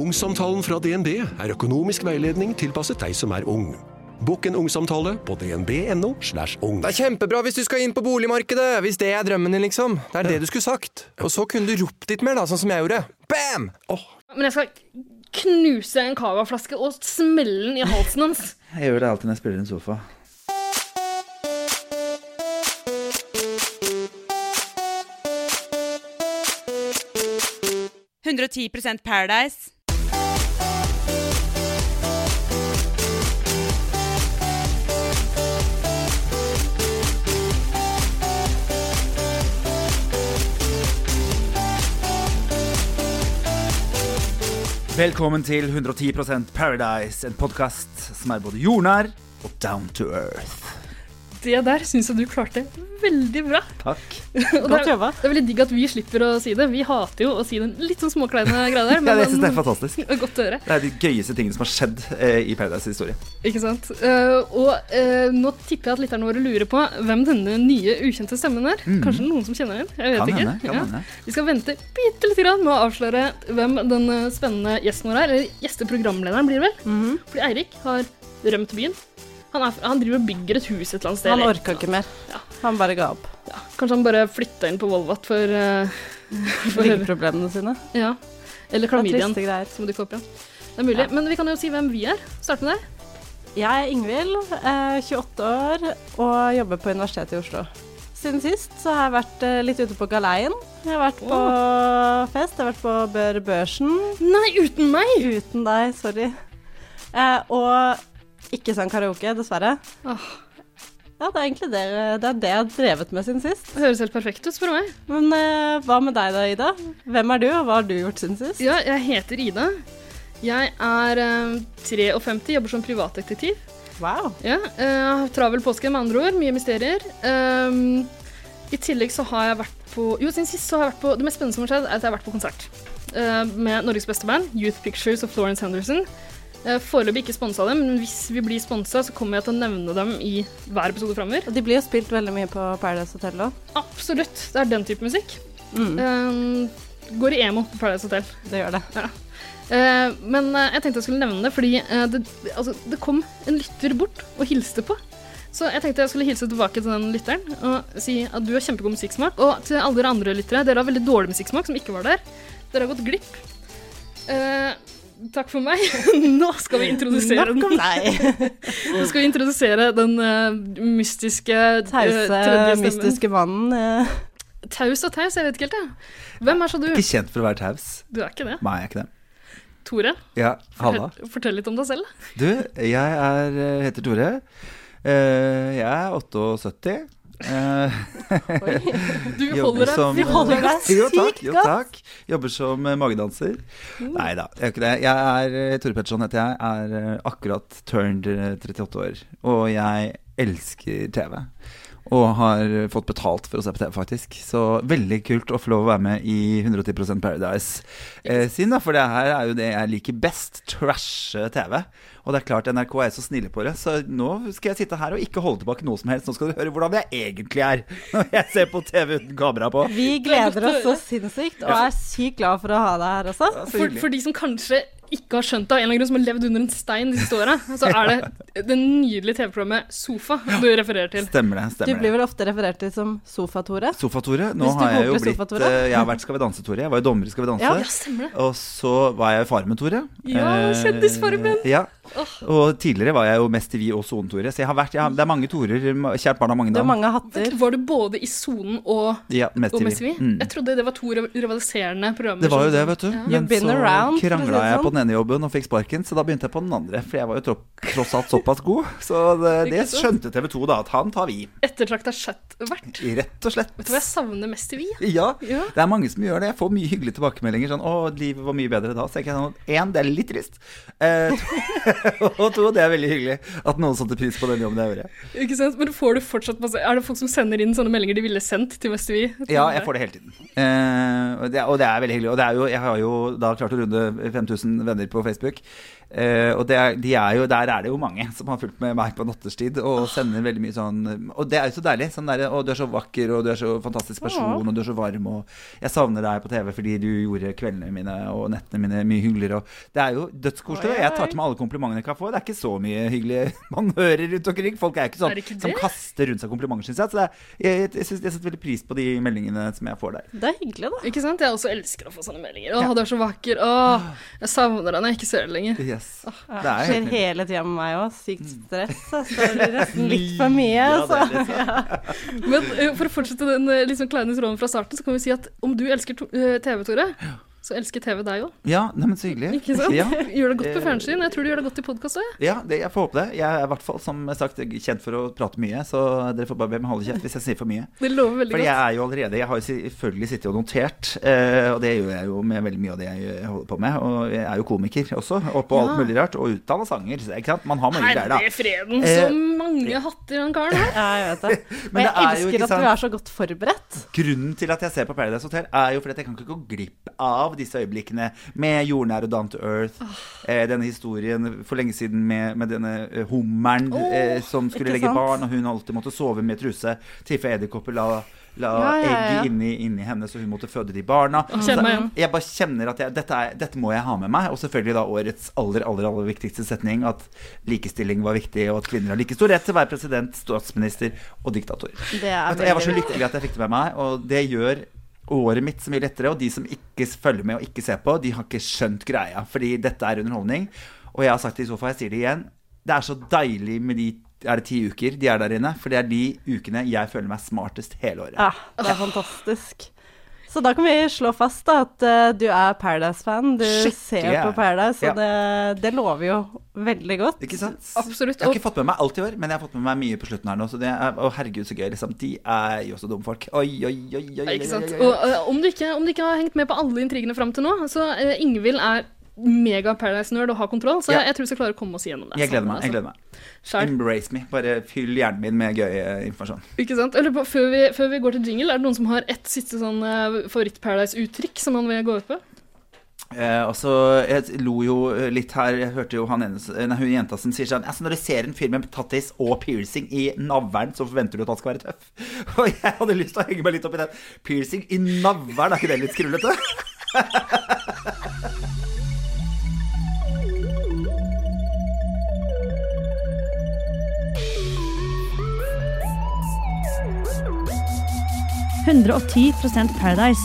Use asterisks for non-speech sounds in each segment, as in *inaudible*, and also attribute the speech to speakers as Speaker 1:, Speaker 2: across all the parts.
Speaker 1: Ungsamtalen fra DNB er økonomisk veiledning tilpasset deg som er ung. Bokk en ungsamtale på dnb.no. slash ung.
Speaker 2: Det er kjempebra hvis du skal inn på boligmarkedet! Hvis det er drømmen din, liksom. Det er det du skulle sagt. Og så kunne du ropt litt mer, da, sånn som jeg gjorde. Bam!
Speaker 3: Men jeg skal knuse en cavaflaske og smelle den i halsen hans.
Speaker 4: Jeg gjør det alltid når jeg spiller i en sofa.
Speaker 5: Paradise.
Speaker 4: Velkommen til 110 Paradise, en podkast som er både jordnær og down to earth.
Speaker 3: *laughs* Det der syns jeg du klarte veldig bra.
Speaker 4: Takk.
Speaker 3: *laughs* Og det,
Speaker 5: Godt
Speaker 3: er,
Speaker 5: jobba.
Speaker 3: det er veldig digg at vi slipper å si det. Vi hater jo å si den litt sånn småkleine
Speaker 4: *laughs*
Speaker 3: greia der.
Speaker 4: Ja, det synes jeg er
Speaker 3: men- eh,
Speaker 4: fantastisk.
Speaker 3: Godt å høre.
Speaker 4: Det er de gøyeste tingene som har skjedd eh, i Paradise historie.
Speaker 3: Ikke sant? Eh, og eh, nå tipper jeg at lytterne våre lurer på hvem denne nye, ukjente stemmen er. Kanskje noen som kjenner den? Jeg vet
Speaker 4: Mm. Kan
Speaker 3: ikke.
Speaker 4: hende. kan
Speaker 3: Ja.
Speaker 4: hende.
Speaker 3: Vi skal vente bitte lite grann med å avsløre hvem den eh, spennende gjesten vår er. Eller gjesteprogramlederen blir det vel. Fordi Eirik har rømt byen. Han, er, han driver og bygger et hus et eller annet sted.
Speaker 5: Han orka ikke mer.
Speaker 3: Ja.
Speaker 5: Han bare ga *laughs* opp.
Speaker 3: Ja, kanskje han bare flytta inn på Volvat for, eh, for
Speaker 5: Ryggeproblemene sine.
Speaker 3: Ja. Eller
Speaker 5: Det er
Speaker 3: klamydiaen,
Speaker 5: triste greier.
Speaker 3: som dukker opp igjen. Det er mulig. Men vi kan jo si hvem vi er. Start med deg.
Speaker 5: Jeg er Ingvild, eh, 28 år og jobber på Universitetet i Oslo. Siden sist så har jeg vært eh, litt ute på galeien. Jeg har vært på fest, jeg har vært på Bør Børsen.
Speaker 3: Nei, uten meg!
Speaker 5: Uten deg, sorry. Eh, og ikke sang karaoke, dessverre.
Speaker 3: Åh.
Speaker 5: Ja, det er egentlig det, det, er det jeg har drevet med siden sist.
Speaker 3: Det høres helt perfekt ut, spør du meg.
Speaker 5: Men eh, hva med deg da, Ida? Hvem er du, og hva har du gjort siden sist?
Speaker 3: Ja, jeg heter Ida. Jeg er eh, 53, jobber som privatdetektiv.
Speaker 5: Wow.
Speaker 3: Ja, eh, Travel påske, med andre ord. Mye mysterier. Ehm, I tillegg så har jeg vært på Jo, siden sist så har jeg vært på Det mest spennende som har skjedd, er at jeg har vært på konsert eh, med Norges beste band, Youth Pictures og Florence Henderson. Eh, Foreløpig ikke sponsa dem, men hvis vi blir sponsa, så kommer jeg til å nevne dem i hver episode framover.
Speaker 5: Og de blir jo spilt veldig mye på Paradise Hotel òg.
Speaker 3: Absolutt. Det er den type musikk.
Speaker 5: Mm,
Speaker 3: Ehm, går i emo på Paradise Hotel.
Speaker 5: det gjør det.
Speaker 3: Eh, men eh, jeg tenkte jeg skulle nevne det, fordi eh, det, det- altså, det kom en lytter bort og hilste på. Så jeg tenkte jeg skulle hilse tilbake til den lytteren og si at du har kjempegod musikksmak. Og til alle dere andre lyttere, dere har veldig dårlig musikksmak som ikke var der. Dere har gått glipp. Eh, takk for meg. *laughs* Nå skal vi introdusere den.
Speaker 5: Nok om deg. *laughs*
Speaker 3: Nå skal vi introdusere den eh, mystiske eh,
Speaker 5: Tause,
Speaker 3: tredje stemmen.
Speaker 5: mystiske mannen. eh.
Speaker 3: Taus og taus, jeg vet ikke helt, jeg. Hvem er så du?
Speaker 4: Ikke kjent for å være taus.
Speaker 3: Du er ikke det.
Speaker 4: Nei, jeg er ikke det.
Speaker 3: Tore,
Speaker 4: Ja,
Speaker 3: fortell,
Speaker 4: Halla.
Speaker 3: fortell litt om deg selv.
Speaker 4: Du, jeg er, eh, heter Tore. Eh, jeg er 78. Eh,
Speaker 3: Du
Speaker 4: Jobber
Speaker 3: holder
Speaker 4: som-
Speaker 3: deg,
Speaker 4: eh,
Speaker 3: vi holder deg
Speaker 4: jo, takk,
Speaker 5: sykt
Speaker 4: jo,
Speaker 5: godt.
Speaker 4: takk. Jobber som eh, magedanser.
Speaker 3: Mm.
Speaker 4: Nei da, jeg er ikke det. Jeg er eh, Tore Petterson heter jeg. Er eh, akkurat turned eh, 38 år. Og jeg elsker TV. Og har eh, fått betalt for å se på TV, faktisk. Så veldig kult å få lov å være med i 110 Paradise eh, sin, da. For det her er jo det jeg liker best. Trashe TV. Og det er klart NRK er så snille på det, så nå skal jeg sitte her og ikke holde tilbake noe som helst. Nå skal du høre hvordan jeg egentlig er *laughs* når jeg ser på TV uten kamera på.
Speaker 5: Vi gleder oss så sinnssykt, og er sykt glad for å ha deg her også.
Speaker 4: Så
Speaker 3: For,
Speaker 4: hyggelig.
Speaker 3: for de som kanskje ikke har skjønt det, av en eller annen grunn som har levd under en stein de siste åra, så
Speaker 4: *laughs*
Speaker 3: er det det nydelige TV-programmet Sofa du refererer til.
Speaker 4: Stemmer det.
Speaker 5: Du
Speaker 4: stemmer
Speaker 5: blir
Speaker 4: det
Speaker 5: vel ofte referert til som Sofa-Tore.
Speaker 4: Sofa-Tore. Nå
Speaker 5: Hvis du
Speaker 4: har jeg
Speaker 5: håper
Speaker 4: jo
Speaker 5: det er
Speaker 4: blitt
Speaker 5: Sofa-Tore.
Speaker 4: eh, Jeg har vært Skal vi danse-Tore. Jeg var jo dommer i Skal vi danse.
Speaker 5: Ja,
Speaker 3: Ja, stemmer det.
Speaker 4: Og så var jeg Farmen-Tore.
Speaker 3: Ja,
Speaker 4: Eh,
Speaker 3: Kjendisfarmen.
Speaker 4: Ja.
Speaker 3: Åh.
Speaker 4: Og tidligere var jeg jo mest TV og Son-Tore. Så jeg har vært, jeg har, det er mange Torer. Kjært barn av
Speaker 5: Du
Speaker 4: Magna.
Speaker 5: har mange hatter.
Speaker 3: Var du både i sonen og,
Speaker 4: Ja, mest
Speaker 3: og
Speaker 4: TV.
Speaker 3: Mest TV?
Speaker 4: Mm.
Speaker 3: Jeg trodde det var to riv- rivaliserende programmer.
Speaker 4: Det var jo
Speaker 3: som-
Speaker 4: det, vet du. Men
Speaker 5: been
Speaker 4: så
Speaker 5: around, for å si
Speaker 4: krangla
Speaker 5: det
Speaker 4: jeg
Speaker 5: sånn.
Speaker 4: på den ene jobben og fikk sparken, så da begynte jeg på den andre. For jeg var jo tro tross alt såpass god. Så det, det
Speaker 3: Ikke sant?
Speaker 4: skjønte TV 2 da, at han tar vi.
Speaker 3: Ettertrakta chatvert.
Speaker 4: Rett og slett.
Speaker 3: Vet du hva jeg savner mest i Vi?
Speaker 4: Ja,
Speaker 3: Ja.
Speaker 4: det er mange som gjør det. Jeg får mye hyggelige tilbakemeldinger sånn 'Å, livet var mye bedre da'. Så tenker jeg sånn Én, det er litt trist. Eh, *laughs* to- og to, det er veldig hyggelig at noen satte pris på den jobben jeg gjorde.
Speaker 3: Ikke sant? Men får du fortsatt masse Er det folk som sender inn sånne meldinger de ville sendt til Vestby?
Speaker 4: Ja, jeg får det hele tiden. Eh, og, det, og det er veldig hyggelig. Og det er jo, jeg har jo da klart å runde 5000 venner på Facebook. Eh, og det er, de er jo, der er det jo mange som har fulgt med meg på natterstid og sender veldig mye sånn Og det er jo så deilig. Sånn der, og du er så vakker, og du er så fantastisk person, og du er så varm, og jeg savner deg på TV fordi du gjorde kveldene mine og nettene mine mye hyggeligere. Og det er jo dødskoselig. og Jeg tar til meg alle komplimentene jeg kan få. Det er ikke så mye hyggelig *laughs* man hører rundt omkring. Folk er ikke sånn
Speaker 3: Er det ikke
Speaker 4: som
Speaker 3: det?
Speaker 4: kaster rundt seg komplimenter, syns jeg. Så det er, jeg, jeg, synes, jeg setter veldig pris på de meldingene som jeg får der.
Speaker 5: Det er hyggelig, da.
Speaker 3: Ikke sant? Jeg også elsker å få sånne meldinger. Å, du er så vakker. Å, jeg savner deg når jeg ikke ser deg lenger.
Speaker 4: Yes.
Speaker 5: Ja,
Speaker 4: Det
Speaker 5: Det
Speaker 4: er helt
Speaker 5: skjer
Speaker 4: nydelig.
Speaker 5: hele tida med meg òg. Sykt stress. Så det blir
Speaker 4: *laughs*
Speaker 5: nesten litt for mye. altså.
Speaker 4: Ja, det
Speaker 3: altså.
Speaker 5: Så.
Speaker 4: er litt sånn.
Speaker 3: Men eh, for å fortsette den eh, liksom kleine tråden fra starten, så kan vi si at om du elsker to- eh, TV, Tore, så elsker TV deg òg.
Speaker 4: Ja, nei, men så hyggelig.
Speaker 3: Ikke sant?
Speaker 4: Ja,
Speaker 3: *laughs* Gjør det godt på fjernsyn. Jeg tror du gjør det godt i podkast òg, jeg.
Speaker 4: ja det, jeg får håpe det. Jeg er i hvert fall som sagt kjent for å prate mye, så dere får bare be meg holde kjeft hvis jeg sier for mye.
Speaker 3: Det lover veldig
Speaker 4: Fordi jeg
Speaker 3: godt.
Speaker 4: er jo allerede Jeg har jo selvfølgelig sittet og notert, eh, og det gjør jeg jo med veldig mye av det jeg holder på med. Og jeg er jo komiker også, og på alt
Speaker 3: Ja.
Speaker 4: mulig rart. Og utdanna sanger, så- ikke sant. Man har mange greier, da.
Speaker 3: Herre freden,
Speaker 4: Eh,
Speaker 3: så mange hatter han karen har.
Speaker 5: Ja, jeg vet det. Og
Speaker 4: Men
Speaker 5: jeg
Speaker 4: det er jo
Speaker 5: elsker
Speaker 4: ikke
Speaker 5: at du
Speaker 4: sant-
Speaker 5: er så godt forberedt.
Speaker 4: Grunnen til at jeg ser på Paradise Hotel, er jo fordi at jeg kan ikke gå glipp av disse øyeblikkene med jordnær og down to earth. Eh, denne historien for lenge siden med, med denne eh, hummeren
Speaker 5: Åh,
Speaker 4: eh, som skulle
Speaker 5: ikke
Speaker 4: legge
Speaker 5: sant?
Speaker 4: barn, og hun alltid måtte sove med truse. Tiffe edderkopper la, la
Speaker 5: Ja, ja, ja.
Speaker 4: egget inni, inni henne, så hun måtte føde de barna.
Speaker 3: Kjenn meg igjen.
Speaker 4: Jeg bare kjenner at jeg, dette, er, dette må jeg ha med meg. Og selvfølgelig da årets aller aller, aller viktigste setning, at likestilling var viktig, og at kvinner har like stor rett til å være president, statsminister og diktator.
Speaker 5: Det er
Speaker 4: Altså, Jeg var så
Speaker 5: veldig
Speaker 4: lykkelig at jeg fikk det med meg, og det gjør året mitt så mye lettere. Og de som ikke følger med og ikke ser på, de har ikke skjønt greia, fordi dette er underholdning. Og jeg har sagt det i sofa, jeg sier det igjen. Det er så deilig med de er det ti uker de er der inne? For det er de ukene jeg føler meg smartest hele året.
Speaker 5: Ja, det er fantastisk. Så da kan vi slå fast da, at eh, du er Paradise-fan. Du
Speaker 4: Skikkelig,
Speaker 5: ser
Speaker 4: ja.
Speaker 5: på Paradise,
Speaker 4: Ja.
Speaker 5: og det, det lover jo veldig godt.
Speaker 4: Ikke sant?
Speaker 3: Absolutt.
Speaker 4: *laughs* Jeg har
Speaker 3: Og-
Speaker 4: ikke fått med meg alt i år, men jeg har fått med meg mye på slutten her nå. Så det er, å, herregud, så gøy. Liksom. De er jo så dumme folk. Oi, oi, oi. oi, oi,
Speaker 3: Ikke sant?
Speaker 4: oi,
Speaker 3: Og
Speaker 4: oi, oi.
Speaker 3: eh, om, du ikke, om du ikke har hengt med på alle intrigene fram til nå, så uh, Ingvild er mega Paradise-nerd og har kontroll, så
Speaker 4: Ja.
Speaker 3: jeg tror vi skal klare å komme oss gjennom det. altså.
Speaker 4: Jeg gleder meg. jeg gleder meg
Speaker 3: Skjær.
Speaker 4: Embrace me. Bare fyll hjernen min med gøy eh, informasjon.
Speaker 3: Ikke sant? Jeg lurer på, før, vi, før vi går til jingle, er det noen som har ett siste sånn eh, favoritt-Paradise-uttrykk som man vil gå ut på?
Speaker 4: Eh, og så Jeg lo jo eh, litt her. Jeg hørte jo han ene, s- nei, hun jenta som sier sånn altså, Når du ser en fyr med tattis og piercing i navlen, så forventer du at han skal være tøff. *laughs* Og jeg hadde lyst til å henge meg litt opp i den. Piercing i navlen, er ikke det litt skrullete?
Speaker 6: Paradise.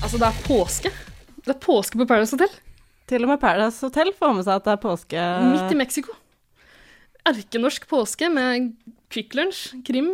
Speaker 3: Altså, det er påske. Det er påske på Paradise Hotel,
Speaker 5: Til og med Paradise Hotel får med seg at det er påske.
Speaker 4: Eh.
Speaker 3: midt i Mexico. Erkenorsk påske med Quick Lunch, krim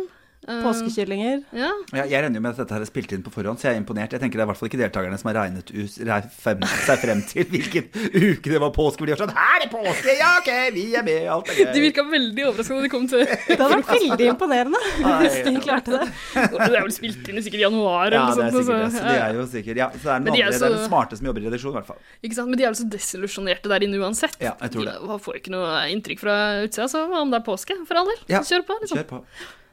Speaker 3: eh,
Speaker 5: Påskekyllinger.
Speaker 3: Ja,
Speaker 4: *laughs* Ja, jeg regner jo med at dette her er spilt inn på forhånd, så jeg er imponert. Jeg tenker det er i hvert fall ikke deltakerne som har regnet ut, reg- frem, seg frem til hvilken uke det var påske. For de var sånn Her er påske! Ja, OK, vi er med! Alt er
Speaker 3: *laughs* De
Speaker 4: gøy.
Speaker 3: virka veldig overraska da de
Speaker 4: *laughs*
Speaker 3: kom til
Speaker 5: Det hadde vært
Speaker 3: *laughs*
Speaker 5: veldig imponerende hvis de klarte det.
Speaker 3: Det er vel spilt inn i sikkert januar
Speaker 4: Ja,
Speaker 3: eller
Speaker 4: det
Speaker 3: noe
Speaker 4: er
Speaker 3: sånt. altså.
Speaker 4: sikkert det. Så de er jo sikkert Ja, så er det,
Speaker 3: Men
Speaker 4: noen
Speaker 3: de er
Speaker 4: andre, det er
Speaker 3: så-
Speaker 4: den smarte som jobber i redaksjon, i hvert fall.
Speaker 3: Ikke sant? Men de er jo så desillusjonerte der inne uansett.
Speaker 4: Ja, jeg tror det.
Speaker 3: De var- får jo ikke noe inntrykk fra utsida, så om det er påske, for all del.
Speaker 4: Ja,
Speaker 3: Kjør på, liksom.
Speaker 4: Kjør på.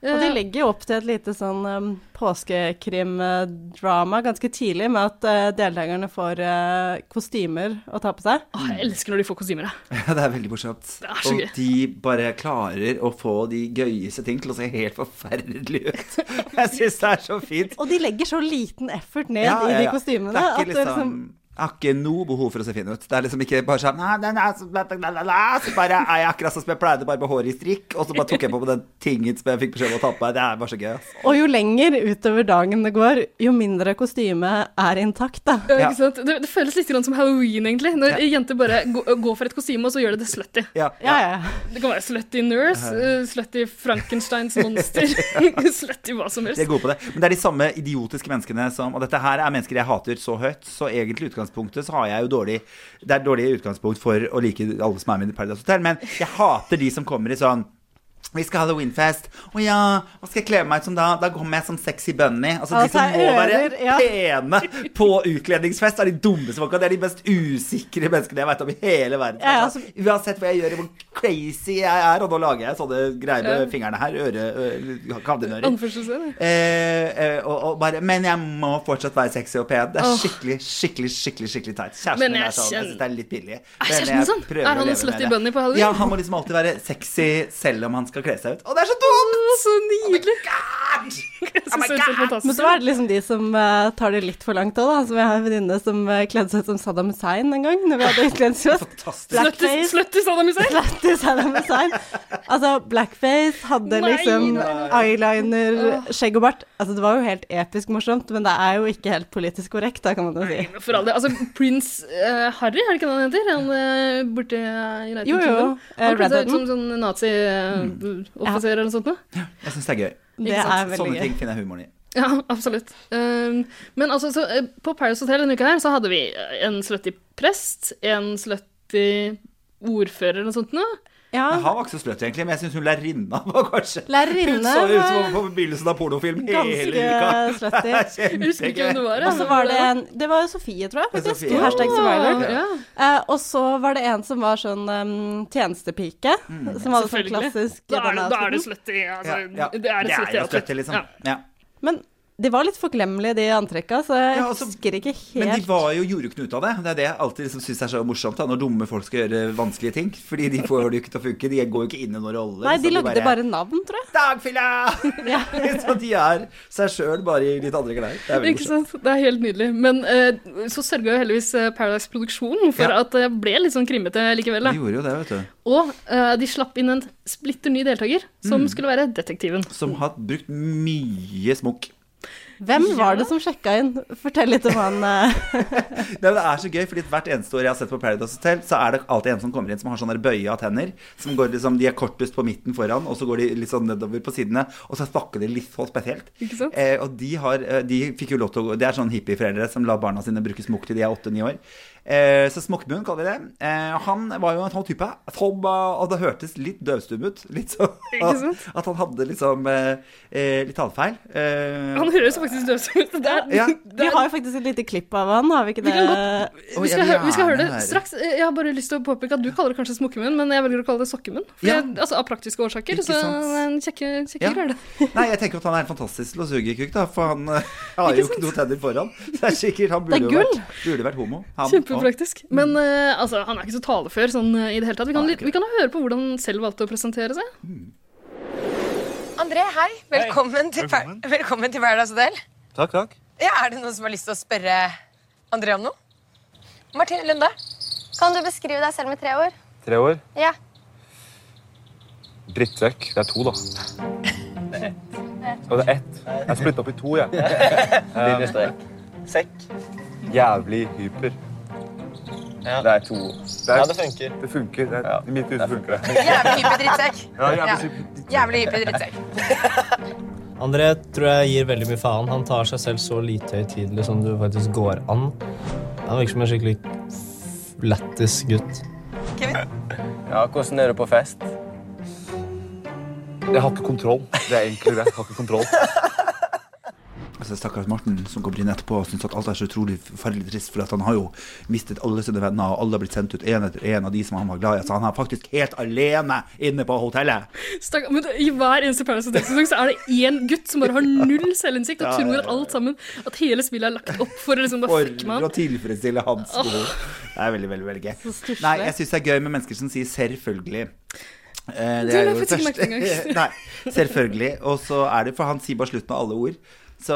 Speaker 5: Og de
Speaker 3: Eh,
Speaker 5: legger jo opp til et lite sånn um, påskekrimdrama ganske tidlig, med at eh, deltakerne får eh, kostymer å ta på seg.
Speaker 3: Åh, jeg elsker når de får kostymer. jeg.
Speaker 4: Ja, *laughs* det er veldig morsomt.
Speaker 3: Det er så
Speaker 4: og
Speaker 3: gøy.
Speaker 4: de bare klarer å få de gøyeste ting til å se helt forferdelig ut. Jeg syns det er så fint.
Speaker 5: Og de legger så liten effort ned
Speaker 4: Ja, ja,
Speaker 5: i de
Speaker 4: ja.
Speaker 5: kostymene.
Speaker 4: Det er
Speaker 5: at
Speaker 4: ikke
Speaker 5: du
Speaker 4: liksom jeg har ikke noe behov for å se fin ut. Det er liksom ikke bare sånn «Nei, den er så- la, la, la, la», Så bare er jeg akkurat sånn som jeg pleide, bare med håret i strikk. Og så bare tok jeg på meg den tingen som jeg fikk beskjed om å ta på meg. Det er bare så gøy. ass.
Speaker 5: Og jo lenger utover dagen det går, jo mindre kostyme er intakt, da.
Speaker 3: Eh,
Speaker 4: Ja.
Speaker 3: Ikke sant? Det, det føles litt grann som halloween, egentlig. Når jenter bare gå- går for et kostyme, og så gjør de det slutty.
Speaker 4: Ja,
Speaker 5: Ja,
Speaker 4: ja.
Speaker 5: ja.
Speaker 3: Det kan være slutty nurse, eh, slutty Frankensteins
Speaker 4: *laughs*
Speaker 3: monster, slutty hva som helst.
Speaker 4: De er gode på det. Men det er de samme idiotiske menneskene som Og dette her er mennesker jeg hater så høyt, så egentlig i utgangspunktet så har jeg jo dårlig Det er dårlig utgangspunkt for å like alle som er med i Paradise Hotel, men jeg hater de som kommer i sånn Vi skal ha halloweenfest. Å ja, hva skal jeg kle meg ut som da? Da kommer jeg som sexy bunny. Altså,
Speaker 5: Altså,
Speaker 4: de som må
Speaker 5: ører,
Speaker 4: være
Speaker 5: ja.
Speaker 4: pene på utkledningsfest, er de dummeste folka. Det er de mest usikre menneskene jeg vet om i hele verden.
Speaker 5: Ja,
Speaker 4: Altså, Uansett hva jeg gjør, hvor crazy jeg er, og nå lager jeg sånne greier med
Speaker 3: Ja.
Speaker 4: fingrene her, øre, øre, kavdenører.
Speaker 3: Anførselstegn. ja.
Speaker 4: Eh, eh, og, og bare, men jeg må fortsatt være sexy og pen. Det er
Speaker 3: Åh.
Speaker 4: skikkelig skikkelig, skikkelig, skikkelig teit. Kjæresten
Speaker 3: Men
Speaker 4: min
Speaker 3: jeg
Speaker 4: er sånn. Jeg
Speaker 3: kjenner-
Speaker 4: synes det er litt billig.
Speaker 3: Er
Speaker 4: Men
Speaker 3: kjæresten
Speaker 4: jeg
Speaker 3: sånn?
Speaker 4: prøver
Speaker 3: Er
Speaker 4: å
Speaker 3: han en
Speaker 4: leve
Speaker 3: slutty
Speaker 4: med det.
Speaker 3: bunny på Halloween?
Speaker 4: Ja, han må liksom alltid være sexy selv om han skal kle seg ut. Og det er så dumt!
Speaker 3: Så nydelig.
Speaker 4: Oh God!
Speaker 3: Jeg
Speaker 4: Oh my
Speaker 3: synes det ser
Speaker 4: God!
Speaker 5: Men
Speaker 3: fantastisk
Speaker 5: så er det liksom de som eh, tar det litt for langt òg, da. Som jeg har en venninne som eh, kledde seg ut som Saddam Hussein en gang, når vi hadde utkledningsfest.
Speaker 4: Fantastisk.
Speaker 3: Slutty-
Speaker 5: Blackface.
Speaker 3: Slutty Saddam Hussein.
Speaker 5: Slutty Saddam Hussein. Altså, blackface, hadde
Speaker 3: Nei,
Speaker 5: liksom
Speaker 3: nei.
Speaker 5: eyeliner, skjegg og bart. Altså, det var jo helt episk morsomt, men det er jo ikke helt politisk korrekt, da, kan man jo si.
Speaker 3: For all del. Altså, prins eh, Harry, er det ikke det han heter? Han eh, borte i United
Speaker 5: Jo, jo.
Speaker 3: Kingdom.
Speaker 5: eh, Mm.
Speaker 3: Han kledde seg ut
Speaker 5: Redheaden.
Speaker 3: som sånn nazi-offiser eller noe sånt noe.
Speaker 4: Jeg syns det er gøy.
Speaker 5: Det er veldig
Speaker 4: Sånne
Speaker 5: gøy.
Speaker 4: ting finner jeg humoren i.
Speaker 3: Ja, absolutt. Um, men altså, så, eh, på Paris Hotel denne uka her, så hadde vi eh, en slutty prest, en slutty ordfører eller noe sånt noe.
Speaker 5: Ja.
Speaker 3: Ah.
Speaker 4: Men Han var ikke så sløtt, egentlig, men jeg syns hun lærerinna var kanskje Hun
Speaker 5: Lærerinne
Speaker 4: så ut som
Speaker 5: var
Speaker 4: hun var på begynnelsen av pornofilm hele uka. *laughs*
Speaker 5: ganske slutty.
Speaker 3: Jeg husker ikke hvem det var. eh, ja.
Speaker 5: Og så var det en Det var jo Sofie, tror jeg,
Speaker 4: Det er
Speaker 5: faktisk.
Speaker 4: Sofie.
Speaker 5: Hashtag survivor.
Speaker 3: Ja, ja.
Speaker 5: Eh, og så var det en som var sånn em, tjenestepike,
Speaker 4: Mm.
Speaker 5: som hadde sånn
Speaker 3: Selvfølgelig.
Speaker 5: klassisk
Speaker 3: Da er, det-
Speaker 5: denne
Speaker 3: da er det
Speaker 5: outfiten.
Speaker 3: slutty. Altså,
Speaker 4: Ja, ja.
Speaker 3: Det er et slutty
Speaker 4: jo
Speaker 3: outfit.
Speaker 4: slutty, liksom.
Speaker 3: Ja.
Speaker 4: Ja.
Speaker 5: Men de var litt forglemmelige, de antrekka, så jeg
Speaker 4: Ja, altså,
Speaker 5: husker ikke helt
Speaker 4: Men de var jo, gjorde jo ikke noe ut av det. Det er det jeg alltid liksom syns er så morsomt, da, når dumme folk skal gjøre vanskelige ting. Fordi de får det jo ikke til å funke. De går jo ikke inn i noen roller.
Speaker 5: Nei,
Speaker 4: så
Speaker 5: de lagde bare navn, tror jeg. *laughs*
Speaker 4: Dagfylla! *laughs* så de er seg sjøl, bare i litt andre klær. Det er veldig
Speaker 3: Ikke
Speaker 4: morsomt.
Speaker 3: sant? Det er helt nydelig. Men eh, så sørga jo heldigvis eh, Paradise Produksjonen for
Speaker 4: Ja.
Speaker 3: at jeg ble litt sånn krimete likevel. Da.
Speaker 4: De gjorde jo det, vet du.
Speaker 3: Og eh, de slapp inn en splitter ny deltaker, som
Speaker 4: Mm.
Speaker 3: skulle være detektiven.
Speaker 4: Som har brukt mye smokk.
Speaker 5: Hvem var det som sjekka inn? Fortell litt om han eh,
Speaker 4: Nei, men det er så gøy, fordi hvert eneste år jeg har sett på Paradise Hotel, så er det alltid en som kommer inn som har sånne bøya tenner. Som går liksom, de er kortest på midten foran, og så går de litt sånn nedover på sidene. Og så snakker de litt så spesielt.
Speaker 3: Ikke sant?
Speaker 4: Eh, og de har eh, De fikk jo lov til å gå Det er sånn hippieforeldre som lar barna sine bruke smokk til de er åtte-ni år. Eh, så Smokkmunn kaller vi det. Eh, han var jo en sånn type som eh, Og det hørtes litt døvstum ut. Litt sånn
Speaker 3: Ikke
Speaker 4: at,
Speaker 3: sant?
Speaker 4: at han hadde liksom eh, eh, litt talefeil. Eh,
Speaker 3: Han høres faktisk døvsum ut. *laughs* Det er-
Speaker 4: *laughs* Ja.
Speaker 5: *laughs* Vi har jo faktisk et lite klipp av han, har vi ikke
Speaker 3: Vi
Speaker 5: det?
Speaker 3: kan
Speaker 4: Oi,
Speaker 3: Vi skal,
Speaker 4: jeg vil
Speaker 3: hø- vi skal høre det
Speaker 4: gjerne høre.
Speaker 3: straks. Eh, Jeg har bare lyst til å påpeke at du kaller det kanskje smokkemunn, men jeg velger å kalle det sokkemunn. For
Speaker 4: Ja.
Speaker 3: jeg- Altså, av praktiske årsaker.
Speaker 4: Ikke
Speaker 3: Så
Speaker 4: sant?
Speaker 3: det er en kjekke, kjekke
Speaker 4: Ja.
Speaker 3: greier, det.
Speaker 4: Nei, jeg tenker at han er en fantastisk losugekuk, da, for han eh, har jo ikke noen tenner foran. Så det er sikkert han burde,
Speaker 5: Det er
Speaker 4: jo
Speaker 5: gull.
Speaker 4: vært, burde vært homo. Han,
Speaker 3: Kjempepraktisk. Men eh, altså, han er ikke så talefør sånn eh, i det hele tatt. Vi kan,
Speaker 4: Nei,
Speaker 3: li-
Speaker 4: ikke
Speaker 3: vi kan høre på hvordan han selv valgte å presentere seg.
Speaker 7: André, hei. Velkommen, Til, Par- velkommen til Paradise Hotel.
Speaker 8: Takk, takk.
Speaker 7: Ja, er det noen som har lyst til å spørre André om noe? Martine Lunde.
Speaker 9: Kan du beskrive deg selv med tre ord?
Speaker 8: Tre år.
Speaker 9: Ja.
Speaker 8: Drittsekk. Det er to, da. Og det er ett. Jeg er splittet opp i to,
Speaker 10: *laughs*
Speaker 8: jeg. Eh,
Speaker 10: Lille strek. Sekk.
Speaker 8: Jævlig hyper.
Speaker 10: Ja.
Speaker 8: Det er to. Det,
Speaker 10: Ja,
Speaker 8: er,
Speaker 10: det funker.
Speaker 8: det funker. Det er,
Speaker 10: Ja.
Speaker 8: I mitt hus funker det.
Speaker 10: *laughs*
Speaker 7: Jævlig hyppig drittsekk.
Speaker 8: Ja, jævlig
Speaker 7: Ja.
Speaker 8: hyper.
Speaker 7: Jævlig hyppig drittsekk.
Speaker 10: André tror jeg gir veldig mye faen. Han tar seg selv så lite høytidelig som det faktisk går an. Han virker som en skikkelig f- lættis gutt.
Speaker 7: Kevin,
Speaker 10: Ja, hvordan er du på fest?
Speaker 8: Jeg har ikke kontroll. Det er egentlig greit. Jeg har ikke kontroll.
Speaker 4: Altså, Stakkars Morten som kommer inn etterpå og syns at alt er så utrolig forferdelig trist, for at han har jo mistet alle sine venner, og alle har blitt sendt ut én etter én av de som han var glad i. Så han er faktisk helt alene inne på hotellet.
Speaker 3: Stakk- Men det- I hver eneste Paradise Hotel-sesong så er det én gutt som bare har null selvinnsikt og tror at alt sammen, at hele spillet er lagt opp for å liksom bare fucke med
Speaker 4: For å
Speaker 3: han.
Speaker 4: tilfredsstille hans behov. Det er veldig, veldig veldig gøy.
Speaker 5: stusslig.
Speaker 4: Nei, jeg syns det er gøy med mennesker som sier 'selvfølgelig'.
Speaker 3: Det
Speaker 4: Eh, er
Speaker 3: la
Speaker 4: jo
Speaker 3: jeg faktisk ikke merke til engang.
Speaker 4: *laughs* Nei, selvfølgelig. Og så er det For han sier bare slutten av alle ord. Så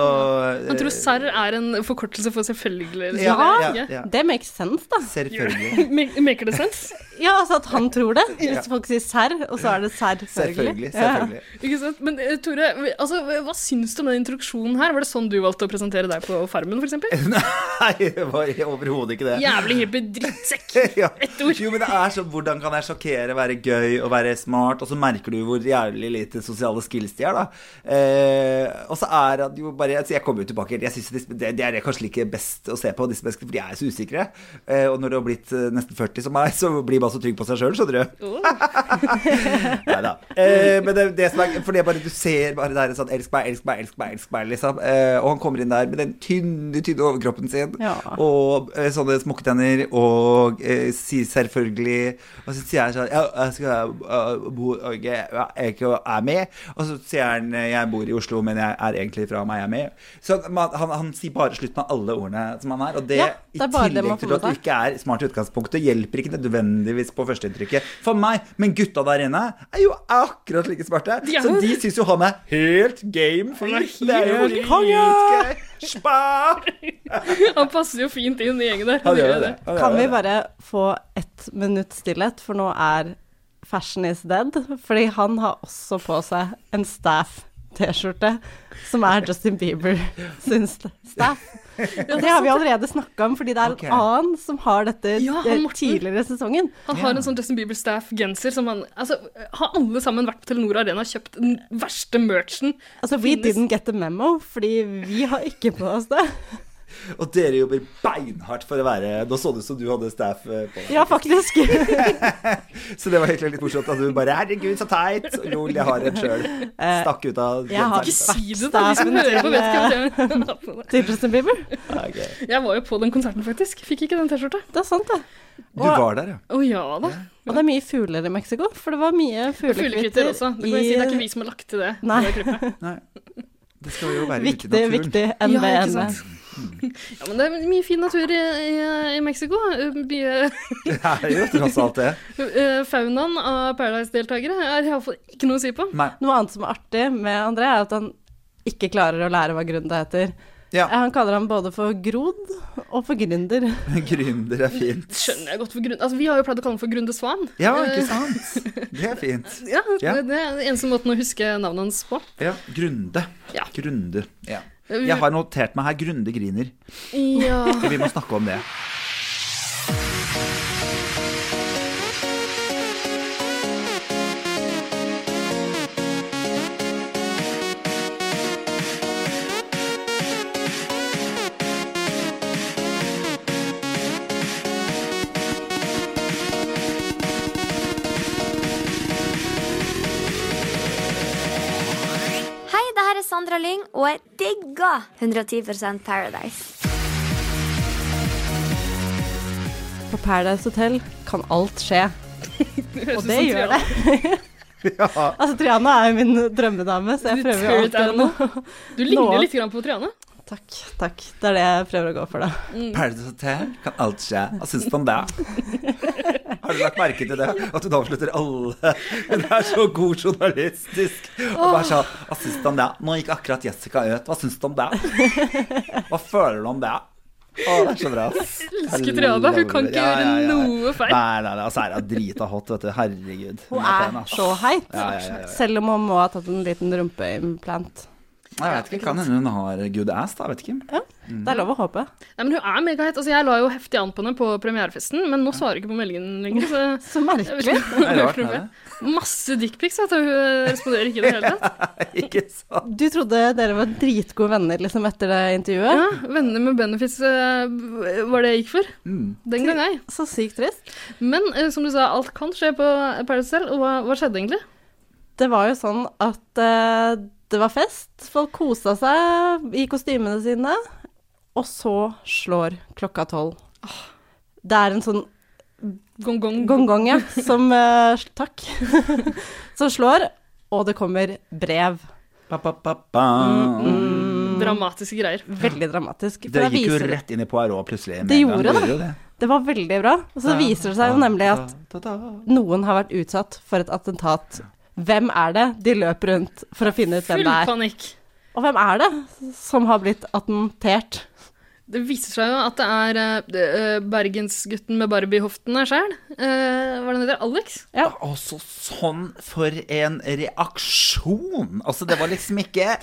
Speaker 3: Han tror serr er en forkortelse for selvfølgelig. Liksom.
Speaker 4: eh, Ja,
Speaker 3: Ja.
Speaker 4: ja, ja.
Speaker 5: Det makes sense, da.
Speaker 4: Selvfølgelig.
Speaker 3: *laughs* Ma- Maker det sens?
Speaker 5: Ja, altså at han tror det. Hvis folk sier serr, og så er det serr,
Speaker 4: Selvfølgelig.
Speaker 5: selvfølgelig.
Speaker 4: selvfølgelig.
Speaker 3: Ikke sant? Men eh, Tore, vi- altså, hva syns du om den introduksjonen her? Var det sånn du valgte å presentere deg på Farmen,
Speaker 4: *laughs*
Speaker 3: f.eks.?
Speaker 4: *laughs* Nei, det var overhodet ikke det.
Speaker 3: Jævlig hippie drittsekk.
Speaker 4: *laughs* Ja.
Speaker 3: Ett ord.
Speaker 4: Jo, men det er sånn Hvordan kan jeg sjokkere, være gøy og være smart? Og så merker du hvor jævlig lite sosiale skills de er, da. Eh, og så er han jo bare, altså, jeg kommer jo tilbake helt. Jeg synes disse- det, det er kanskje like best å se på, disse menneskene, for de er så usikre. Eh, og når du har blitt eh, nesten 40 som meg, så blir man så trygg på seg sjøl, skjønner du. Neida. Eh, men det, det som er For det er bare du ser bare der sånn Elsk meg, elsk meg, elsk meg, elsk meg, liksom. Eh, og han kommer inn der med den tynne, tynne overkroppen sin
Speaker 5: Ja.
Speaker 4: og eh, sånne smokketenner og eh, sier selvfølgelig Og så sier jeg sånn Ja, jeg skal eh, bo i Norge, ja, jeg ikke er med. Og så sier han eh, jeg bor i Oslo, men jeg er egentlig fra Miami. Så man, han, han sier bare slutten av alle ordene som han er. Og det,
Speaker 5: Ja, det er
Speaker 4: i
Speaker 5: bare det
Speaker 4: tillegg
Speaker 5: man får
Speaker 4: til at
Speaker 5: med
Speaker 4: du
Speaker 5: seg.
Speaker 4: ikke er smart i utgangspunktet, hjelper ikke nødvendigvis på førsteinntrykket for meg. Men gutta der inne er jo akkurat like smarte,
Speaker 3: De er
Speaker 4: så
Speaker 3: jo-
Speaker 4: de syns jo han er helt game. For
Speaker 3: Han er
Speaker 4: det er jo
Speaker 3: helt
Speaker 4: helt
Speaker 3: konge!
Speaker 4: gøy. Spa!
Speaker 3: Han passer jo fint inn i gjengen der.
Speaker 4: Han gjør jo det. Han gjør
Speaker 5: Kan
Speaker 4: jo
Speaker 5: vi
Speaker 4: det.
Speaker 5: bare få ett minutt stillhet, for nå er fashion is dead. Fordi han har også på seg en staff-T-skjorte, som er Justin Bieber sin st- staff. Og det har vi allerede snakka om, fordi det er
Speaker 4: Ok.
Speaker 5: en annen som har dette
Speaker 3: Ja, han
Speaker 5: eh,
Speaker 3: Morten.
Speaker 5: tidligere i sesongen.
Speaker 3: Han har en sånn Justin Bieber-staff-genser som han Altså, har alle sammen vært på Telenor Arena og kjøpt den verste merchen?
Speaker 5: Altså, we
Speaker 3: Finnes-
Speaker 5: didn't get the memo, fordi vi har ikke på oss det.
Speaker 4: Og dere jobber beinhardt for å være Nå så det ut som du hadde staff eh, på deg.
Speaker 5: Ja, faktisk.
Speaker 4: Så det var egentlig litt morsomt at du bare Herregud, så teit! Og Lol, jeg har en sjøl. *laughs* Stakk ut av
Speaker 5: Eh, jeg har-
Speaker 3: Ikke si det, da! De som
Speaker 5: Staffen
Speaker 3: hører på, vet
Speaker 5: til,
Speaker 3: ikke hva det er.
Speaker 5: Til Justin Bieber.
Speaker 4: Ja, ok.
Speaker 3: Jeg var jo på den konserten, faktisk. Fikk ikke den T-skjorta.
Speaker 5: Det er sant, det.
Speaker 4: Du var der, ja.
Speaker 3: Å ja da.
Speaker 5: Og det er mye fugler i Mexico, for det var mye
Speaker 3: Fuglekvitter
Speaker 5: fuglekvitter
Speaker 3: også. Det, kan jeg si, det er ikke
Speaker 5: i
Speaker 3: vi som har lagt til det.
Speaker 5: Nei.
Speaker 3: det klippet.
Speaker 4: Nei. Det skal jo være ute i
Speaker 5: Viktig,
Speaker 4: naturen.
Speaker 5: viktig
Speaker 3: Ja, ikke
Speaker 5: NBN.
Speaker 3: sant? Ja, men det er mye fin natur i, i, i Mexico. Mye
Speaker 4: Det er jo tross alt det.
Speaker 3: Eh, Faunaen av Paradise-deltakere er iallfall ikke noe å si på.
Speaker 4: Nei.
Speaker 5: Noe annet som er artig med André, er at han ikke klarer å lære hva gründer heter.
Speaker 4: Ja.
Speaker 5: Eh, Han kaller ham både for grod og for gründer.
Speaker 4: Gründer er fint.
Speaker 3: Skjønner jeg godt for grunn... Altså, Vi har jo pleid å kalle den for Grunde Svan.
Speaker 4: Ja, ikke sant? Det er fint.
Speaker 3: Ja,
Speaker 4: Ja.
Speaker 3: Det, det er den eneste måten å huske navnet hans på.
Speaker 4: Ja, Grunde.
Speaker 3: Ja. Mm.
Speaker 4: Grunde. Ja.
Speaker 3: Vi-
Speaker 4: Jeg har notert meg her Grunde griner.
Speaker 3: *laughs* Ja.
Speaker 4: Vi må snakke om det.
Speaker 9: Hei, det her er Sandra Lyng, og jeg digger 110 Paradise.
Speaker 5: På Paradise Hotel kan alt skje, og det gjør det. *laughs*
Speaker 4: Ja.
Speaker 5: Altså, Triana er jo min drømmedame, så jeg
Speaker 3: Du
Speaker 5: prøver jo
Speaker 3: spirit
Speaker 5: alltid å nå.
Speaker 3: Du ligner
Speaker 5: Nå.
Speaker 3: litt grann på Triane.
Speaker 5: *laughs* Takk, takk. Det er det jeg prøver å gå for, da.
Speaker 3: Mm.
Speaker 4: Paradise Hotel kan alt skje. Hva syns du om det? Har du lagt merke til det? At hun avslutter alle Hun er så god journalistisk. Og bare sånn Hva syns du om det? Nå gikk akkurat Jessica ut. Hva syns du om det? Hva føler du om det? Å, det er så bra.
Speaker 3: elsker Triana. Hun kan ikke gjøre noe feil.
Speaker 4: Nei, nei, nei. Og så er hun drita hot, vet du. Herregud.
Speaker 5: Hun
Speaker 4: pen,
Speaker 5: er
Speaker 4: ass.
Speaker 5: så heit,
Speaker 4: Ja, ja, ja, ja.
Speaker 5: selv om hun må ha tatt en liten rumpeimplant.
Speaker 4: Jeg vet ikke. Kan hende hun har good ass, da. Vet *laughs* ikke.
Speaker 5: Det er lov å håpe.
Speaker 3: Nei, men Hun er megahet. Altså, jeg la jo heftig an på henne på premierefesten, men nå svarer hun ikke på meldingen lenger. Så
Speaker 5: Så
Speaker 3: jeg
Speaker 5: merkelig.
Speaker 3: vet ikke om hun
Speaker 4: Det er
Speaker 3: har
Speaker 4: rart,
Speaker 3: hørt noe
Speaker 4: er
Speaker 3: fra. Masse dickpics, vet du. Hun responderer ikke i det hele tatt.
Speaker 4: det? *laughs* Ikke sant?
Speaker 5: Du trodde dere var dritgode venner liksom etter det intervjuet.
Speaker 3: Ja, Venner med benefits eh, var det jeg gikk for. Den gang, ei.
Speaker 5: Så sykt trist.
Speaker 3: Men eh, som du sa, alt kan skje på Paradise Hotel. Og hva, hva skjedde egentlig?
Speaker 5: Det var jo sånn at eh, det var fest, folk kosa seg i kostymene sine, og så slår klokka tolv. Det er en sånn
Speaker 3: Gong-gong.
Speaker 5: gong-gong, ja, som eh, Takk. *laughs* som slår, og det kommer brev.
Speaker 4: Ba, ba, ba, ba.
Speaker 3: Dramatiske greier.
Speaker 5: Veldig dramatisk. for
Speaker 4: Mm, Det
Speaker 5: da
Speaker 4: gikk jo
Speaker 5: viser det-
Speaker 4: rett inn i Poirot plutselig. med
Speaker 5: Det
Speaker 4: en gang.
Speaker 5: gjorde det.
Speaker 4: jo det.
Speaker 5: Det var veldig bra. Og så viser det seg jo nemlig at noen har vært utsatt for et attentat. Hvem er det? De løper rundt for å finne ut hvem
Speaker 3: Full
Speaker 5: det er.
Speaker 3: panikk.
Speaker 5: Og hvem er det som har blitt attentert?
Speaker 3: Det viser seg jo at det er eh, det, eh, bergensgutten med Barbie-hoftene sjæl. Eh, hva er det han heter? Alex?
Speaker 4: Altså, sånn for en reaksjon! Altså, det var liksom ikke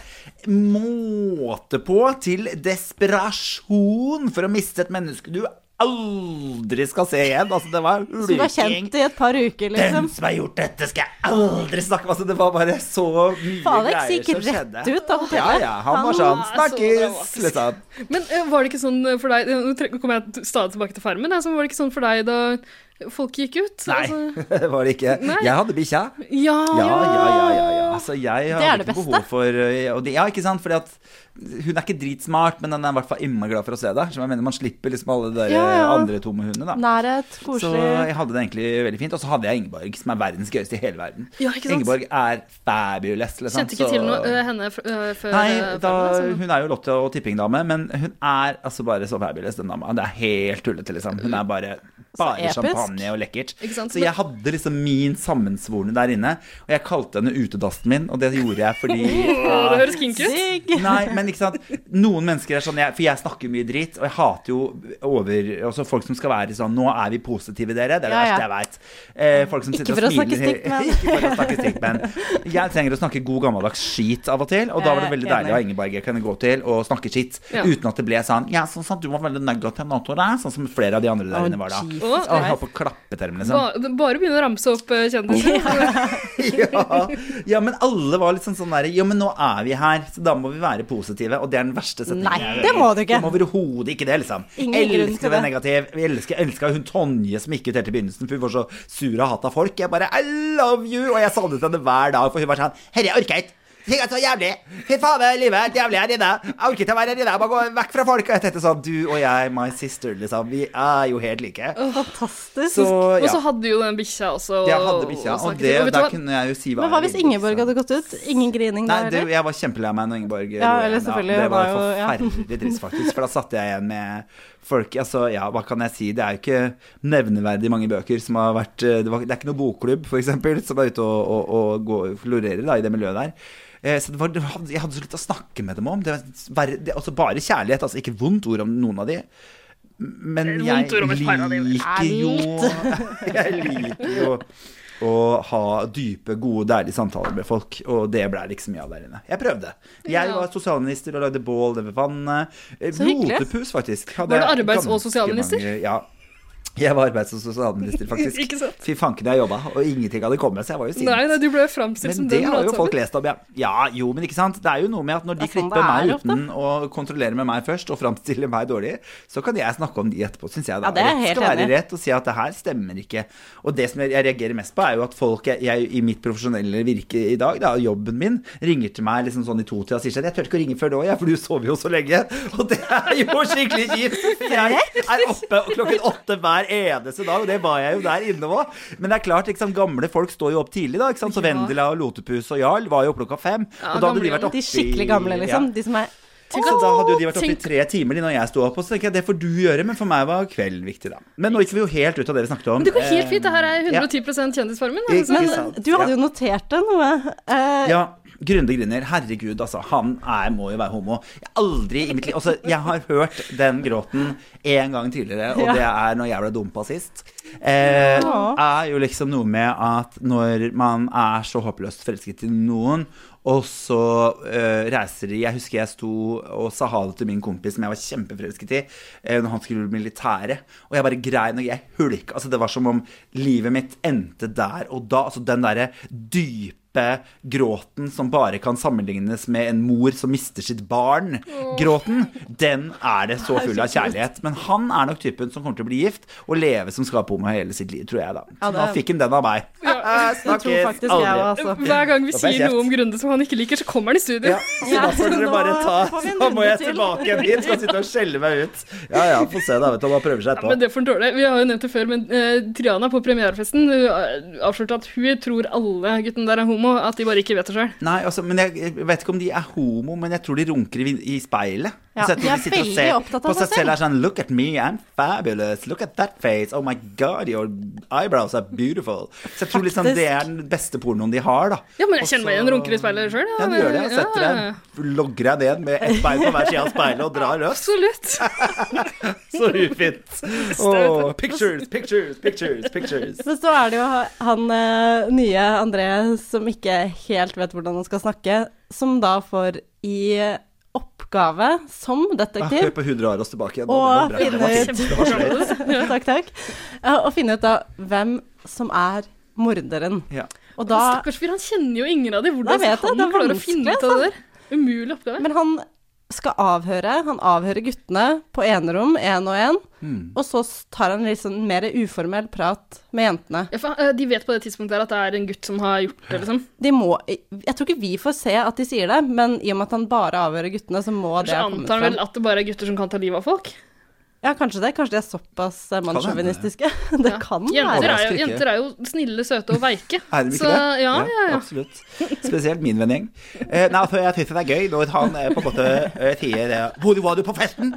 Speaker 4: måte på til desperasjon for å miste et menneske du aldri skal se igjen. Altså, det var
Speaker 5: Som du har
Speaker 4: ulking.
Speaker 5: kjent i et par uker,
Speaker 4: Den
Speaker 5: liksom.
Speaker 4: som har gjort dette, skal jeg aldri snakke med! Altså, det var bare så mye
Speaker 5: Faen, Alex
Speaker 4: greier
Speaker 5: gikk
Speaker 4: som
Speaker 5: rett
Speaker 4: skjedde.
Speaker 5: ut av
Speaker 4: Ja,
Speaker 5: hotellet.
Speaker 4: ja, han var sånn Snakkes!
Speaker 3: dramatisk.
Speaker 4: Liksom. *laughs*
Speaker 3: Men eh, var det ikke sånn eh, for deg Nå tre- kommer jeg t- stadig tilbake til farmen. Altså, var det ikke sånn for deg da folk gikk ut?
Speaker 4: Nei,
Speaker 3: Altså,
Speaker 4: det var det ikke.
Speaker 3: Nei.
Speaker 4: Jeg hadde bikkja.
Speaker 3: ja,
Speaker 4: *laughs* Ja, ja, ja, ja, ja. Altså, jeg
Speaker 5: Det er
Speaker 4: har
Speaker 5: det
Speaker 4: ikke
Speaker 5: beste.
Speaker 4: behov for eh, og det, Ja, ikke sant? Fordi at hun er ikke dritsmart, men den er i hvert fall innmari glad for å se deg. Så jeg mener, man slipper liksom alle de der
Speaker 5: Ja, ja.
Speaker 4: andre tomme hundene, da.
Speaker 5: Nærhet,
Speaker 4: Så
Speaker 5: koselig.
Speaker 4: jeg hadde det egentlig veldig fint. Og så hadde jeg Ingeborg, som er verdens gøyeste i hele verden.
Speaker 3: Ja, ikke sant?
Speaker 4: Ingeborg er fabulous. Liksom.
Speaker 3: Kjente ikke
Speaker 4: så-
Speaker 3: til noe, eh, henne fr- eh, før
Speaker 4: Nei,
Speaker 3: eh,
Speaker 4: da,
Speaker 3: farmen.
Speaker 4: hun er jo Lotte og tippingdame, men hun er altså bare så fabulous, den dama. Det er helt tullete, liksom. Hun er bare bare
Speaker 5: episk.
Speaker 4: champagne og lekkert.
Speaker 3: Ikke sant?
Speaker 4: Så jeg hadde liksom min sammensvorne der inne, og jeg kalte henne utedassen min, og det gjorde jeg
Speaker 3: *laughs*
Speaker 4: fordi
Speaker 3: Så, Å, det høres kinky ut.
Speaker 5: Digg.
Speaker 4: *laughs* Nei, men ikke sant Noen mennesker er sånn jeg, For jeg snakker mye dritt Og jeg hater jo over Også folk som skal være sånn Nå er vi positive dere Det er det
Speaker 5: Ja, ja.
Speaker 4: verste jeg vet eh, Folk som
Speaker 5: Ikke
Speaker 4: sitter
Speaker 5: for å
Speaker 4: og
Speaker 5: snakke
Speaker 4: smiler
Speaker 5: stygt, men-
Speaker 4: *laughs* Ikke for å snakke stygt, men Jeg trenger å snakke god gammeldags skit av og til Og da var det
Speaker 5: Jeg er
Speaker 4: veldig deilig
Speaker 5: Eh, enig.
Speaker 4: av Ingeborg Jeg kunne gå til og snakke skit
Speaker 3: Ja.
Speaker 4: Uten at det ble sånn Ja, sånn som du var veldig negativ nå, Tore Sånn som flere av de andre der inne var da
Speaker 5: Jesus
Speaker 4: Og jeg holdt på å klappe til dem liksom
Speaker 3: Ba, bare begynne å ramse opp eh, kjendiser.
Speaker 4: ja, ja, men alle var liksom sånn der Ja, men nå er vi her, så da må vi være positive. Og det er den verste setningen.
Speaker 5: Nei,
Speaker 4: jeg
Speaker 5: det
Speaker 4: hører.
Speaker 5: må du ikke.
Speaker 4: Du må overhodet ikke det, liksom.
Speaker 5: Ingen grunn
Speaker 4: elsker
Speaker 5: til
Speaker 4: å være
Speaker 5: det.
Speaker 4: negativ. Vi elsker, elsker hun Tonje som gikk ut helt i begynnelsen, for hun var så sur og hatt av folk. Jeg bare I love you! Og jeg sa det til henne hver dag, for hun var sånn Herre, jeg orker ikke. Ting er så jævlig. Fy faen, det er livet er helt jævlig her inne. Jeg orker ikke å være her inne. Jeg må gå vekk fra folk. Og jeg tenkte sånn Du og jeg, my sister, liksom. Vi er jo helt like.
Speaker 5: Fantastisk.
Speaker 4: Så
Speaker 3: *laughs* Og så
Speaker 4: ja.
Speaker 3: hadde jo den bikkja også.
Speaker 4: Jeg hadde bikkja, og
Speaker 3: snakket
Speaker 4: det,
Speaker 3: til. vet du
Speaker 4: der
Speaker 3: hva?
Speaker 4: kunne jeg jo si hva
Speaker 5: Men hva
Speaker 4: jeg
Speaker 5: hvis
Speaker 4: ville,
Speaker 5: Ingeborg
Speaker 4: liksom.
Speaker 5: hadde gått ut? Ingen grining da,
Speaker 4: Nei, det,
Speaker 5: eller?
Speaker 4: jeg var kjempelei meg når Ingeborg
Speaker 5: Ja,
Speaker 4: gjorde
Speaker 5: eller
Speaker 4: det.
Speaker 5: selvfølgelig,
Speaker 4: Det var
Speaker 5: det var jo- ja.
Speaker 4: forferdelig trist, faktisk. For da satt jeg igjen med folk Altså, ja, hva kan jeg si? Det er jo ikke nevneverdig mange bøker som har vært eh, Det, var, det er ikke noe bokklubb, for eksempel, som er ute og, og, og går, florerer da, i det miljøet der. Eh, Så det var, det hadde- Jeg hadde så lyst til å snakke med dem om. Det var verre- det, altså bare kjærlighet, altså ikke vondt ord om noen av de. Men jeg
Speaker 3: Vondt ord om et par av de.
Speaker 4: liker jo *laughs* Jeg liker jo å ha dype, gode, deilige samtaler med folk, og det ble det ikke så mye av der inne. Jeg prøvde. Jeg
Speaker 3: Ja.
Speaker 4: var sosialminister og lagde bål over vannet. Eh,
Speaker 5: Så hyggelig.
Speaker 4: Rotepus, faktisk. Hadde
Speaker 3: Var du
Speaker 4: jeg
Speaker 3: arbeids- og
Speaker 4: ganske
Speaker 3: sosialminister?
Speaker 4: mange- Ja. Jeg var arbeids- og
Speaker 3: *laughs*
Speaker 4: sosialminister, faktisk.
Speaker 3: Ikke sant?
Speaker 4: Fy fanken, jeg jobba, og ingenting hadde kommet, så jeg var jo sint.
Speaker 3: Nei, nei, du ble framstilt som altså.
Speaker 4: Men det
Speaker 3: den
Speaker 4: har jo
Speaker 3: ratsamen.
Speaker 4: folk lest om, ja. ja. Jo, men ikke sant. Det er jo noe med at når de
Speaker 5: Det er sånn
Speaker 4: klipper meg
Speaker 5: det er
Speaker 4: uten å kontrollere med meg først, og framstiller meg dårlig, så kan jeg snakke om de etterpå, syns jeg. Da.
Speaker 5: Ja, det er jeg helt
Speaker 4: rett skal
Speaker 5: enig i.
Speaker 4: være rett og si at det her stemmer ikke. Og det som jeg, jeg reagerer mest på, er jo at folk jeg, jeg, i mitt profesjonelle virke i dag, da, jobben min, ringer til meg liksom sånn i totida og sier sånn Jeg tør ikke å ringe før nå, jeg, for du sover jo så lenge. *laughs* Og det er jo skikkelig
Speaker 5: *laughs*
Speaker 4: kjipt. Jeg er oppe klokken åtte hver eneste dag, og det var jeg jo der inne òg. Men det er klart, ikke sant, gamle folk står jo opp tidlig, da. ikke sant, Så
Speaker 3: Ja.
Speaker 4: Vendela og Lotepus og Jarl var jo oppe klokka fem.
Speaker 3: Ja,
Speaker 4: og da hadde de
Speaker 3: gamle,
Speaker 4: vært oppe
Speaker 5: De skikkelig gamle,
Speaker 4: i-
Speaker 5: liksom.
Speaker 4: ja.
Speaker 5: De som er
Speaker 4: Så da hadde jo de vært oppe i
Speaker 3: Tenk-
Speaker 4: tre timer de når jeg sto opp. Og så tenker jeg, det får du gjøre, men for meg var kvelden viktig, da. Men nå gikk vi jo helt ut av det vi snakket om.
Speaker 3: Men det går helt fint. Det her er
Speaker 4: ja.
Speaker 3: 110 Kjendisfarmen.
Speaker 4: Ikke
Speaker 3: Altså.
Speaker 4: sant?
Speaker 5: Du hadde jo notert deg noe. Eh,
Speaker 4: Ja, Grunde Grinner. Herregud, altså. Han er, må jo være homo. Jeg har aldri i mitt liv Altså, jeg har hørt den gråten én gang tidligere, og
Speaker 5: Ja.
Speaker 4: det er når jeg ble dumpa sist. Eh, er jo liksom noe med at når man er så håpløst forelsket i noen, og så eh, reiser de Jeg husker jeg sto og sa ha det til min kompis som jeg var kjempeforelsket i, eh, når han skulle bli militæret. Og jeg bare grein og jeg hulka. Altså, det var som om livet mitt endte der og da. Altså den derre dype gråten som bare kan sammenlignes med en mor som mister sitt barn. Gråten, den er det så full av kjærlighet. Men han er nok typen som kommer til å bli gift og leve som skaperhomo hele sitt liv, tror jeg, da. Så
Speaker 5: det-
Speaker 4: da fikk han den av meg.
Speaker 5: det tror faktisk jeg òg, altså.
Speaker 3: Hver gang vi
Speaker 4: Da får jeg
Speaker 3: sier
Speaker 4: kjeft.
Speaker 3: noe om Grunde som han ikke liker, så kommer han i studio.
Speaker 4: Ja, så da får dere
Speaker 5: nå
Speaker 4: bare ta
Speaker 5: får vi en
Speaker 4: Da må
Speaker 5: runde
Speaker 4: jeg
Speaker 5: til.
Speaker 4: tilbake igjen hit, skal sitte og skjelle meg ut. Ja ja, få se, da. Vet du, han bare prøver seg
Speaker 3: Ja, men
Speaker 4: etterpå.
Speaker 3: det får han tåle. Vi har jo nevnt det før, men eh, Triana på premierefesten eh, avslørte at hun tror alle guttene der er homo, at de bare ikke vet det sjøl.
Speaker 4: Nei, altså, men jeg, jeg vet ikke om de er homo, men jeg tror de runker i, i speilet.
Speaker 5: Ja,
Speaker 4: Altså, jeg tror
Speaker 5: de er
Speaker 4: sitter og
Speaker 5: veldig
Speaker 4: ser
Speaker 5: opptatt av
Speaker 4: på
Speaker 5: seg
Speaker 4: seg selv. er sånn Look at me, I'm fabulous. Look at that face. Oh my god, your eyebrows are beautiful. Så jeg tror liksom
Speaker 5: Faktisk.
Speaker 4: det er den beste pornoen de har, da.
Speaker 3: Ja, men jeg
Speaker 4: Og
Speaker 3: kjenner meg
Speaker 4: så-
Speaker 3: igjen, runker i speilet sjøl.
Speaker 4: Ja, du gjør det. Jeg setter deg, logger deg ned med ett bein på hver side av speilet og drar løs.
Speaker 3: Absolutt.
Speaker 4: Så ufint. Åh, pictures, pictures, pictures, pictures.
Speaker 5: Men så er det jo han eh, nye André som ikke helt vet hvordan han skal snakke, som da får i oppgave oppgave som
Speaker 4: Hør
Speaker 5: detektiv
Speaker 4: Ah, på hun drar oss tilbake igjen. Det var
Speaker 5: og
Speaker 4: bra.
Speaker 5: finne
Speaker 4: Det var
Speaker 5: ut
Speaker 4: fint. Det var så lett.
Speaker 5: Ja, Takk, takk. Eh, Og finne ut da hvem som er morderen.
Speaker 4: Ja.
Speaker 5: Og da
Speaker 3: Stakkars fyr, han kjenner jo ingen av dem. Hvordan
Speaker 5: Jeg
Speaker 3: skal
Speaker 5: vet det, det
Speaker 3: han
Speaker 5: er
Speaker 3: klare å
Speaker 5: vanskelig, altså.
Speaker 3: finne ut av det der? Umulig oppgave.
Speaker 5: Men han skal avhøre. Han avhører guttene på enerom, én og én.
Speaker 4: Hmm.
Speaker 5: Og så tar han litt sånn mer uformell prat med jentene.
Speaker 3: Ja, for, eh, de vet på det tidspunktet her at det er en gutt som har gjort det, liksom.
Speaker 5: De må Jeg tror ikke vi får se at de sier det, men i og med at han bare avhører guttene, så må det
Speaker 3: Så
Speaker 5: ha kommet
Speaker 3: antar han
Speaker 5: frem.
Speaker 3: vel at det bare er gutter som kan ta livet av folk.
Speaker 5: Ja, kanskje det. Kanskje de er såpass eh, mannssjåvinistiske. *laughs* Det kan
Speaker 3: Jenter er,
Speaker 5: være.
Speaker 3: jo,
Speaker 4: Overrasker ikke.
Speaker 3: jenter er jo snille, søte og veike.
Speaker 4: Er de ikke
Speaker 3: så,
Speaker 4: det?
Speaker 3: Ja, ja, ja.
Speaker 4: Absolutt. Spesielt min vennegjeng. Eh, nei, for jeg syns det er gøy når han eh, på en måte eh, sier det Hvor var du på festen?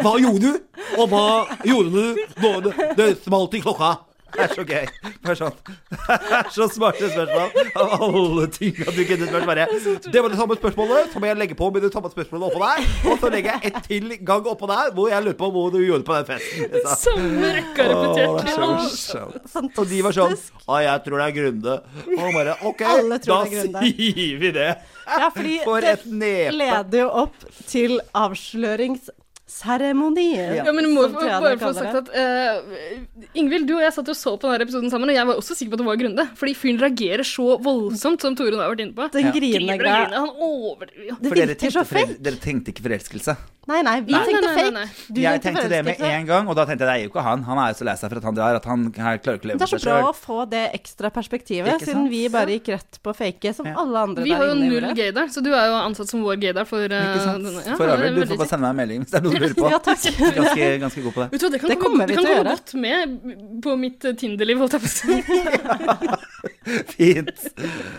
Speaker 4: Hva gjorde du? Og hva gjorde du når det, det smalt i klokka? Det er så gøy. Det er, sånn. det er så smarte spørsmål. Av alle ting at du kunne spurt bare Det var det samme spørsmålet, så må jeg legge på med det samme spørsmålet oppå der. Og så legger jeg et til gang oppå der hvor jeg lurer på hva du gjorde på den festen. Så.
Speaker 3: Samme rekka repetert.
Speaker 4: Åh, det
Speaker 3: Ja.
Speaker 4: er så skjønt. Og de var sånn Å, jeg tror det er Grunde. Og han bare OK,
Speaker 5: *laughs* Alle
Speaker 4: da
Speaker 5: tror det er Grunde.
Speaker 4: sier vi det.
Speaker 5: Ja, fordi
Speaker 4: For
Speaker 5: det
Speaker 4: et nepe.
Speaker 5: leder jo opp til avsløringsseremonien.
Speaker 3: Ja, men du må
Speaker 5: som
Speaker 3: jo
Speaker 5: Triana
Speaker 3: bare få
Speaker 5: kaller det.
Speaker 3: sagt at eh, Ingvild, du og jeg satt jo og så på denne episoden sammen, og jeg var også sikker på at det var Grunde. Fordi fyren reagerer så voldsomt, som Torunn har vært inne på.
Speaker 5: Den
Speaker 3: Griner og
Speaker 5: grinegreia.
Speaker 3: griner, Han overdriver jo.
Speaker 5: Det
Speaker 4: For dere
Speaker 5: virker
Speaker 4: tenkte,
Speaker 5: så
Speaker 4: forel-
Speaker 5: fake.
Speaker 4: dere tenkte ikke forelskelse.
Speaker 5: Nei, nei, vi
Speaker 3: Nei,
Speaker 5: tenkte
Speaker 3: nei, nei,
Speaker 5: fake.
Speaker 3: nei, nei.
Speaker 5: Du
Speaker 4: jeg
Speaker 5: tenkte
Speaker 4: tenkte det med
Speaker 5: forelskelse.
Speaker 4: en gang, og da tenkte jeg det er jo ikke han. Han er jo så lei seg for at han drar at han her klarer ikke å leve
Speaker 5: Det
Speaker 4: med
Speaker 5: er så
Speaker 4: seg
Speaker 5: bra
Speaker 4: sjøl.
Speaker 5: å få det ekstra perspektivet,
Speaker 4: Ikke sant?
Speaker 5: siden vi bare gikk rett på fake som
Speaker 4: Ja.
Speaker 5: alle andre
Speaker 3: Vi har jo
Speaker 5: der inne
Speaker 3: null
Speaker 5: gjorde.
Speaker 3: gaydar, så du er jo ansatt som vår gaydar for eh, denne. Ja, det
Speaker 4: For
Speaker 3: er
Speaker 4: øvrig, du
Speaker 3: veldig
Speaker 4: får bare
Speaker 3: kjekt.
Speaker 4: sende meg en melding hvis det er noe du lurer på.
Speaker 5: *laughs* *laughs* Ja, takk.
Speaker 4: Ganske, ganske god på det.
Speaker 3: Vet du hva, det kan
Speaker 5: Det
Speaker 3: komme,
Speaker 5: kommer vi
Speaker 3: det kan
Speaker 5: til å
Speaker 3: komme
Speaker 5: gjøre.
Speaker 3: godt med på mitt eh, Tinder-liv, holdt jeg på å
Speaker 5: *laughs*
Speaker 3: si.
Speaker 4: Fint.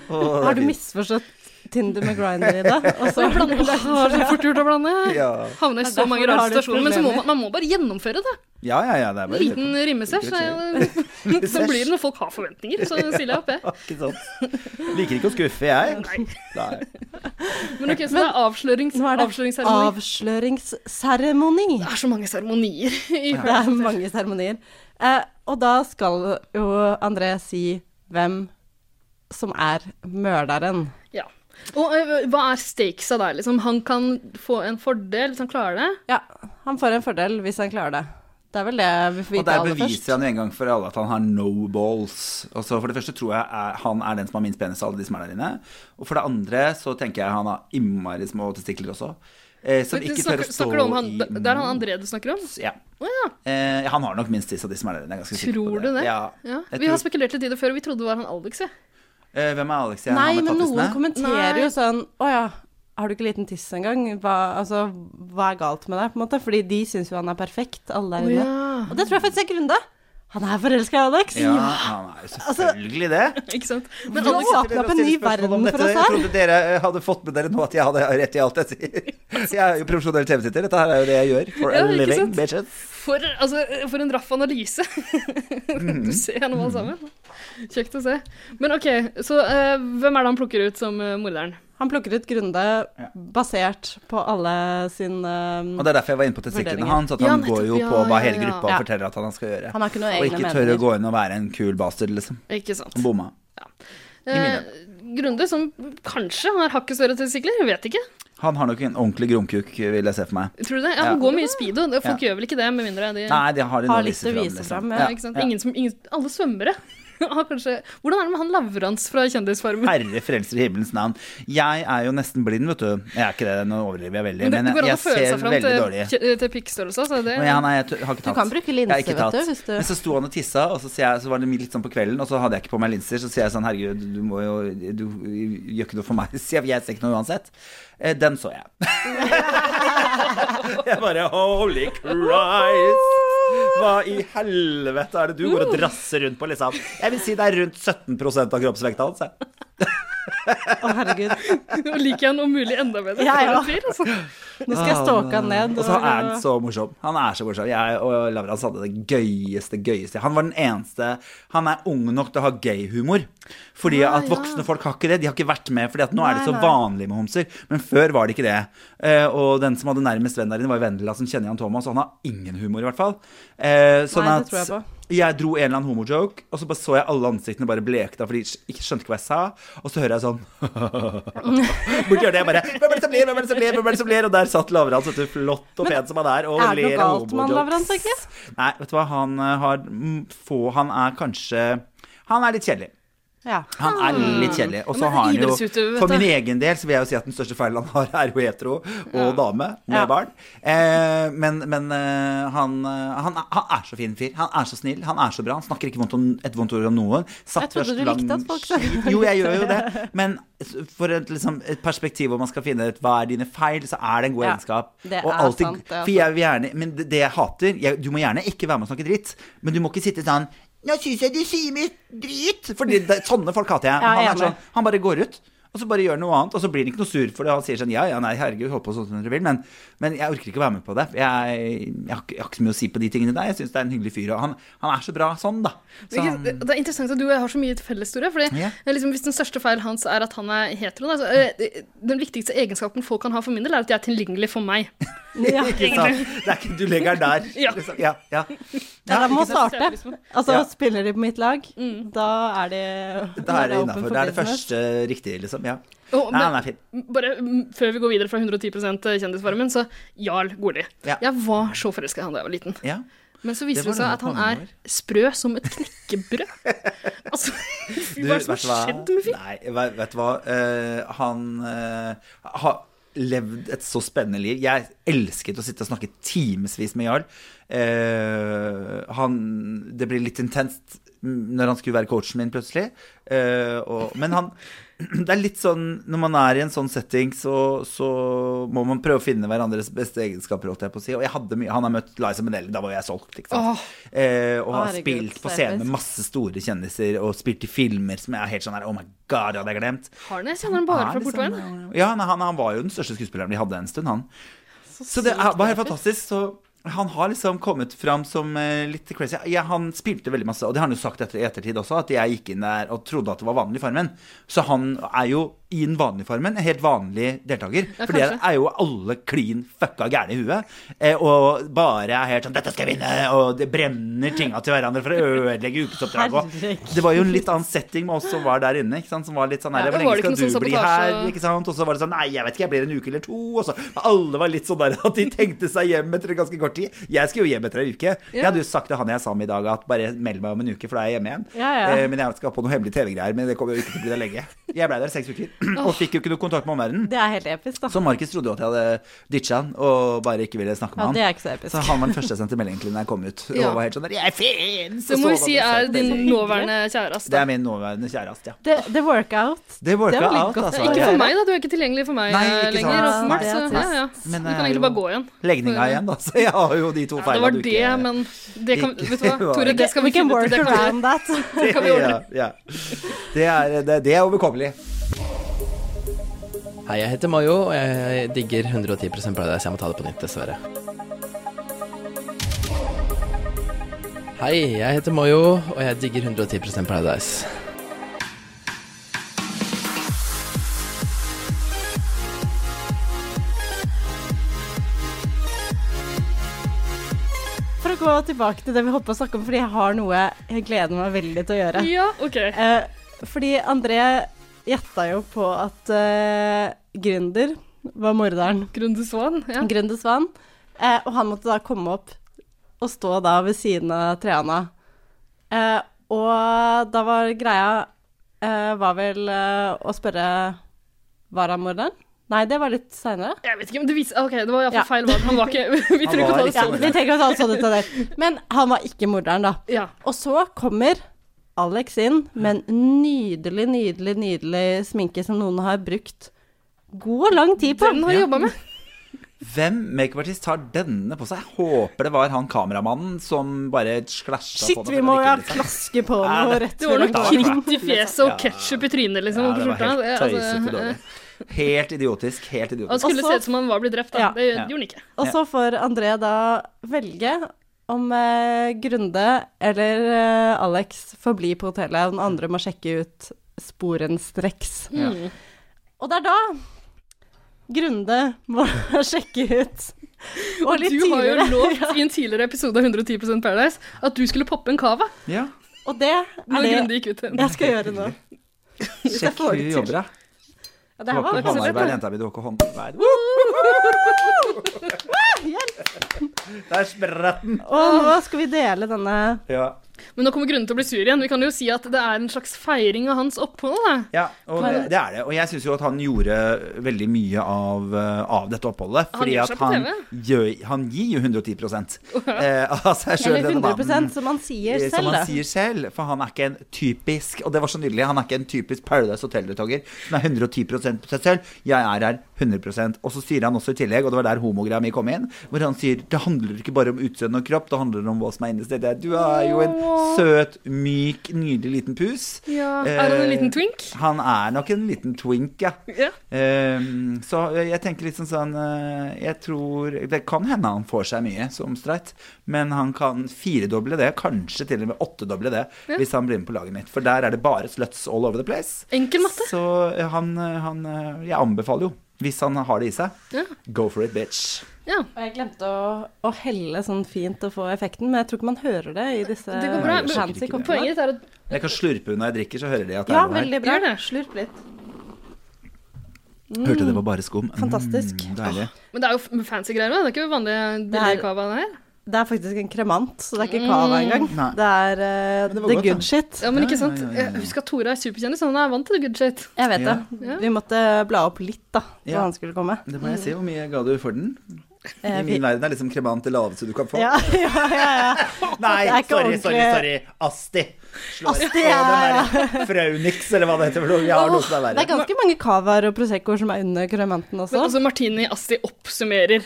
Speaker 4: Å, det er
Speaker 5: Har du
Speaker 4: fint.
Speaker 5: misforstått Tinder med Grinder
Speaker 3: *laughs*
Speaker 5: i dag? Og så
Speaker 3: Jeg blander- Åh, det er fort gjort å blande.
Speaker 4: Ja.
Speaker 3: Havner i så
Speaker 5: derfor
Speaker 3: mange
Speaker 5: du
Speaker 3: rare
Speaker 5: har det
Speaker 3: situasjoner. Men så må
Speaker 5: problemet.
Speaker 3: man, man må bare gjennomføre det.
Speaker 4: ja, ja, ja. Det er
Speaker 3: En
Speaker 4: bare
Speaker 3: liten rimmesesj. Så, *laughs* så blir det når folk har forventninger, så
Speaker 4: *laughs*
Speaker 3: stiller jeg opp, jeg.
Speaker 4: *laughs* Ikke sant. Liker ikke å skuffe, jeg. Nei.
Speaker 3: Men ok, så det er avslørings,
Speaker 5: nå er det
Speaker 3: avsløringsseremoni.
Speaker 5: avsløringsseremoni.
Speaker 3: Det er så mange seremonier. *laughs* i-
Speaker 5: Det er mange seremonier. Eh, og da skal jo André si hvem som er mørderen.
Speaker 3: Ja. Og eh, hva er stakesa der, liksom? Han kan få en fordel hvis han klarer det.
Speaker 5: Ja, han får en fordel hvis han klarer det. Det er vel det vi får
Speaker 4: Og
Speaker 5: vite
Speaker 4: der
Speaker 5: aller først.
Speaker 4: beviser han jo en gang for alle at han har no balls. Og så For det første tror jeg er, han er den som har minst penis av alle de som er der inne. Og for det andre så tenker jeg han har innmari små testikler også. Eh, som
Speaker 3: Men
Speaker 4: ikke tør
Speaker 3: snakker,
Speaker 4: å stå
Speaker 3: snakker du om han,
Speaker 4: i
Speaker 3: det er han André du snakker om?
Speaker 4: Ja.
Speaker 3: Å ja.
Speaker 4: Eh, han har nok minst tiss av de som er der inne. jeg er ganske sikker på
Speaker 3: Tror du det?
Speaker 4: Ja.
Speaker 3: ja.
Speaker 4: Jeg
Speaker 3: Vi har
Speaker 4: tror-
Speaker 3: spekulert litt i det før, og vi trodde det var han Alex, jeg.
Speaker 4: eh, hvem er Alex? igjen?
Speaker 5: Nei,
Speaker 4: Han med
Speaker 5: men noen
Speaker 4: tattisene?
Speaker 5: kommenterer
Speaker 3: Nei.
Speaker 5: jo sånn Å ja, har du ikke liten tiss engang? Hva, altså, hva er galt med deg? på en måte? Fordi de syns jo han er perfekt, alle der inne. Og det tror jeg faktisk er Grunde. Han er forelska i Alex.
Speaker 4: Ja, han er jo selvfølgelig det.
Speaker 3: *laughs* Ikke sant? Men
Speaker 5: Nå
Speaker 3: Alex,
Speaker 5: Altså, åpner opp en ny verden for oss
Speaker 4: Jeg
Speaker 5: her.
Speaker 4: trodde dere eh, hadde fått med dere nå at jeg hadde rett i alt jeg sier. *laughs* Så jeg er jo profesjonell TV-sitter. Dette her er jo det jeg gjør for
Speaker 3: Ja,
Speaker 4: a
Speaker 3: ikke
Speaker 4: living,
Speaker 3: sant?
Speaker 4: bitches.
Speaker 3: for, altså, for en raff analyse.
Speaker 4: Mhm.
Speaker 3: *laughs* du ser gjennom alle sammen. Kjekt å se. Men OK, så eh, hvem er det han plukker ut som eh, morderen?
Speaker 5: Han plukker ut Grunde basert på alle sin um,
Speaker 4: Og det er derfor jeg var inne på testiklene
Speaker 5: Vurderinger.
Speaker 4: hans. At
Speaker 3: Ja,
Speaker 4: han
Speaker 3: nettopp,
Speaker 4: går jo
Speaker 3: ja,
Speaker 4: på hva
Speaker 3: ja,
Speaker 4: hele
Speaker 3: ja.
Speaker 4: gruppa
Speaker 5: Ja.
Speaker 4: forteller at han skal gjøre.
Speaker 5: Han har ikke noen
Speaker 4: Og
Speaker 5: egne
Speaker 4: ikke tør å
Speaker 5: meninger.
Speaker 4: gå inn og være en kul bastard, liksom.
Speaker 3: Ikke sant.
Speaker 4: Han bomma.
Speaker 3: Eh, Grunde, som kanskje har hakket større testikler, vet ikke.
Speaker 4: Han har nok en ordentlig gromkuk, vil jeg se for meg.
Speaker 3: Tror du det? Ja, han
Speaker 4: Ja.
Speaker 3: går mye speedo. Det- Folk gjør vel ikke det, med mindre de
Speaker 4: Nei, det har de nå liksom.
Speaker 5: Har litt å vise fram, ja.
Speaker 3: Ja, ikke sant? Ingen som, ingen, alle svømmere *laughs* har kanskje Hvordan er det med han Lavrans fra Kjendisfarmen?
Speaker 4: Herre frelser i himmelens navn. Jeg er jo nesten blind, vet du. Jeg er ikke det, nå overdriver jeg veldig.
Speaker 3: Men det
Speaker 4: Men
Speaker 3: går an
Speaker 4: jeg,
Speaker 3: å
Speaker 4: jeg
Speaker 3: føle
Speaker 4: ser
Speaker 3: seg fram
Speaker 4: veldig
Speaker 3: til,
Speaker 4: dårlig.
Speaker 3: kje- til pikkstørrelse, altså. Det,
Speaker 4: Men ja, nei, jeg t- har ikke tatt.
Speaker 5: kan bruke
Speaker 4: Jeg
Speaker 5: linser,
Speaker 4: har ikke
Speaker 5: vet du,
Speaker 4: tatt.
Speaker 5: hvis du-
Speaker 4: Men så sto han og tissa, og så, sier jeg, så var det litt sånn på kvelden, og så hadde jeg ikke på meg linser. Så sier jeg sånn, herregud, du må jo Du gjør ikke noe for meg. *laughs* Sier jeg, jeg ser ikke noe uansett. Eh, Den så jeg. *laughs* jeg bare holy Christ. Hva i helvete er det du går og drasser rundt på, liksom? Jeg vil si det er rundt 17 av kroppsvekta hans, jeg.
Speaker 5: Å, herregud.
Speaker 3: Nå *laughs* liker jeg han om mulig enda bedre.
Speaker 5: Ja,
Speaker 3: Det
Speaker 5: ja.
Speaker 3: er en fyr, altså.
Speaker 5: Nå skal jeg stalke han ned.
Speaker 4: Og så er han så morsom. Han er så morsom. Jeg og Lavrans hadde det gøyeste, gøyeste Han var den eneste Han er ung nok til å ha gay-humor. Fordi at voksne folk har ikke det. De har ikke vært med, Fordi at nå er det så vanlig med homser. Men før var det ikke det. Eh, og den som hadde nærmest venn der inne, var jo Vendela, som kjenner Jan Thomas, og han har ingen humor, i hvert fall. Eh, sånn
Speaker 5: Nei,
Speaker 4: at
Speaker 5: det tror jeg på.
Speaker 4: Jeg dro en eller annen homojoke, og så bare så jeg alle ansiktene bare blekna, for de ikke skjønte ikke hva jeg sa. Og så hører jeg sånn *laughs* Borti hjørnet
Speaker 5: *laughs*
Speaker 4: jeg bare Hvem er det som ler, hvem er det som ler, hvem er det som ler? Og der satt Lavrans, vet du, flott og pen som han er, og
Speaker 5: Er det
Speaker 4: ler av
Speaker 5: noe galt med han,
Speaker 4: homojokes.
Speaker 5: Lavrans, egentlig?
Speaker 4: Nei, vet du hva, han eh, har mm, få Han er kanskje Han er litt kjedelig.
Speaker 5: Ja. *laughs*
Speaker 4: Han er litt kjedelig. Og så
Speaker 5: Men
Speaker 4: har han jo
Speaker 5: Ah. idrettsutøver, vet
Speaker 4: For
Speaker 5: du.
Speaker 4: min egen del så vil jeg jo si at den største feilen han har, er jo hetero og dame med
Speaker 5: Ja.
Speaker 4: barn. Eh, men men eh, han, eh, han, er- han er så fin fyr. Han er så snill, han er så bra. Han snakker ikke vondt om, et vondt ord om noen. Satt
Speaker 5: Jeg trodde
Speaker 4: først
Speaker 5: du
Speaker 4: lang-
Speaker 5: likte at folk sa
Speaker 4: Jo, jeg gjør jo det. Men for et, liksom, et perspektiv hvor man skal finne ut hva er dine feil, så er det en god
Speaker 5: Ja,
Speaker 4: egenskap.
Speaker 5: det
Speaker 4: Og
Speaker 5: er
Speaker 4: alltid-
Speaker 5: sant, det er
Speaker 4: for jeg vil gjerne Men det, det jeg hater jeg, Du må gjerne ikke være med og snakke dritt, men du må ikke sitte sånn Nå syns jeg de sier mye dritt! For det, det, sånne folk hater jeg.
Speaker 5: Ja,
Speaker 4: han,
Speaker 5: jeg
Speaker 4: er
Speaker 5: er
Speaker 4: sånn, han bare går ut, og så bare gjør noe annet. Og så blir han ikke noe sur for det. Han sier sånn Ja, ja, nei, herregud, hold på sånn som dere vil, men, men jeg orker ikke å være med på det. Jeg, jeg, har, ikke- jeg har ikke så mye å si på de tingene der. Jeg syns det er en hyggelig fyr, og han, han er så bra sånn, da. Så
Speaker 3: Hvilket-
Speaker 4: han,
Speaker 3: Det er interessant at du og jeg har så mye felles historie. Fordi
Speaker 4: Ja.
Speaker 3: eh, liksom, Hvis den største feilen hans er at han er hetero, da, så, eh, det- den viktigste egenskapen folk kan ha for min del, er at de er tilgjengelige for meg.
Speaker 4: ikke sant? Det er ikke, du legger den
Speaker 5: *laughs*
Speaker 4: der.
Speaker 3: Ja.
Speaker 4: Liksom. Ja, ja.
Speaker 5: Ja,
Speaker 4: Ja,
Speaker 5: de må
Speaker 4: ikke sant?
Speaker 5: starte. Altså,
Speaker 4: Ja. Mm.
Speaker 5: spiller de på mitt lag, da er de
Speaker 4: Da er det
Speaker 5: open
Speaker 4: innafor.
Speaker 5: for
Speaker 4: Det er det
Speaker 5: business.
Speaker 4: første riktige, liksom. Ja.
Speaker 3: Og,
Speaker 4: Nei,
Speaker 3: men-
Speaker 4: han er fin.
Speaker 3: Bare mm, før vi går videre fra 110 eh, Kjendisfarmen, så Jarl Goli.
Speaker 4: Ja.
Speaker 3: Jeg var så forelska i han da jeg var liten.
Speaker 4: Ja.
Speaker 3: Men så
Speaker 4: Det
Speaker 3: viser
Speaker 4: var
Speaker 3: det seg
Speaker 4: noe
Speaker 3: at han
Speaker 4: mange
Speaker 3: er sprø som et
Speaker 4: *laughs*
Speaker 3: knekkebrød. altså, fy, hva er det som har skjedd med fyren?
Speaker 4: Nei, vet, vet du hva? Eh, han eh, har levd et så spennende liv. Jeg elsket å sitte og snakke timevis med Jarl. Eh, han Det ble litt intenst når han skulle være coachen min plutselig. Eh, og, men han *clears throat* Det er litt sånn når man er i en sånn setting, så, så må man prøve å finne hverandres beste egenskaper, holdt jeg på å si. Og jeg hadde mye Han har møtt Liza Minnelli, da var jeg solgt, ikke sant. Eh, og har
Speaker 5: Herregud,
Speaker 4: spilt på
Speaker 5: så
Speaker 4: scenen
Speaker 5: episk.
Speaker 4: med masse store kjendiser og spilt i filmer som jeg er helt sånn her Oh my god, det hadde jeg glemt.
Speaker 3: Har jeg kjenner han bare
Speaker 4: Er
Speaker 3: fra
Speaker 4: liksom-
Speaker 3: portveien.
Speaker 4: Ja, nei, han, han var jo den største skuespilleren de hadde en stund, han. Så det er, var helt fantastisk. Så han har liksom kommet fram som eh, litt crazy. Ja, han spilte veldig masse, og det har han jo sagt etter, i ettertid også, at jeg gikk inn der og trodde at det var vanlig Farmen. Så han er jo i den vanlige Farmen en helt vanlig deltaker.
Speaker 3: Ja,
Speaker 4: for det
Speaker 3: kanskje.
Speaker 4: er jo alle klin fucka gærne i huet. eh, Og bare er helt sånn 'Dette skal jeg vinne!' Og det brenner tinga til hverandre for å ødelegge ukesoppdraget. og-
Speaker 5: Herregud.
Speaker 4: det var jo en litt annen setting med oss som var der inne. ikke sant? Som var litt sånn
Speaker 3: Ja,
Speaker 4: her, Hvor
Speaker 3: det var det ikke
Speaker 4: lenge skal
Speaker 3: noe
Speaker 4: du
Speaker 3: sånn
Speaker 4: bli
Speaker 3: sabotasje-
Speaker 4: her? ikke sant? Og så var det sånn Nei, jeg vet ikke, jeg blir en uke eller to. Og så men Alle var litt sånn der at de tenkte seg hjem etter en ganske kort tid. Jeg skulle jo hjem etter ei uke. Jeg hadde jo sagt til han jeg sa med i dag, at bare meld meg om en uke, for da er jeg hjemme igjen.
Speaker 5: Ja, ja.
Speaker 4: Eh, men jeg skal på noen hemmelige TV-greier, men det kommer jo ikke til å bli der lenge. Jeg ble der seks uker, *clears throat* og fikk jo ikke noe kontakt med omverdenen.
Speaker 5: Det er helt episk, da.
Speaker 4: Så Markus trodde jo at jeg hadde ditcha han og bare ikke ville snakke
Speaker 5: Ja,
Speaker 4: med
Speaker 5: det
Speaker 4: han.
Speaker 5: er ikke så
Speaker 4: Så
Speaker 5: episk.
Speaker 4: han var den første jeg sendte melding til når jeg kom ut.
Speaker 3: Ja.
Speaker 4: Og var helt sånn der, jeg fins!
Speaker 3: Det
Speaker 4: Og
Speaker 3: må
Speaker 4: så
Speaker 3: vi si
Speaker 4: var
Speaker 3: er
Speaker 4: det
Speaker 3: din
Speaker 4: sånn,
Speaker 3: nåværende kjæreste.
Speaker 4: Det er min nåværende kjæreste, ja.
Speaker 5: Det, det workout.
Speaker 4: Det worka
Speaker 5: Det var litt
Speaker 4: out,
Speaker 5: godt,
Speaker 4: altså.
Speaker 5: ikke
Speaker 3: Ikke for meg, da. Du er ikke tilgjengelig for meg
Speaker 4: Nei,
Speaker 3: eh,
Speaker 4: ikke sant.
Speaker 3: lenger.
Speaker 5: Nei,
Speaker 3: åpenbart,
Speaker 5: det er
Speaker 3: så, ja, ja. Du
Speaker 4: Men eh, det
Speaker 3: kan
Speaker 4: er
Speaker 3: egentlig
Speaker 4: jo
Speaker 3: bare gå igjen.
Speaker 4: Legninga
Speaker 3: Ja.
Speaker 4: igjen, da. Så jeg har jo de to
Speaker 3: Det
Speaker 4: feilene
Speaker 3: var det,
Speaker 4: *laughs*
Speaker 3: men det kan,
Speaker 4: ikke-
Speaker 3: Vet du
Speaker 4: *laughs*
Speaker 3: hva, Tore, det skal
Speaker 5: We
Speaker 3: vi
Speaker 5: can
Speaker 3: finne ut.
Speaker 5: work
Speaker 3: Det kan vi-
Speaker 5: around that. *laughs*
Speaker 3: det kan vi ordne.
Speaker 4: Ja, ja. Det, er, eh, det, det er overkommelig.
Speaker 11: Hei, jeg heter Mayo, og jeg digger 110 Paradise. Jeg må ta det på nytt, dessverre. Hei, jeg heter Mayo, og jeg digger 110 Paradise.
Speaker 5: For å gå tilbake til det vi holdt på å snakke om, fordi jeg har noe jeg gleder meg veldig til å gjøre.
Speaker 3: Ja, ok.
Speaker 5: Eh, fordi André gjetta jo på at eh, Gründer var morderen.
Speaker 3: Grunde Svan. Ja.
Speaker 5: Gründer Svan. Eh, og han måtte da komme opp og stå da ved siden av Triana. Eh, og da var greia eh, var vel eh, å spørre Var han morderen? Nei, det var litt seinere.
Speaker 3: Jeg vet ikke, men det viser Ok, det var iallfall
Speaker 5: Ja.
Speaker 3: fall feil valg. Han var ikke *laughs* Vi trenger ikke å ta det
Speaker 5: Ja,
Speaker 3: sånn.
Speaker 5: vi tenker å ta det sånn ut av det. Men han var ikke morderen, da.
Speaker 3: Ja.
Speaker 5: Og så kommer Alex inn med en nydelig, nydelig, nydelig sminke som noen har brukt god og lang tid på.
Speaker 3: Den har jeg jobba med.
Speaker 4: Hvem makeupartist har denne på seg? Jeg håper det var han kameramannen som bare slasja på
Speaker 5: Shit,
Speaker 4: det.
Speaker 5: vi
Speaker 4: for
Speaker 5: må
Speaker 4: det
Speaker 5: jo
Speaker 4: gikk litt,
Speaker 5: klaske på
Speaker 4: Ja,
Speaker 5: noe
Speaker 4: det-
Speaker 5: rett
Speaker 3: Det var
Speaker 5: før
Speaker 3: nok
Speaker 5: han går.
Speaker 3: kritt i fjeset og
Speaker 4: Ja.
Speaker 3: ketsjup i trynet, liksom.
Speaker 4: Ja,
Speaker 3: på
Speaker 4: det var
Speaker 3: skjorta. Det,
Speaker 4: helt tøysete
Speaker 3: altså,
Speaker 4: dårlig. Helt idiotisk. Helt
Speaker 3: han
Speaker 4: idiotisk.
Speaker 3: skulle
Speaker 5: Og så-
Speaker 3: se ut som han var blitt drept, da.
Speaker 5: Ja.
Speaker 3: Det
Speaker 4: Ja.
Speaker 3: gjorde han ikke.
Speaker 5: Og så får André da velge om eh, Grunde eller eh, Alex får bli på hotellet, og den andre må sjekke ut sporenstreks.
Speaker 3: Mm.
Speaker 5: Og det er da Grunde må *laughs* sjekke ut
Speaker 3: Og
Speaker 5: litt
Speaker 3: du har jo
Speaker 5: tidligere. *laughs*
Speaker 3: lovt i en tidligere episode av 110 Paradise at du skulle poppe en cava.
Speaker 4: Ja.
Speaker 5: Og det er
Speaker 3: Når
Speaker 5: det
Speaker 3: Grunde gikk ut igjen.
Speaker 5: jeg skal gjøre nå. *laughs* Hvis jeg
Speaker 4: Sjekk
Speaker 5: får
Speaker 4: hvor
Speaker 5: det
Speaker 4: du
Speaker 5: til.
Speaker 4: jobber, da.
Speaker 5: Ja,
Speaker 4: Du
Speaker 5: det her
Speaker 4: har
Speaker 5: var
Speaker 4: ikke
Speaker 5: ikke så lett,
Speaker 4: håndarbeid,
Speaker 5: da.
Speaker 4: jenta mi. Du har ikke håndarbeid. Der spratt den.
Speaker 5: Og nå skal vi dele denne
Speaker 4: Ja.
Speaker 3: Men nå kommer grunnen til å bli sur igjen. Vi kan jo si at det er en slags feiring av hans opphold. Da.
Speaker 4: Ja, og det, det er det. Og jeg syns jo at han gjorde veldig mye av, eh, av dette oppholdet.
Speaker 3: Han
Speaker 4: Fordi
Speaker 3: gjør
Speaker 4: at
Speaker 3: seg på
Speaker 4: han,
Speaker 3: TV.
Speaker 4: gjør, han gir jo 110 eh, av seg sjøl,
Speaker 5: Eller
Speaker 4: denne
Speaker 5: 100
Speaker 4: mannen.
Speaker 5: som han sier
Speaker 4: Eh, Som
Speaker 5: selv,
Speaker 4: han
Speaker 5: da.
Speaker 4: sier selv, for han er ikke en typisk Og det var så nydelig, han er ikke en typisk Paradise Hotel-deltaker som er 110 på seg selv. Jeg er her 100 Og så sier han også i tillegg, og det var der homogreia mi kom inn, hvor han sier det handler ikke bare om utseende og kropp, det handler om hva som er inni stedet. Du er jo en søt, myk, nydelig liten pus.
Speaker 3: Ja. Er han en
Speaker 4: Eh,
Speaker 3: liten twink?
Speaker 4: Han er nok en liten twink, ja.
Speaker 3: Ja.
Speaker 4: Ehm, så jeg tenker litt sånn sånn eh, Jeg tror Det kan hende han får seg mye som streit, men han kan firedoble det, kanskje til og med åttedoble det,
Speaker 3: Ja.
Speaker 4: hvis han blir med på laget mitt. For der er det bare sluts all over the place.
Speaker 3: Enkel matte.
Speaker 4: Så eh, han, eh, han eh, Jeg anbefaler jo, hvis han har det i seg,
Speaker 3: Ja.
Speaker 4: go for it, bitch.
Speaker 5: Og jeg glemte å, å helle sånn fint og få effekten, men jeg tror ikke man hører det i disse
Speaker 3: Det går bra.
Speaker 4: Nei, det er sikkert
Speaker 5: fancy
Speaker 4: ikke det.
Speaker 5: komponentene.
Speaker 3: Poenget er at
Speaker 4: Jeg kan slurpe når jeg drikker, så hører de at det
Speaker 5: Ja,
Speaker 4: er noe her.
Speaker 5: veldig bra.
Speaker 3: Gjør det.
Speaker 5: Slurp litt.
Speaker 4: Hørte det var bare skum.
Speaker 5: Fantastisk.
Speaker 4: Mm, deilig.
Speaker 3: Men det er jo f- fancy greier òg. Det er ikke vanlig billig
Speaker 5: er-
Speaker 3: cava, det her.
Speaker 5: Det er faktisk en kremant, så det er
Speaker 3: Mm.
Speaker 5: ikke cava engang.
Speaker 4: Nei.
Speaker 5: Det er eh,
Speaker 4: det var
Speaker 5: the
Speaker 4: godt, da.
Speaker 5: good shit.
Speaker 3: Ja, men
Speaker 4: Ja,
Speaker 3: ikke sant?
Speaker 4: ja, ja, ja, ja.
Speaker 3: Husk at Tore er superkjendis, han er vant til the good shit.
Speaker 5: Jeg vet
Speaker 4: Ja.
Speaker 5: det.
Speaker 3: Ja.
Speaker 5: Vi måtte bla opp litt, da, for
Speaker 4: Ja.
Speaker 5: han skulle komme.
Speaker 4: Det må jeg si. Hvor mye ga du for den?
Speaker 5: Eh,
Speaker 4: I
Speaker 5: vi-
Speaker 4: min verden er liksom kremant det laveste du kan få.
Speaker 5: Ja, *laughs* ja, ja. ja. Det
Speaker 4: Nei,
Speaker 5: er ikke
Speaker 4: sorry, sorry,
Speaker 5: ordentlig-
Speaker 4: sorry. Asti. Slå
Speaker 5: Asti,
Speaker 4: på
Speaker 5: ja, *laughs*
Speaker 4: den der Fraunix, eller hva det heter. for noe. Vi har noe som er
Speaker 5: Det er
Speaker 4: verre.
Speaker 5: ganske mange cavaer og proseccoer som er under kremanten
Speaker 3: Men
Speaker 5: også.
Speaker 3: altså, Martini Asti oppsummerer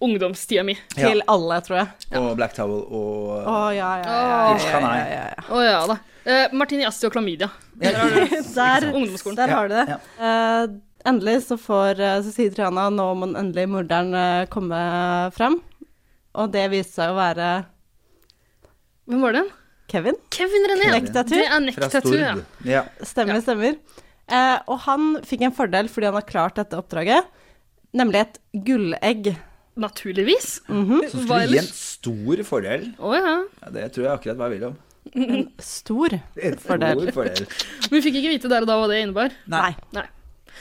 Speaker 3: ungdomstida mi.
Speaker 4: Ja.
Speaker 5: Til alle, tror jeg.
Speaker 4: Og Black Towel og
Speaker 5: Å, ja,
Speaker 3: Åh.
Speaker 5: ja, ja. ja, ja, ja, ja.
Speaker 3: Å ja da. Eh, Martini Asti og klamydia.
Speaker 5: Der,
Speaker 3: Ungdomsskolen.
Speaker 5: der har du det.
Speaker 4: Ja.
Speaker 5: Eh, endelig så får eh, så sier Triana nå må den endelig morderen eh, komme frem. Og det viste seg å være
Speaker 3: Hvem var den?
Speaker 5: Kevin.
Speaker 3: Kevin René.
Speaker 5: Nektatur.
Speaker 3: Det er
Speaker 4: fra
Speaker 3: Nektatur,
Speaker 4: Stord.
Speaker 3: ja.
Speaker 4: Ja.
Speaker 5: Stemmer, stemmer. Eh, og han fikk en fordel fordi han har klart dette oppdraget, nemlig et gullegg.
Speaker 3: Naturligvis.
Speaker 5: Mm.
Speaker 4: Som
Speaker 3: Hva
Speaker 4: skulle gi en
Speaker 3: ellers?
Speaker 4: stor fordel.
Speaker 3: Å ja.
Speaker 4: Ja, det tror jeg akkurat hva jeg vil om.
Speaker 5: Stor.
Speaker 4: En stor
Speaker 5: Fordel.
Speaker 4: fordel.
Speaker 3: Men vi fikk ikke vite der og da hva det innebar.
Speaker 5: Nei.
Speaker 3: Nei.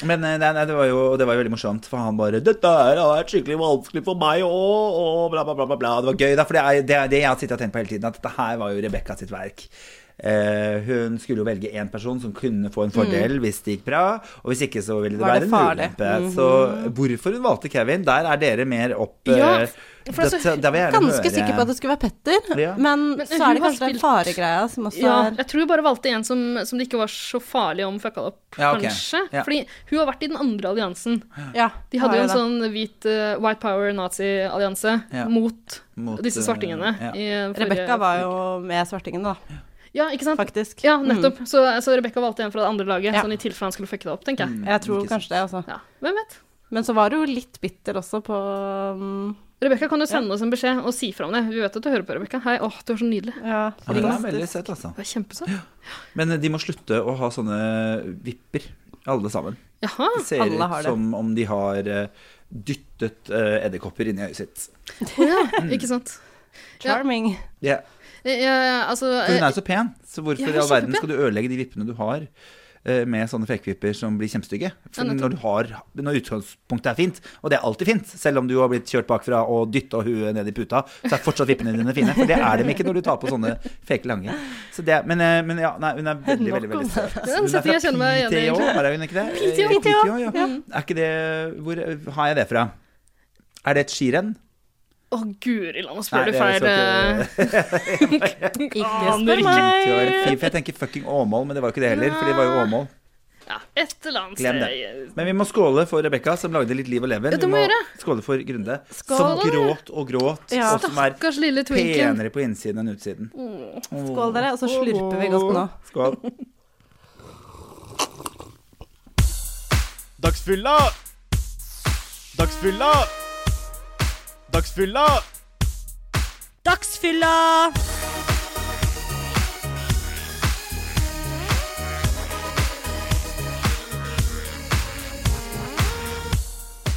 Speaker 4: Men eh, nei, nei, det, var jo, det var jo veldig morsomt, for han bare 'Dette her har vært skikkelig vanskelig for meg òg', og bla, bla, bla, bla, bla. Det var gøy, da, for det er det, er det jeg har sittet og tenkt på hele tiden, at dette her var jo Rebekka sitt verk. Eh, hun skulle jo velge én person som kunne få en fordel hvis det gikk bra, og hvis ikke så ville det
Speaker 5: Mm. Var
Speaker 4: være
Speaker 5: det
Speaker 4: en
Speaker 5: farlig? Mhm.
Speaker 4: ulempe. Så hvorfor hun valgte Kevin, der er dere mer opp eh,
Speaker 3: Ja, for altså,
Speaker 4: dette- der vil jeg gjerne
Speaker 5: Ganske
Speaker 4: høre.
Speaker 5: sikker på at det skulle være Petter,
Speaker 4: Ja.
Speaker 5: men,
Speaker 3: Men
Speaker 5: så
Speaker 3: hun
Speaker 5: er det
Speaker 3: har
Speaker 5: kanskje den
Speaker 3: spilt-
Speaker 5: faregreia som også
Speaker 3: Ja,
Speaker 5: er
Speaker 3: jeg tror hun bare valgte en som, som det ikke var så farlig om fucka opp,
Speaker 4: Ja, ok.
Speaker 3: kanskje.
Speaker 4: Ja.
Speaker 3: Fordi hun har vært i den andre alliansen.
Speaker 5: Ja,
Speaker 3: De hadde
Speaker 5: det
Speaker 3: jo
Speaker 5: var
Speaker 3: en
Speaker 5: det.
Speaker 3: sånn hvit eh, white power-nazi-allianse
Speaker 4: Ja.
Speaker 3: mot,
Speaker 4: Mot,
Speaker 3: disse
Speaker 4: eh,
Speaker 3: svartingene.
Speaker 4: ja.
Speaker 3: i forrige-
Speaker 5: Rebekka var jo med svartingen, da,
Speaker 3: Ja, ikke sant?
Speaker 5: faktisk.
Speaker 3: Ja,
Speaker 4: Mm.
Speaker 3: nettopp. Så, så Rebekka valgte en fra det andre laget,
Speaker 5: Ja.
Speaker 3: sånn i tilfelle han skulle fucke det opp, tenker jeg.
Speaker 5: Mm. Jeg tror
Speaker 4: Ikke sant.
Speaker 5: kanskje det, altså.
Speaker 3: Ja, hvem vet?
Speaker 5: Men så var du jo litt bitter også på um,
Speaker 3: Rebekka kan jo sende oss en beskjed og si fra om det. Vi vet at du hører på, Rebekka. Hei, åh, du er så nydelig.
Speaker 5: Ja,
Speaker 4: Ja, det er veldig søt, altså.
Speaker 3: Du er kjempesøt.
Speaker 4: Men eh, de må slutte å ha sånne vipper, alle sammen.
Speaker 3: Jaha.
Speaker 4: *laughs* Det ser
Speaker 5: Alle har
Speaker 4: ut
Speaker 5: det.
Speaker 4: som om de har eh, dyttet eh, edderkopper inn i øyet sitt.
Speaker 3: Å ja,
Speaker 4: Mm.
Speaker 3: ikke sant.
Speaker 5: Charming.
Speaker 4: Ja,
Speaker 3: Eh, eh, altså
Speaker 4: For hun
Speaker 3: eh,
Speaker 4: er jo så pen, så hvorfor
Speaker 3: Ja,
Speaker 4: i all verden
Speaker 3: kjempepen.
Speaker 4: skal du ødelegge de vippene du har? eh, Med sånne fekevipper som blir kjempestygge. For
Speaker 3: Ja, nettopp.
Speaker 4: når, du har, når utgangspunktet er fint, og det er alltid fint, selv om du har blitt kjørt bakfra og dytta huet ned i puta, så er fortsatt vippene dine fine. For det er dem ikke når du tar på sånne fake lange. Så det, men, eh, men ja, nei, hun er veldig,
Speaker 5: Nok
Speaker 4: veldig
Speaker 5: om
Speaker 4: veldig søt.
Speaker 3: Den setter jeg kjenner meg igjen i,
Speaker 4: PTO,
Speaker 3: egentlig.
Speaker 4: er hun ikke det?
Speaker 3: PTO,
Speaker 4: Eh, PTO, ja.
Speaker 5: ja.
Speaker 4: Er ikke det Hvor har jeg det fra? Er det et skirenn?
Speaker 3: Å, guri land, nå spør
Speaker 4: Nei,
Speaker 3: du
Speaker 4: det er
Speaker 3: feil.
Speaker 4: så
Speaker 3: eh,
Speaker 4: *laughs*
Speaker 5: Ikke
Speaker 3: Aner
Speaker 5: spør
Speaker 3: ikke.
Speaker 5: meg.
Speaker 4: Det var en fin, for jeg tenker fucking Åmål, men det var jo ikke det heller. For det var jo Åmål.
Speaker 3: Ja, et eller annet
Speaker 4: Glem det.
Speaker 3: sted.
Speaker 4: Men vi må skåle for Rebekka, som lagde litt liv og leven.
Speaker 3: Ja, det
Speaker 4: vi
Speaker 3: må
Speaker 4: må
Speaker 3: gjøre.
Speaker 4: skåle for Grunde,
Speaker 5: Skål.
Speaker 4: som gråt og gråt,
Speaker 5: Ja.
Speaker 4: og som er
Speaker 3: Stakkars lille twinken.
Speaker 4: penere på innsiden enn utsiden.
Speaker 5: Skål, dere, og så slurper vi godt nå.
Speaker 4: Skål.
Speaker 12: Dagsfylla! Dagsfylla! Dagsfylla!
Speaker 5: Dagsfylla!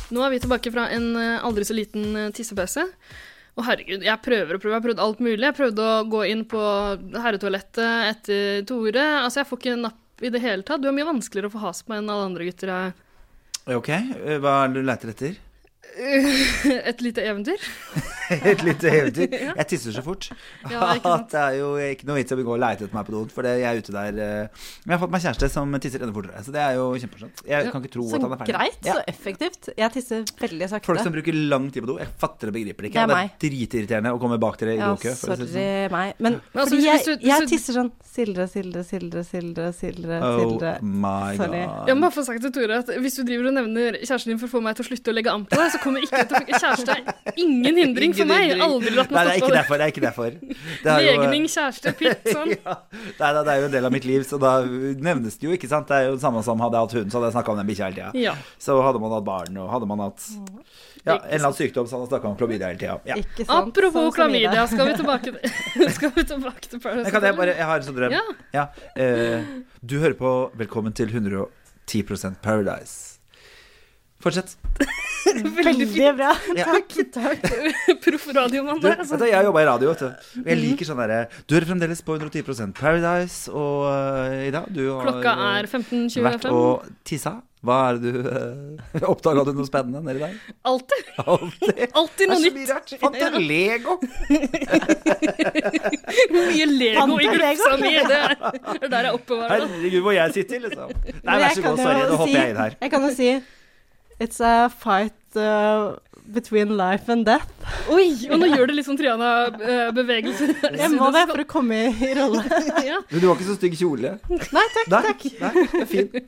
Speaker 3: Nå er vi tilbake fra en eh, aldri så liten eh, tissepause. Og herregud, jeg prøver og prøver. Jeg har prøvd alt mulig. Jeg prøvde å gå inn på herretoalettet etter Tore. Altså, jeg får ikke napp i det hele tatt. Du er mye vanskeligere å få has på enn alle andre gutter. jeg-
Speaker 4: Ok, eh, hva er det du leter etter? *laughs*
Speaker 3: *laughs* Et lite eventyr.
Speaker 4: Et lite eventyr?
Speaker 3: *laughs* Ja.
Speaker 4: Jeg tisser så fort.
Speaker 3: Ja, ikke sant.
Speaker 4: *laughs* At det er jo ikke noe vits i å gå og leite etter meg på doen, for det- jeg er ute der eh, Men jeg har fått meg kjæreste som tisser enda fortere, så det er jo kjempemorsomt. Jeg kan ikke tro
Speaker 5: så
Speaker 4: at han er ferdig.
Speaker 5: greit,
Speaker 4: Ja.
Speaker 5: så effektivt. Jeg tisser veldig sakte.
Speaker 4: Folk som bruker lang tid på do, jeg fatter og begriper det
Speaker 5: Det
Speaker 4: ikke.
Speaker 5: er
Speaker 4: og Det er, dritirriterende å komme bak dere i
Speaker 5: Ja,
Speaker 4: dokø. for å si det sånn.
Speaker 5: sorry meg. Men,
Speaker 3: Men altså,
Speaker 5: fordi
Speaker 3: hvis
Speaker 5: jeg,
Speaker 3: du- hvis du-
Speaker 5: jeg tisser sånn Sildre, Sildre, Sildre, Sildre, Sildre. sildre.
Speaker 4: sånn. Oh my
Speaker 5: Sorry.
Speaker 4: god.
Speaker 3: Jeg må bare få sagt til Tore at hvis du driver og nevner kjæresten din for å få meg til å slutte å legge an på deg, så kommer ikke det til å funke. Kjæreste er ingen hindring for meg. Aldri latt
Speaker 4: Nei,
Speaker 3: meg
Speaker 4: det
Speaker 3: stoppe
Speaker 4: er ikke
Speaker 3: av det.
Speaker 4: derfor. Det er ikke
Speaker 5: *laughs*
Speaker 4: derfor. Det er jo- *laughs*
Speaker 3: Legning, kjæreste, pytt, sånn.
Speaker 4: Nei, da, det er jo en del av mitt liv, så da nevnes det jo, ikke sant. Det er jo det samme som hadde jeg hatt hund, så hadde jeg snakka om den bikkja hele tida.
Speaker 3: Ja.
Speaker 4: Så hadde man hatt barn, og hadde man hatt
Speaker 5: Mm.
Speaker 4: ja, en eller annen sykdom, så hadde man snakka om klamydia hele tida. Ja.
Speaker 5: Ikke sant?
Speaker 3: Apropos
Speaker 5: Sånn som Ida.
Speaker 3: klamydia, skal vi tilbake til, *laughs* skal vi tilbake til Paradise
Speaker 4: Men kan jeg
Speaker 3: Hotel,
Speaker 4: bare
Speaker 3: eller?
Speaker 4: Jeg har en sånn drøm.
Speaker 3: Ja.
Speaker 4: eh, du hører på Velkommen til 110 Paradise. Fortsett.
Speaker 3: Veldig fint.
Speaker 5: bra. *laughs*
Speaker 4: Takk,
Speaker 3: takk. Proff radiomann der,
Speaker 4: Du, vet
Speaker 3: altså.
Speaker 4: du,
Speaker 5: sånn.
Speaker 4: jeg jobba i radio, vet du. Og jeg liker sånn derre Du hører fremdeles på 110 Paradise, og eh, Ida, du har
Speaker 3: Klokka
Speaker 4: eh,
Speaker 3: er
Speaker 4: vært
Speaker 3: 15.25.
Speaker 4: og tissa. Hva er det du *laughs* uh, Oppdaga du noe spennende nedi
Speaker 5: *laughs*
Speaker 4: der?
Speaker 3: Alltid.
Speaker 4: Alltid.
Speaker 3: Alltid noe
Speaker 4: *laughs* Det er så
Speaker 3: nytt.
Speaker 4: mye rart. Fant en Lego!
Speaker 3: Mye Lego i
Speaker 5: Fant en Lego?
Speaker 3: buksa mi. Det er
Speaker 4: *laughs*
Speaker 3: det er der jeg oppbevarer det.
Speaker 4: Herregud, hvor jeg sitter, liksom. Nei,
Speaker 5: Men
Speaker 4: vær
Speaker 5: jeg
Speaker 4: så
Speaker 5: kan
Speaker 4: god,
Speaker 5: jo
Speaker 4: sorry. Nå
Speaker 5: si-
Speaker 4: hopper jeg inn her.
Speaker 5: Jeg kan jo si It's a fight uh, between life and death.
Speaker 3: Oi, og nå gjør det litt sånn
Speaker 4: *laughs*
Speaker 3: Triana-bevegelse.
Speaker 5: Jeg må det for å komme i rolle.
Speaker 3: Ja.
Speaker 4: Men du har ikke så stygg kjole.
Speaker 5: Nei takk,
Speaker 4: Nei,
Speaker 5: takk.
Speaker 4: nei, det er fint.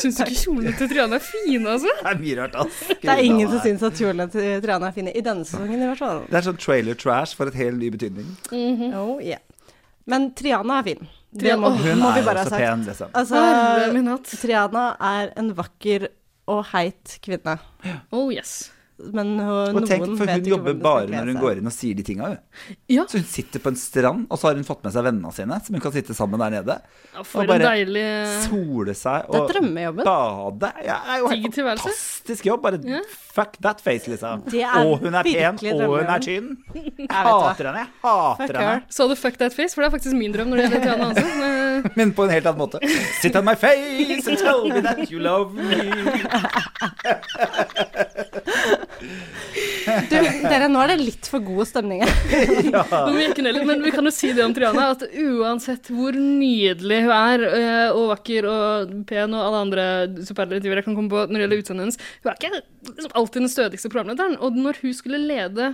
Speaker 3: Syns du ikke kjolene til Triana er fine, altså?
Speaker 4: Det er mye rart, ass.
Speaker 5: Det er ingen som syns at kjolene til Triana er fine. I denne sesongen, i hvert fall.
Speaker 4: Det er sånn trailer trash for et helt ny betydning.
Speaker 5: Oh, yeah. Men Triana er fin. Det
Speaker 3: Triana-
Speaker 5: må,
Speaker 3: Åh,
Speaker 4: Hun
Speaker 5: må
Speaker 4: er
Speaker 5: vi
Speaker 4: jo
Speaker 5: bare ha
Speaker 4: så
Speaker 5: sagt.
Speaker 4: pen, liksom.
Speaker 3: Herre
Speaker 5: Altså,
Speaker 3: min hatt.
Speaker 5: Triana er en vakker og heit kvinne.
Speaker 3: Oh yes.
Speaker 5: Men hun,
Speaker 4: Og tenk,
Speaker 5: noen
Speaker 4: for hun
Speaker 5: vet ikke
Speaker 4: jobber
Speaker 5: hvordan de
Speaker 4: bare
Speaker 5: skal kle
Speaker 4: når hun
Speaker 5: seg. *laughs*
Speaker 4: går inn og sier de tinga, hun.
Speaker 3: Ja,
Speaker 4: Så hun sitter på en strand, og så har hun fått med seg vennene sine, som hun kan sitte sammen der nede.
Speaker 3: for
Speaker 4: og bare
Speaker 3: en deilig
Speaker 4: Sole seg
Speaker 5: Eh. Det er
Speaker 4: og
Speaker 5: drømmejobben.
Speaker 4: bade. Ja, det er jo
Speaker 3: Digg
Speaker 4: helt
Speaker 3: tilværelse.
Speaker 4: fantastisk jobb. Bare fuck that face, liksom.
Speaker 5: Det er
Speaker 4: Og hun er pen,
Speaker 5: virkelig
Speaker 4: og hun
Speaker 5: drømmejobben.
Speaker 4: er tynn. Jeg
Speaker 5: *laughs* Jeg vet
Speaker 4: hater henne, jeg hater
Speaker 5: Fuck
Speaker 4: henne.
Speaker 5: her.
Speaker 3: Så du fuck that face? For det er faktisk min drøm når det gjelder Triana altså.
Speaker 4: *laughs*
Speaker 3: Hansen. Men,
Speaker 4: Men på en helt annen måte. Sit on my face and tell me that you love
Speaker 5: *laughs*
Speaker 4: me.
Speaker 5: Du, dere, nå er det litt for god stemning her.
Speaker 3: om vi ikke nødler, men vi kan jo si det om Triana, at uansett hvor nydelig hun er, eh, og vakker og pen og alle andre superlativer jeg kan komme på når det gjelder utseendet hennes, hun er ikke liksom, alltid den stødigste programlederen. Og når hun skulle lede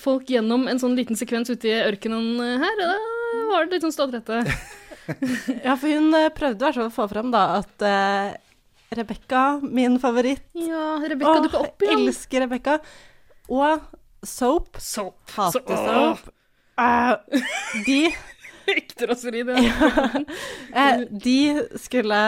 Speaker 3: folk gjennom en sånn liten sekvens ute i ørkenen her, da var det litt sånn stålrette.
Speaker 5: *laughs* Ja, for hun eh, prøvde i hvert fall å få fram da at uh, Rebekka, min favoritt
Speaker 3: Ja, Rebekka
Speaker 5: Åh,
Speaker 3: dukka opp igjen.
Speaker 5: Elsker Rebekka. Og Soap.
Speaker 3: Soap.
Speaker 5: Hater
Speaker 3: Så- åh.
Speaker 5: Soap. Eh, de
Speaker 3: Ekte raseri, det.
Speaker 5: *laughs* Eh, de skulle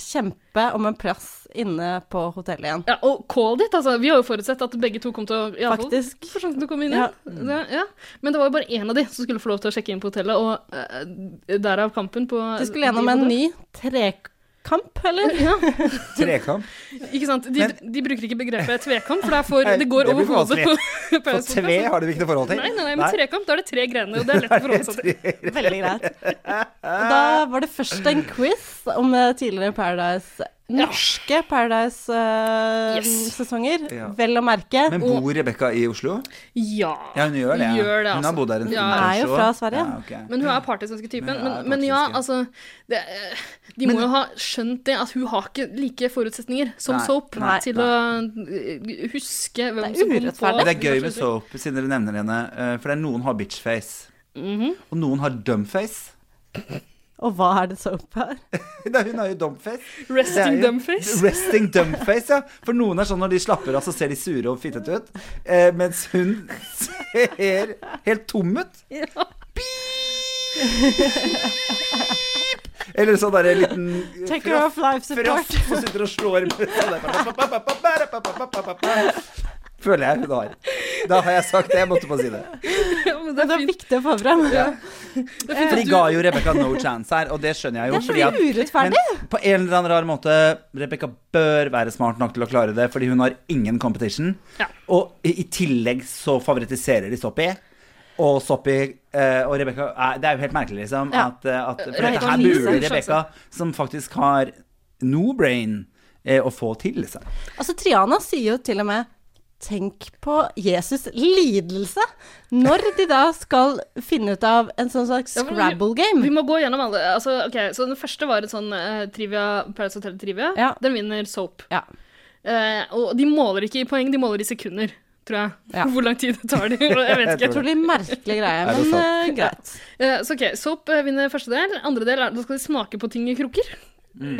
Speaker 5: kjempe om en plass inne på hotellet igjen.
Speaker 3: Ja, og callet ditt, altså. Vi har jo forutsett at begge to kom til å i alle fall,
Speaker 5: Faktisk.
Speaker 3: få sjansen til å komme inn. Ja. Det, ja. Men det var jo bare én av de som skulle få lov til å sjekke inn på hotellet, og eh, derav kampen på
Speaker 5: De skulle gjennom en ny trekamp,
Speaker 3: *laughs*
Speaker 5: eller?
Speaker 3: Ja,
Speaker 4: Trekamp.
Speaker 3: ikke sant. De, de bruker ikke begrepet tvekamp, for det, er for,
Speaker 4: Nei,
Speaker 3: det går
Speaker 4: det blir
Speaker 3: over
Speaker 4: for
Speaker 3: hodet på
Speaker 4: For
Speaker 3: Paradise
Speaker 4: tre
Speaker 5: sånn-
Speaker 3: Hotel,
Speaker 4: har du ikke noe forhold
Speaker 3: altså.
Speaker 4: til.
Speaker 3: Nei, nei, nei, men trekamp, da er det tre grener, og det er *laughs* lett å forholde
Speaker 4: *laughs*
Speaker 3: seg til.
Speaker 5: Veldig greit. Og da var det først en quiz om eh, tidligere Paradise Norske
Speaker 3: Yes.
Speaker 5: Paradise-sesonger,
Speaker 4: Ja.
Speaker 5: vel å merke.
Speaker 4: Men
Speaker 3: Og-
Speaker 4: bor Rebekka i Oslo?
Speaker 3: Ja.
Speaker 4: Ja, hun gjør det. ja.
Speaker 3: Gjør det,
Speaker 4: Hun
Speaker 3: altså.
Speaker 4: har bodd der en
Speaker 3: Ja.
Speaker 4: stund.
Speaker 5: Hun er jo
Speaker 4: kanskje,
Speaker 5: fra
Speaker 4: også.
Speaker 5: Sverige.
Speaker 4: Ja, ok.
Speaker 3: Men hun er partisk typen.
Speaker 4: Men hun er
Speaker 3: Men, men ja,
Speaker 4: partisk, ja.
Speaker 3: altså det, eh, De må jo ha skjønt det, at hun har ikke like forutsetninger som
Speaker 4: Nei,
Speaker 3: Soap
Speaker 4: nei,
Speaker 3: til å eh, huske hvem
Speaker 5: Det
Speaker 3: som kom
Speaker 5: er
Speaker 3: på
Speaker 5: urettferdig.
Speaker 4: Men det er gøy med soap, siden dere nevner henne. eh, For det er noen har bitchface.
Speaker 3: Mhm.
Speaker 4: Og noen har dumface.
Speaker 5: Og hva er det Soap er?
Speaker 4: *laughs* Nei, hun har jo dumface. Det er
Speaker 3: Resting
Speaker 4: jo-
Speaker 5: *laughs*
Speaker 3: dumbface.
Speaker 4: Resting dumface, ja. For noen er sånn når de slapper av, så ser de sure og fittete ut. eh, Mens hun ser helt tom ut.
Speaker 3: Ja.
Speaker 4: Eller sånn derre liten eh,
Speaker 5: Take
Speaker 4: fra-
Speaker 5: her off life support.
Speaker 4: Frost som sitter og slår med sånn der. Føler jeg hun har. Da har jeg sagt det. Jeg måtte bare si det.
Speaker 3: Ja, men det
Speaker 5: Det
Speaker 3: er
Speaker 5: er
Speaker 3: fint.
Speaker 5: viktig å få fram.
Speaker 4: For de ga jo Rebekka no chance her, og det skjønner jeg jo.
Speaker 5: Det er så
Speaker 4: fordi at-
Speaker 5: urettferdig.
Speaker 4: Men på en eller annen rar måte, Rebekka bør være smart nok til å klare det, fordi hun har ingen competition. Og i i tillegg så favoritiserer de Soppy. Og Soppy eh, og Rebekka eh, Det er jo helt merkelig, liksom.
Speaker 5: Ja.
Speaker 4: At,
Speaker 5: altså.
Speaker 4: eh, at, for
Speaker 5: Rebekka
Speaker 4: dette her
Speaker 5: har liten
Speaker 4: burde
Speaker 5: sjanse.
Speaker 4: Rebekka, som faktisk har no brain, eh, å få til, liksom.
Speaker 5: Altså, Triana sier jo til og med Tenk på Jesus' lidelse! Når de da skal finne ut av en sånn slags
Speaker 3: Ja, men vi-
Speaker 5: scrabble game.
Speaker 3: Vi må gå gjennom alle. Altså, ok, så den første var et sånn eh, trivia, Paradise Hotel Trivia. Den vinner Soap. Eh, og de måler ikke i poeng, de måler i sekunder, tror jeg. *laughs* Hvor lang tid det tar de.
Speaker 5: *laughs*
Speaker 3: Jeg vet ikke.
Speaker 5: Jeg tror det er merkelig greie,
Speaker 3: *laughs* Er det
Speaker 5: men
Speaker 3: sant?
Speaker 5: eh, greit.
Speaker 3: *laughs* Eh, så ok, Soap eh, vinner første del. Andre del er da skal de smake på ting i krukker.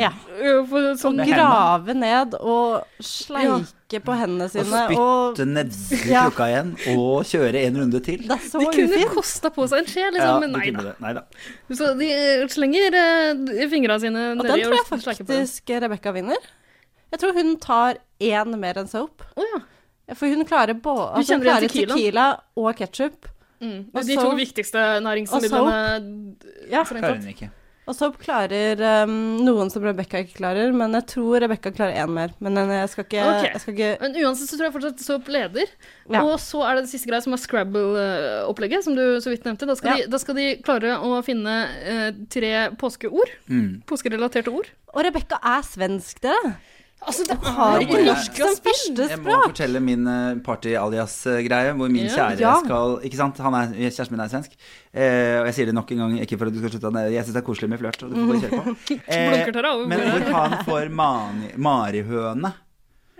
Speaker 5: Ja.
Speaker 3: Eh, for
Speaker 5: Å
Speaker 3: sånn
Speaker 5: grave ned og sleike på hendene
Speaker 4: Og
Speaker 5: sine og
Speaker 4: spytte nedi
Speaker 5: Ja.
Speaker 4: klokka igjen, og kjøre en runde til.
Speaker 5: Det er så
Speaker 3: De kunne
Speaker 5: ufint.
Speaker 3: kosta på seg en skje, liksom, men nei da.
Speaker 4: nei da.
Speaker 3: Så de eh, slenger eh, fingra sine
Speaker 5: Og
Speaker 3: nedi
Speaker 5: den tror jeg
Speaker 3: slakker på det.
Speaker 5: faktisk Rebekka vinner. Jeg tror hun tar én mer enn soap. For hun klarer, bå altså,
Speaker 3: kjenner igjen
Speaker 5: hun klarer
Speaker 3: tequilaen.
Speaker 5: tequila. og ketsjup.
Speaker 3: Mm.
Speaker 5: Og
Speaker 3: De to
Speaker 5: soap.
Speaker 3: viktigste
Speaker 5: Og
Speaker 3: næringsmidlene.
Speaker 5: Ja.
Speaker 3: strengt tatt.
Speaker 5: Og soap klarer um, noen som Rebekka ikke klarer, men jeg tror Rebekka klarer én mer. Men eh, jeg skal ikke,
Speaker 3: Ok.
Speaker 5: jeg skal ikke
Speaker 3: Men uansett så tror jeg fortsatt Soap leder.
Speaker 5: Ja.
Speaker 3: Og så er det det siste greia som er Scrabble-opplegget, som du så vidt nevnte. Da skal,
Speaker 5: Ja.
Speaker 3: de, da skal de klare å finne eh, tre påskeord.
Speaker 4: Mm.
Speaker 3: Påskerelaterte ord.
Speaker 5: Og Rebekka er svensk, dere.
Speaker 3: Altså, det
Speaker 5: har ikke
Speaker 4: Jeg må-
Speaker 5: norsk som
Speaker 4: Jeg må
Speaker 5: førstespråk.
Speaker 4: fortelle min eh, party alias-greie, hvor min
Speaker 5: Ja.
Speaker 4: kjære
Speaker 5: Ja.
Speaker 4: skal Ikke sant, han er, kjæresten min er svensk. Eh, og jeg sier det nok en gang, ikke for at du skal slutte, men jeg syns det er koselig med flørt. og Du får bare kjøre på.
Speaker 3: *laughs*
Speaker 4: Eh,
Speaker 3: Blunker dere over
Speaker 4: men
Speaker 3: bordet.
Speaker 4: hvor han får mani, marihøne.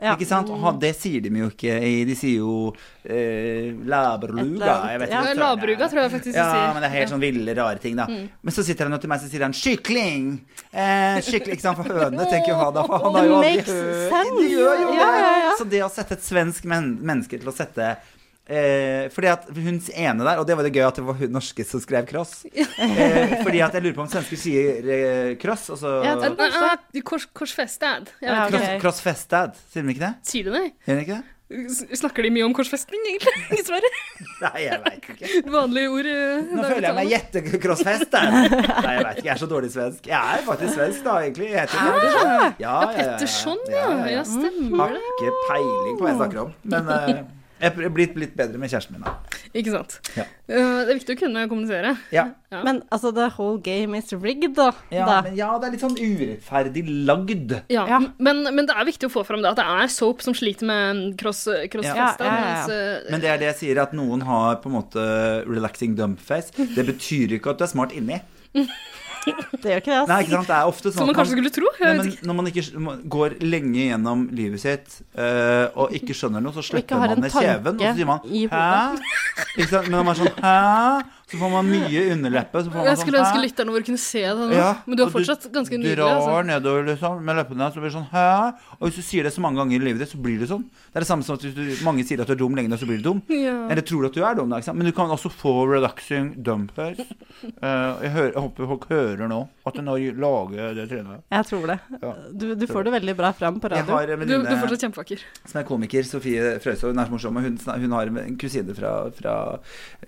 Speaker 5: Ja.
Speaker 4: Ikke sant? Og han- det sier de jo ikke i De sier jo eh, labruga. Jeg vet ikke.
Speaker 3: Ja,
Speaker 4: hva søren det er.
Speaker 3: Labruga Eh, tror jeg faktisk de
Speaker 4: Ja,
Speaker 3: sier.
Speaker 4: men det er helt sånn ville, rare ting, da.
Speaker 3: Mm.
Speaker 4: Men så sitter han og til meg så sier han 'kykling'! Eh, kykling, ikke sant, for hønene tenker jo han da, for han har jo
Speaker 5: It
Speaker 4: aldri
Speaker 5: makes
Speaker 4: hørt
Speaker 5: sense.
Speaker 4: De gjør jo det!
Speaker 5: Ja, ja, ja.
Speaker 4: Så det å sette et svensk men menneske til å sette Eh, fordi at hun ene der, og det var det gøy at det var hun norske som skrev
Speaker 5: *laughs*
Speaker 4: cross. Eh, fordi at jeg lurer på om svensker sier eh, cross, og så
Speaker 3: Ja, det- nei, nei, nei, kors, korsfestad. Jeg vet
Speaker 4: cross,
Speaker 3: ikke.
Speaker 4: Crossfestad, sier de ikke det?
Speaker 3: Sier de det?
Speaker 4: Gjør de ikke det?
Speaker 3: S- Snakker de mye om korsfesting, egentlig? *laughs* Dessverre.
Speaker 4: Nei, jeg vet ikke.
Speaker 3: Vanlige ord. eh,
Speaker 4: Nå føler jeg meg jettekrossfestet. Nei, jeg vet ikke. Jeg er så dårlig svensk. Jeg er faktisk svensk, da, egentlig. Jeg heter
Speaker 3: Er du
Speaker 4: Pettersson.
Speaker 3: det?
Speaker 4: Ja,
Speaker 3: Ja, Pettersson, ja. Ja, Mm. stemmer
Speaker 4: Har ikke peiling på hva jeg snakker om. Men eh, jeg er blitt litt bedre med kjæresten min, da.
Speaker 3: Ikke sant.
Speaker 4: Mhm. Ja.
Speaker 3: Eh, det er viktig å kunne kommunisere.
Speaker 4: Ja.
Speaker 3: Ja.
Speaker 5: Men altså, the whole game is rigged, da.
Speaker 4: Ja,
Speaker 5: da.
Speaker 4: men, ja, det er litt sånn urettferdig lagd.
Speaker 3: Ja, Men, men det er viktig å få fram det at det er soap som sliter med cross, crossfesta.
Speaker 4: Ja, ja, ja.
Speaker 3: mens, eh,
Speaker 4: Men det er det jeg sier, at noen har på en måte relaxing dump face. Det betyr ikke at du er smart inni.
Speaker 5: Det gjør ikke det, ass.
Speaker 4: Nei, ikke sant? Det er ofte sånn
Speaker 3: Som man
Speaker 4: at
Speaker 3: kanskje skulle tro, jeg
Speaker 4: Nei,
Speaker 3: vet
Speaker 4: men når man ikke man går lenge gjennom livet sitt eh, og ikke skjønner noe, så
Speaker 5: ikke
Speaker 4: slipper
Speaker 5: har
Speaker 4: man
Speaker 5: en
Speaker 4: ned kjeven, og så sier man
Speaker 5: tanke i
Speaker 4: hæ?
Speaker 5: hodet.
Speaker 4: Ikke sant? Men når man er sånn hæ? Så får man mye underleppe. Så får man
Speaker 3: Jeg skulle
Speaker 4: sånn,
Speaker 3: ønske
Speaker 4: «Hæ?»
Speaker 3: lytterne våre kunne se det nå,
Speaker 4: Ja,
Speaker 3: men du er
Speaker 4: og
Speaker 3: fortsatt ganske nydelig.
Speaker 4: Du drar
Speaker 3: Altså.
Speaker 4: nedover liksom, med leppene, så blir det sånn hæ? Og hvis du sier det så mange ganger i livet ditt, så blir det sånn. Det er det samme som at hvis du, mange sier at du er dum lenge, så blir du dum.
Speaker 3: Ja.
Speaker 4: Eller tror du at du er dum, da, ikke sant? men du kan også få relaxing dump face. Eh, jeg, hører, jeg håper folk hører nå at nå lager det trynet.
Speaker 5: Jeg tror det.
Speaker 4: Ja.
Speaker 5: Du, du får det veldig bra fram på
Speaker 4: Jeg
Speaker 5: radio.
Speaker 4: har en
Speaker 3: Du, du er
Speaker 4: venninne
Speaker 3: fortsatt
Speaker 4: *laughs*
Speaker 3: kjempevakker.
Speaker 4: som er komiker, Sofie Frøysaa. Hun er så morsom. og Hun, sna- hun har en kusine fra, fra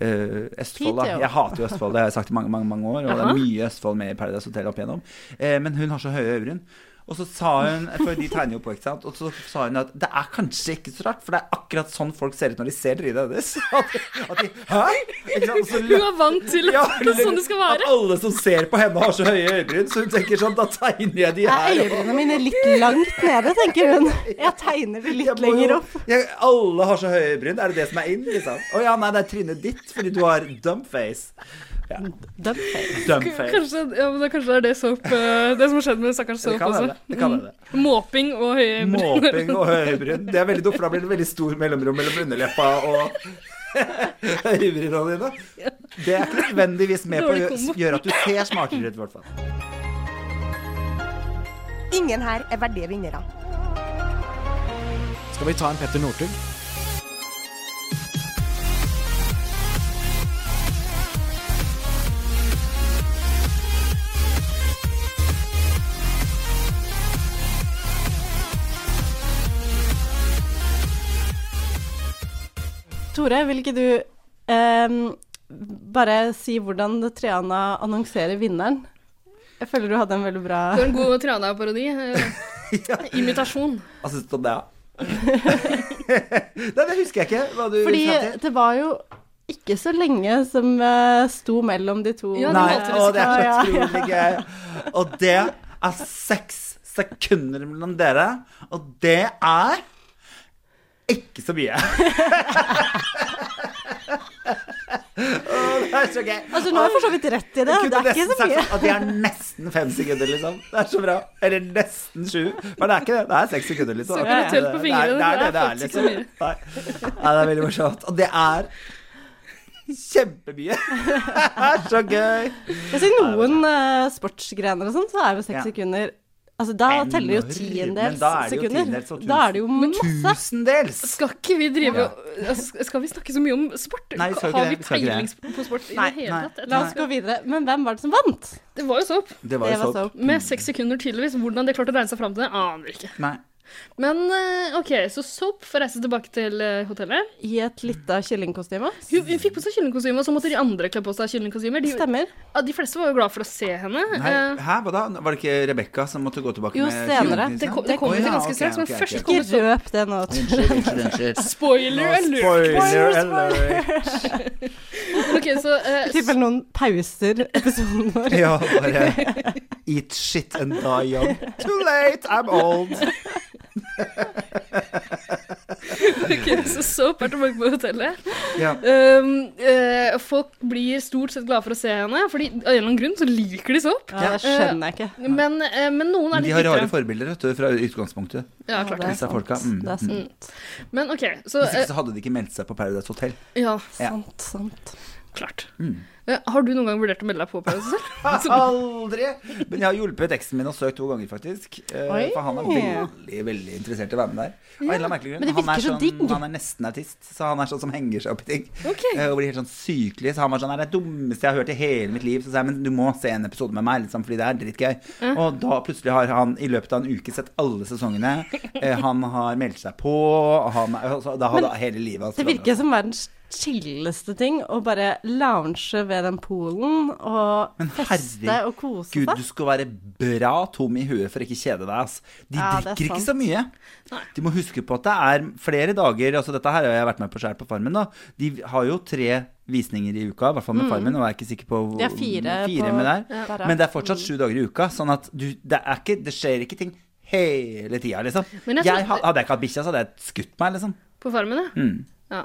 Speaker 4: eh, Østfold. Da.
Speaker 5: Hit, jo.
Speaker 4: Jeg hater jo Østfold, det har jeg sagt i mange mange, mange år. Og det
Speaker 5: Jaha.
Speaker 4: er mye Østfold med i Paradise Hotel opp igjennom. Eh, men hun har så høye øyebryn. Og så sa hun for de tegner jo på, ikke sant? Og så sa hun at det er kanskje ikke så rart, for det er akkurat sånn folk ser ut når de ser trynet hennes. *laughs* At, at de, Hæ? Ikke sant? Og så
Speaker 3: Hun er vant til at
Speaker 4: Ja,
Speaker 3: det er sånn det skal
Speaker 4: at
Speaker 3: være.
Speaker 4: alle som ser på henne, har så høye øyebryn, så hun tenker sånn Da tegner jeg de her.
Speaker 5: Er øyebrynene mine litt langt nede, tenker
Speaker 4: *laughs*
Speaker 5: hun. Jeg tegner det litt lenger opp.
Speaker 4: Jeg, alle har så høye øyebryn. Er det det som er in? Liksom? Å ja, nei, det er trynet ditt fordi du har dumpface. Ja.
Speaker 5: Dumpface.
Speaker 4: dumpface.
Speaker 3: Kanskje, ja, men da kanskje det er det, soap, eh, det som har skjedd med stakkars
Speaker 4: Det
Speaker 3: Soap
Speaker 4: kan
Speaker 3: også.
Speaker 4: være det. det, kan
Speaker 5: *laughs*
Speaker 4: være det.
Speaker 3: Mm. Måping og høye
Speaker 5: Mm.
Speaker 4: Måping og høye øyebryn. Det er veldig dumt, for da blir det veldig stor mellomrom mellom underleppa og *laughs* øyebrynene dine. Det er ikke nødvendigvis med på å
Speaker 5: Dårlig
Speaker 4: gjø-
Speaker 5: kombo.
Speaker 4: gjøre at du ser smartere ut, i
Speaker 5: *laughs*
Speaker 4: hvert fall.
Speaker 12: Ingen her er verdige vinnere.
Speaker 13: Skal vi ta en Petter Northug?
Speaker 5: Tore, vil ikke du ehm, bare si hvordan Triana annonserer vinneren? Jeg føler du hadde en veldig bra
Speaker 3: *laughs* Det var en god Triana-parodi.
Speaker 4: *laughs*
Speaker 3: eh, Imitasjon.
Speaker 4: Hva syns du om *laughs* det, da? Nei, det husker jeg ikke. Hva du
Speaker 5: Fordi
Speaker 4: frem til.
Speaker 5: det var jo ikke så lenge som eh, sto mellom de to.
Speaker 4: Nei, å, det er
Speaker 5: Ja,
Speaker 4: så
Speaker 5: ja,
Speaker 4: utrolig gøy. Og det er seks sekunder mellom dere, og det er ikke så mye. *laughs* Å, det er så gøy.
Speaker 5: Altså, nå er jeg for så vidt rett i det.
Speaker 4: Jeg kunne
Speaker 5: Det er ikke
Speaker 4: nesten
Speaker 5: så
Speaker 4: sagt
Speaker 5: mye.
Speaker 4: sånn At det er nesten fem sekunder, liksom. Det er så bra. Eller nesten sju. Men det er ikke det. Det er seks sekunder, liksom.
Speaker 3: Så kan du telle på
Speaker 4: Det er-
Speaker 3: fingrene,
Speaker 4: Det
Speaker 3: det
Speaker 4: er det
Speaker 3: er
Speaker 4: det er,
Speaker 3: faktisk
Speaker 4: liksom.
Speaker 3: ikke
Speaker 4: Nei. Nei, det er veldig morsomt. Og det er kjempemye. *laughs* Det er så gøy.
Speaker 5: Altså, I noen eh, sportsgrener og sånn, så er jo seks
Speaker 4: Ja.
Speaker 5: sekunder Altså, da
Speaker 4: Enorm,
Speaker 5: teller jo
Speaker 4: men
Speaker 5: tiendels
Speaker 4: da er det jo
Speaker 5: sekunder.
Speaker 4: tiendels og
Speaker 5: Da er det jo masse.
Speaker 4: Tusendels!
Speaker 3: Skal ikke vi drive altså, Skal vi snakke så mye om sport?
Speaker 5: Nei, vi skal
Speaker 3: Har
Speaker 5: ikke
Speaker 3: vi
Speaker 5: det, vi skal ikke
Speaker 3: peiling
Speaker 5: det.
Speaker 3: på sport i
Speaker 5: Nei,
Speaker 3: det hele
Speaker 5: nei,
Speaker 3: tatt? Jeg
Speaker 5: la
Speaker 3: tror
Speaker 5: oss
Speaker 3: vi
Speaker 5: gå videre. Men hvem var det som vant?
Speaker 3: skal- Det var jo sopp.
Speaker 4: Det var jo Det var sopp. sopp.
Speaker 3: Med seks sekunder tidligvis. Hvordan de klarte å regne seg fram til det, aner jeg ikke.
Speaker 4: Nei.
Speaker 3: Men eh, OK, så sopp får reise tilbake til eh, hotellet.
Speaker 5: I et lite kyllingkostyme.
Speaker 3: Hun, hun fikk på seg kyllingkostyme, og så måtte de andre kle på seg kyllingkostymer. De,
Speaker 5: Stemmer.
Speaker 3: Ja, de fleste var jo glad for å se henne.
Speaker 4: Nei,
Speaker 3: Eh,
Speaker 4: hæ, hva da? Var det ikke Rebekka som måtte gå tilbake
Speaker 3: Jo,
Speaker 4: med
Speaker 3: senere.
Speaker 4: kjolen,
Speaker 3: Det
Speaker 4: liksom?
Speaker 3: kom- det kommer
Speaker 4: Å,
Speaker 3: vi til
Speaker 4: ja,
Speaker 3: ganske
Speaker 4: ok,
Speaker 3: straks, men
Speaker 4: ok, ok.
Speaker 3: først
Speaker 5: Ikke røp det nå.
Speaker 4: Unnskyld, unnskyld,
Speaker 3: *laughs*
Speaker 4: unnskyld.
Speaker 3: Spoiler
Speaker 4: Nå,
Speaker 3: alert!
Speaker 4: Spoiler
Speaker 5: Spoiler,
Speaker 4: alert!
Speaker 3: OK, så eh,
Speaker 5: I tilfelle noen pauser episoden vår.
Speaker 4: Ja, bare eat shit and die young. Too late, I'm
Speaker 3: *laughs*
Speaker 4: old.
Speaker 3: Ok, så Soap er tilbake på hotellet.
Speaker 4: Ja.
Speaker 3: Um, eh, folk blir stort sett glade for å se henne, Fordi av en eller annen grunn så liker de Soap.
Speaker 5: Ja, det skjønner jeg ikke.
Speaker 3: Eh, men, eh, men noen er
Speaker 4: Men
Speaker 3: litt
Speaker 4: de har rare
Speaker 3: bitre.
Speaker 4: forbilder vet du, fra utgangspunktet.
Speaker 3: Ja, klart det.
Speaker 4: Disse folka. Mm,
Speaker 5: Det er sant.
Speaker 4: mm.
Speaker 3: Men OK, så,
Speaker 4: Hvis ikke
Speaker 3: eh,
Speaker 4: så hadde de ikke meldt seg på Paradise Hotel.
Speaker 3: Ja,
Speaker 4: Ja.
Speaker 5: sant, sant.
Speaker 3: Klart.
Speaker 4: Mm.
Speaker 3: Eh, har du noen gang vurdert å melde deg på pause selv?
Speaker 5: *laughs*
Speaker 4: Aldri! Men jeg har hjulpet eksen min og søkt to ganger, faktisk. Eh,
Speaker 3: Oi.
Speaker 4: For han er veldig veldig interessert i å være med der. Av en eller annen merkelig grunn.
Speaker 5: Men det
Speaker 4: han, er
Speaker 5: virker så digg.
Speaker 4: sånn, han er nesten autist, så han er sånn som henger seg opp i ting.
Speaker 5: Ok.
Speaker 4: Eh, Og blir helt sånn sykelig. Så han var sånn Det er det dummeste jeg har hørt i hele mitt liv. Så sa jeg men du må se en episode med meg, liksom, fordi det er drittgøy.
Speaker 5: Ja.
Speaker 4: Og da plutselig har han i løpet av en uke sett alle sesongene.
Speaker 5: *laughs*
Speaker 4: Eh, Han har meldt seg på, og han, altså, da har
Speaker 5: Men
Speaker 4: da hele livet hans
Speaker 5: Det virker som verdens chilleste ting å bare lounge ved den poolen og feste og kose
Speaker 4: Gud,
Speaker 5: seg.
Speaker 4: du skal være bra tom i huet for å ikke kjede deg. Ass. De
Speaker 5: Ja, det er
Speaker 4: drikker ikke så
Speaker 5: sant.
Speaker 4: mye. De må huske på at det er flere dager altså Dette her har jeg vært med på sjøl på Farmen. Da. De har jo tre visninger i uka, i hvert fall med
Speaker 5: Mm.
Speaker 4: Farmen. Og jeg er ikke sikker på hvor
Speaker 5: De har fire på-
Speaker 4: med der.
Speaker 5: ja, der, ja.
Speaker 4: Men det er fortsatt sju dager i uka, sånn at du, det, er ikke, det skjer ikke ting hele tida, liksom.
Speaker 3: Men jeg
Speaker 4: Jeg,
Speaker 3: tror-
Speaker 4: ha- hadde jeg ikke hatt bikkja, så hadde jeg skutt meg, liksom.
Speaker 3: På farmen, ja.
Speaker 4: Mm.
Speaker 3: ja.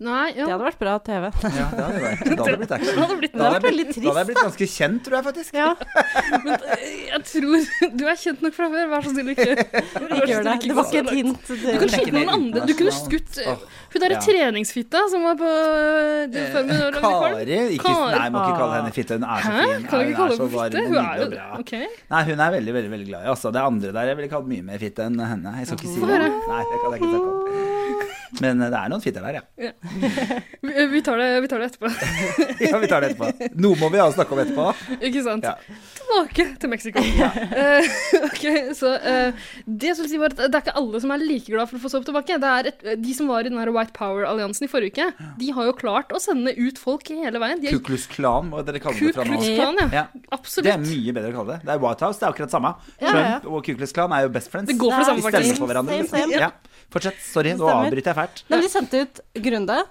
Speaker 3: Nei, ja.
Speaker 5: Det hadde vært bra TV.
Speaker 4: Ja, det hadde vært- da hadde
Speaker 5: *laughs*
Speaker 4: det blitt action.
Speaker 3: Det hadde blitt-
Speaker 4: Da
Speaker 3: det
Speaker 4: hadde jeg
Speaker 3: hadde
Speaker 4: blitt-
Speaker 3: vært veldig
Speaker 4: Da hadde jeg
Speaker 3: trist,
Speaker 4: blitt ganske kjent, tror jeg faktisk.
Speaker 3: eh, Jeg tror *laughs* Du er kjent nok fra før, vær så snill
Speaker 5: *laughs*
Speaker 3: ikke Vær så
Speaker 5: gjør
Speaker 3: snill,
Speaker 5: det. Det
Speaker 3: gå
Speaker 5: var ikke
Speaker 3: så
Speaker 5: et
Speaker 3: langt.
Speaker 5: hint.
Speaker 3: Du kunne skutt noen andre. Du kunne skutt eh, hun derre
Speaker 4: ja.
Speaker 3: treningsfitta som var på eh, den farmen. når det var Nicole.
Speaker 4: Kari ikke, Nei, må ikke kalle henne fitte. Hun er så
Speaker 3: Hæ?
Speaker 4: fin.
Speaker 3: Kan du ikke kalle
Speaker 4: så
Speaker 3: henne for
Speaker 4: varm
Speaker 3: fitte? Hun
Speaker 4: og nydelig
Speaker 3: er jo
Speaker 4: og
Speaker 3: det.
Speaker 4: bra.
Speaker 3: Ok.
Speaker 4: Nei, hun er veldig, veldig veldig glad i. Altså, det andre der jeg ville kalt mye mer fitte enn henne. Jeg skal ikke si
Speaker 3: Få
Speaker 4: det.
Speaker 3: høre.
Speaker 4: Nei, det kan jeg ikke snakke om. Men eh, det er noen fitter der, ja. *laughs*
Speaker 3: Ja. Vi, eh, vi, tar det, vi tar det etterpå. *laughs*
Speaker 4: ja. Vi tar det etterpå. Noe må vi ha å snakke om etterpå.
Speaker 3: Ikke sant?
Speaker 4: Ja.
Speaker 3: Tilbake til Mexico. *laughs* Eh, ok, så eh, Det jeg skulle si var at det er ikke alle som er like glad for å få sopp tilbake. Det er et, De som var i den her White Power-alliansen i forrige uke, de har jo klart å sende ut folk hele veien. De er,
Speaker 4: Kuklus Klan, må dere kalle det fra nå.
Speaker 3: Ku Klux Klan, ja.
Speaker 4: Absolutt. Det er mye bedre å kalle det. Det er White House, det er akkurat samme.
Speaker 3: Ja, ja.
Speaker 4: Trump og Kuklus Klan er jo best friends.
Speaker 3: Det går for det samme,
Speaker 4: De stemmer
Speaker 3: faktisk.
Speaker 4: på hverandre.
Speaker 5: Same, same.
Speaker 4: Ja. Fortsett. Sorry, nå
Speaker 5: Stemmer.
Speaker 4: avbryter jeg fælt.
Speaker 5: Nei, men de sendte ut Grunde.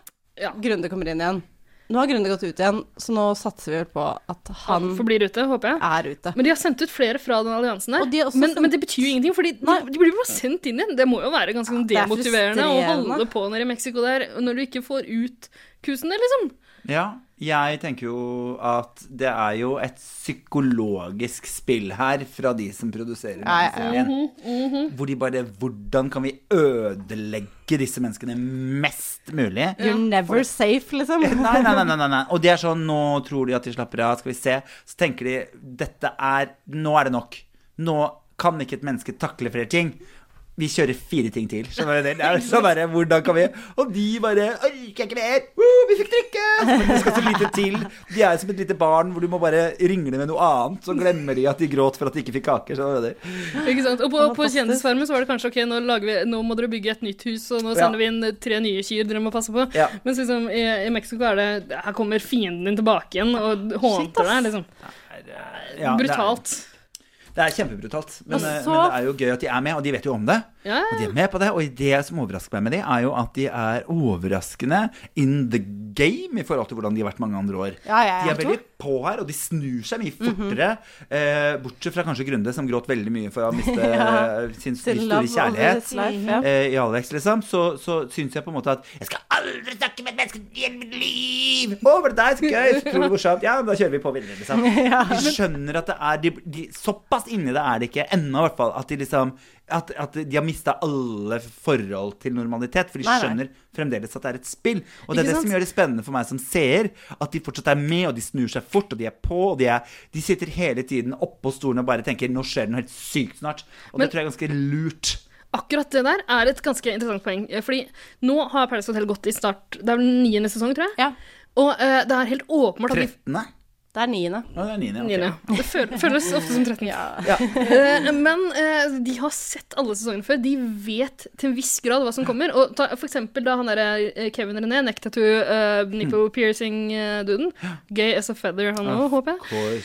Speaker 5: Grunde kommer inn igjen. Nå har Grunde gått ut igjen, så nå satser vi vel på at han
Speaker 3: Han forblir ute, håper jeg.
Speaker 5: Er ute.
Speaker 3: men de har sendt ut flere fra den alliansen der. men, men det betyr jo ingenting, for de, de blir bare sendt inn igjen. Det må jo være ganske sånn
Speaker 5: Ja, det er
Speaker 3: demotiverende å
Speaker 5: frustrerende.
Speaker 3: holde på nede i Mexico der når du ikke får ut kusen din, liksom.
Speaker 4: Ja, jeg tenker jo at det er jo et psykologisk spill her fra de som produserer
Speaker 3: Ja, ja,
Speaker 4: denne
Speaker 3: ja.
Speaker 4: serien.
Speaker 3: Mhm.
Speaker 4: Hvor de bare Hvordan kan vi ødelegge disse menneskene mest mulig?
Speaker 3: Mm.
Speaker 5: You're never safe,
Speaker 4: *laughs*
Speaker 5: liksom.
Speaker 4: Nei, nei, nei, nei, nei. Og det er sånn Nå tror de at de slapper av, skal vi se. Så tenker de Dette er Nå er det nok. Nå kan ikke et menneske takle flere ting. Vi kjører fire ting til. Så bare, det er så bare, hvordan kan vi Og de bare orker ikke mer! Woo, vi fikk drikke! Men det skal så lite til. De er som et lite barn hvor du må bare ringle med noe annet. Så glemmer de at de gråt for at de ikke fikk kaker. Så det.
Speaker 3: Ikke sant? Og på, på Kjendisfarmen så var det kanskje ok, nå, lager vi, nå må dere bygge et nytt hus, og nå
Speaker 4: Ja.
Speaker 3: sender vi inn tre nye kyr dere må passe på.
Speaker 4: Ja.
Speaker 3: Mens liksom, i, i Mexico er det Her kommer fienden din tilbake igjen og hånter deg. Liksom.
Speaker 4: Ja, det er-
Speaker 3: Brutalt.
Speaker 4: Det er kjempebrutalt. Men,
Speaker 3: Og
Speaker 4: eh,
Speaker 3: så-
Speaker 4: men det er jo gøy at de er med, og de vet jo om det.
Speaker 3: Ja.
Speaker 4: Og de er med på det, og det som overrasker meg med de, er jo at de er overraskende in the game i forhold til hvordan de har vært mange andre år.
Speaker 5: Ja, ja,
Speaker 4: de
Speaker 5: ja,
Speaker 4: er veldig på her, og de snur seg mye fortere. eh, bortsett fra kanskje Grunde, som gråt veldig mye for å miste
Speaker 5: Ja.
Speaker 4: eh, sin
Speaker 5: Sin
Speaker 4: store
Speaker 5: love of
Speaker 4: kjærlighet
Speaker 5: his life, ja.
Speaker 4: eh, i Alex, liksom. Så, så syns jeg på en måte at jeg skal aldri snakke med et menneske i hele mitt liv! Å, var det deg? Så gøy! Så utrolig morsomt. Ja, men da kjører vi på videre, liksom.
Speaker 5: *laughs* Ja.
Speaker 4: De skjønner at det er de, de, Såpass inni det er det ikke ennå, i hvert fall. At de liksom at, at de har mista alle forhold til normalitet. For de
Speaker 5: Nei, nei.
Speaker 4: skjønner fremdeles at det er et spill. Og
Speaker 5: Ikke
Speaker 4: det er det
Speaker 5: sant?
Speaker 4: som gjør det spennende for meg som seer. At de fortsatt er med, og de snur seg fort, og de er på. Og de, er, de sitter hele tiden oppå stolen og bare tenker 'nå skjer det noe helt sykt snart'. Og
Speaker 3: Men-
Speaker 4: det tror jeg er ganske lurt.
Speaker 3: Akkurat det der er et ganske interessant poeng. eh, Fordi nå har Paradise Hotel gått i start Det er vel niende sesong, tror jeg. Og eh, det er helt åpenbart at de
Speaker 4: Trettende?
Speaker 5: Det er niende.
Speaker 4: Ja, det er niende.
Speaker 3: Niende. Det føl- føles ofte som 13.
Speaker 4: Ja.
Speaker 3: Eh, Men eh, de har sett alle sesongene før. De vet til en viss grad hva som kommer. Og ta, for eksempel da han der eh, Kevin René, neck tattoo, eh, nipple piercing-duden. Gay as a feather, han òg, håper jeg.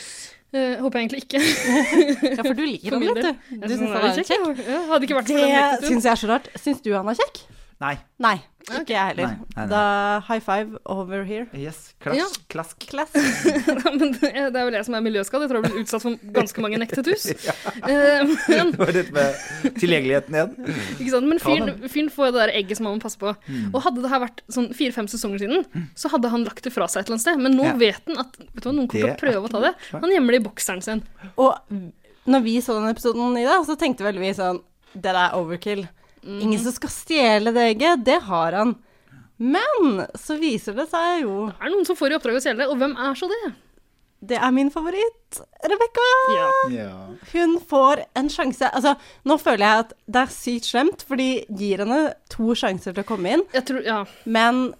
Speaker 3: Eh, håper jeg egentlig ikke.
Speaker 5: ja, for du liker
Speaker 3: For
Speaker 5: han
Speaker 3: min
Speaker 5: litt,
Speaker 3: del.
Speaker 5: du.
Speaker 3: Jeg
Speaker 5: Du
Speaker 3: synes han
Speaker 5: synes
Speaker 3: er
Speaker 5: han
Speaker 3: litt
Speaker 5: er
Speaker 3: kjekk, ja. Ja, hadde ikke vært for
Speaker 5: det
Speaker 3: den nekteturen.
Speaker 5: syns jeg er så rart. Syns du han er kjekk?
Speaker 4: Nei.
Speaker 5: Nei, ikke jeg heller.
Speaker 4: Nei, nei, nei.
Speaker 5: Da high five over here.
Speaker 4: Yes.
Speaker 3: Ja.
Speaker 4: Klask. Klask.
Speaker 3: *laughs*
Speaker 4: *laughs*
Speaker 3: Men det er det er vel jeg som er miljøskadd. Jeg tror jeg har blitt utsatt for ganske mange nektetus. Eh, men
Speaker 4: Det var dette med tilgjengeligheten igjen.
Speaker 3: Ikke sant? Men
Speaker 4: Ta
Speaker 3: fyren,
Speaker 4: den.
Speaker 3: fyren får jo det der egget som han må passe på.
Speaker 4: Mm.
Speaker 3: Og hadde det her vært sånn fire-fem sesonger siden, så hadde han lagt det fra seg et eller annet sted. Men nå
Speaker 5: Ja.
Speaker 3: vet han at vet du hva, noen kommer til
Speaker 5: Det
Speaker 3: å
Speaker 5: er
Speaker 3: prøve å ta det. Han gjemmer det i bokseren sin.
Speaker 5: Og når vi så den episoden i dag, så tenkte vel vi sånn Det der er overkill. Ingen som skal stjele det egget. Det har han. Men så viser det seg jo
Speaker 3: Det er noen som får i oppdrag å stjele det, og hvem er så det?
Speaker 5: Det er min favoritt. Rebekka!
Speaker 4: Ja.
Speaker 5: Hun får en sjanse. Altså, nå føler jeg at det er sykt slemt, for de gir henne to sjanser til å komme inn. Men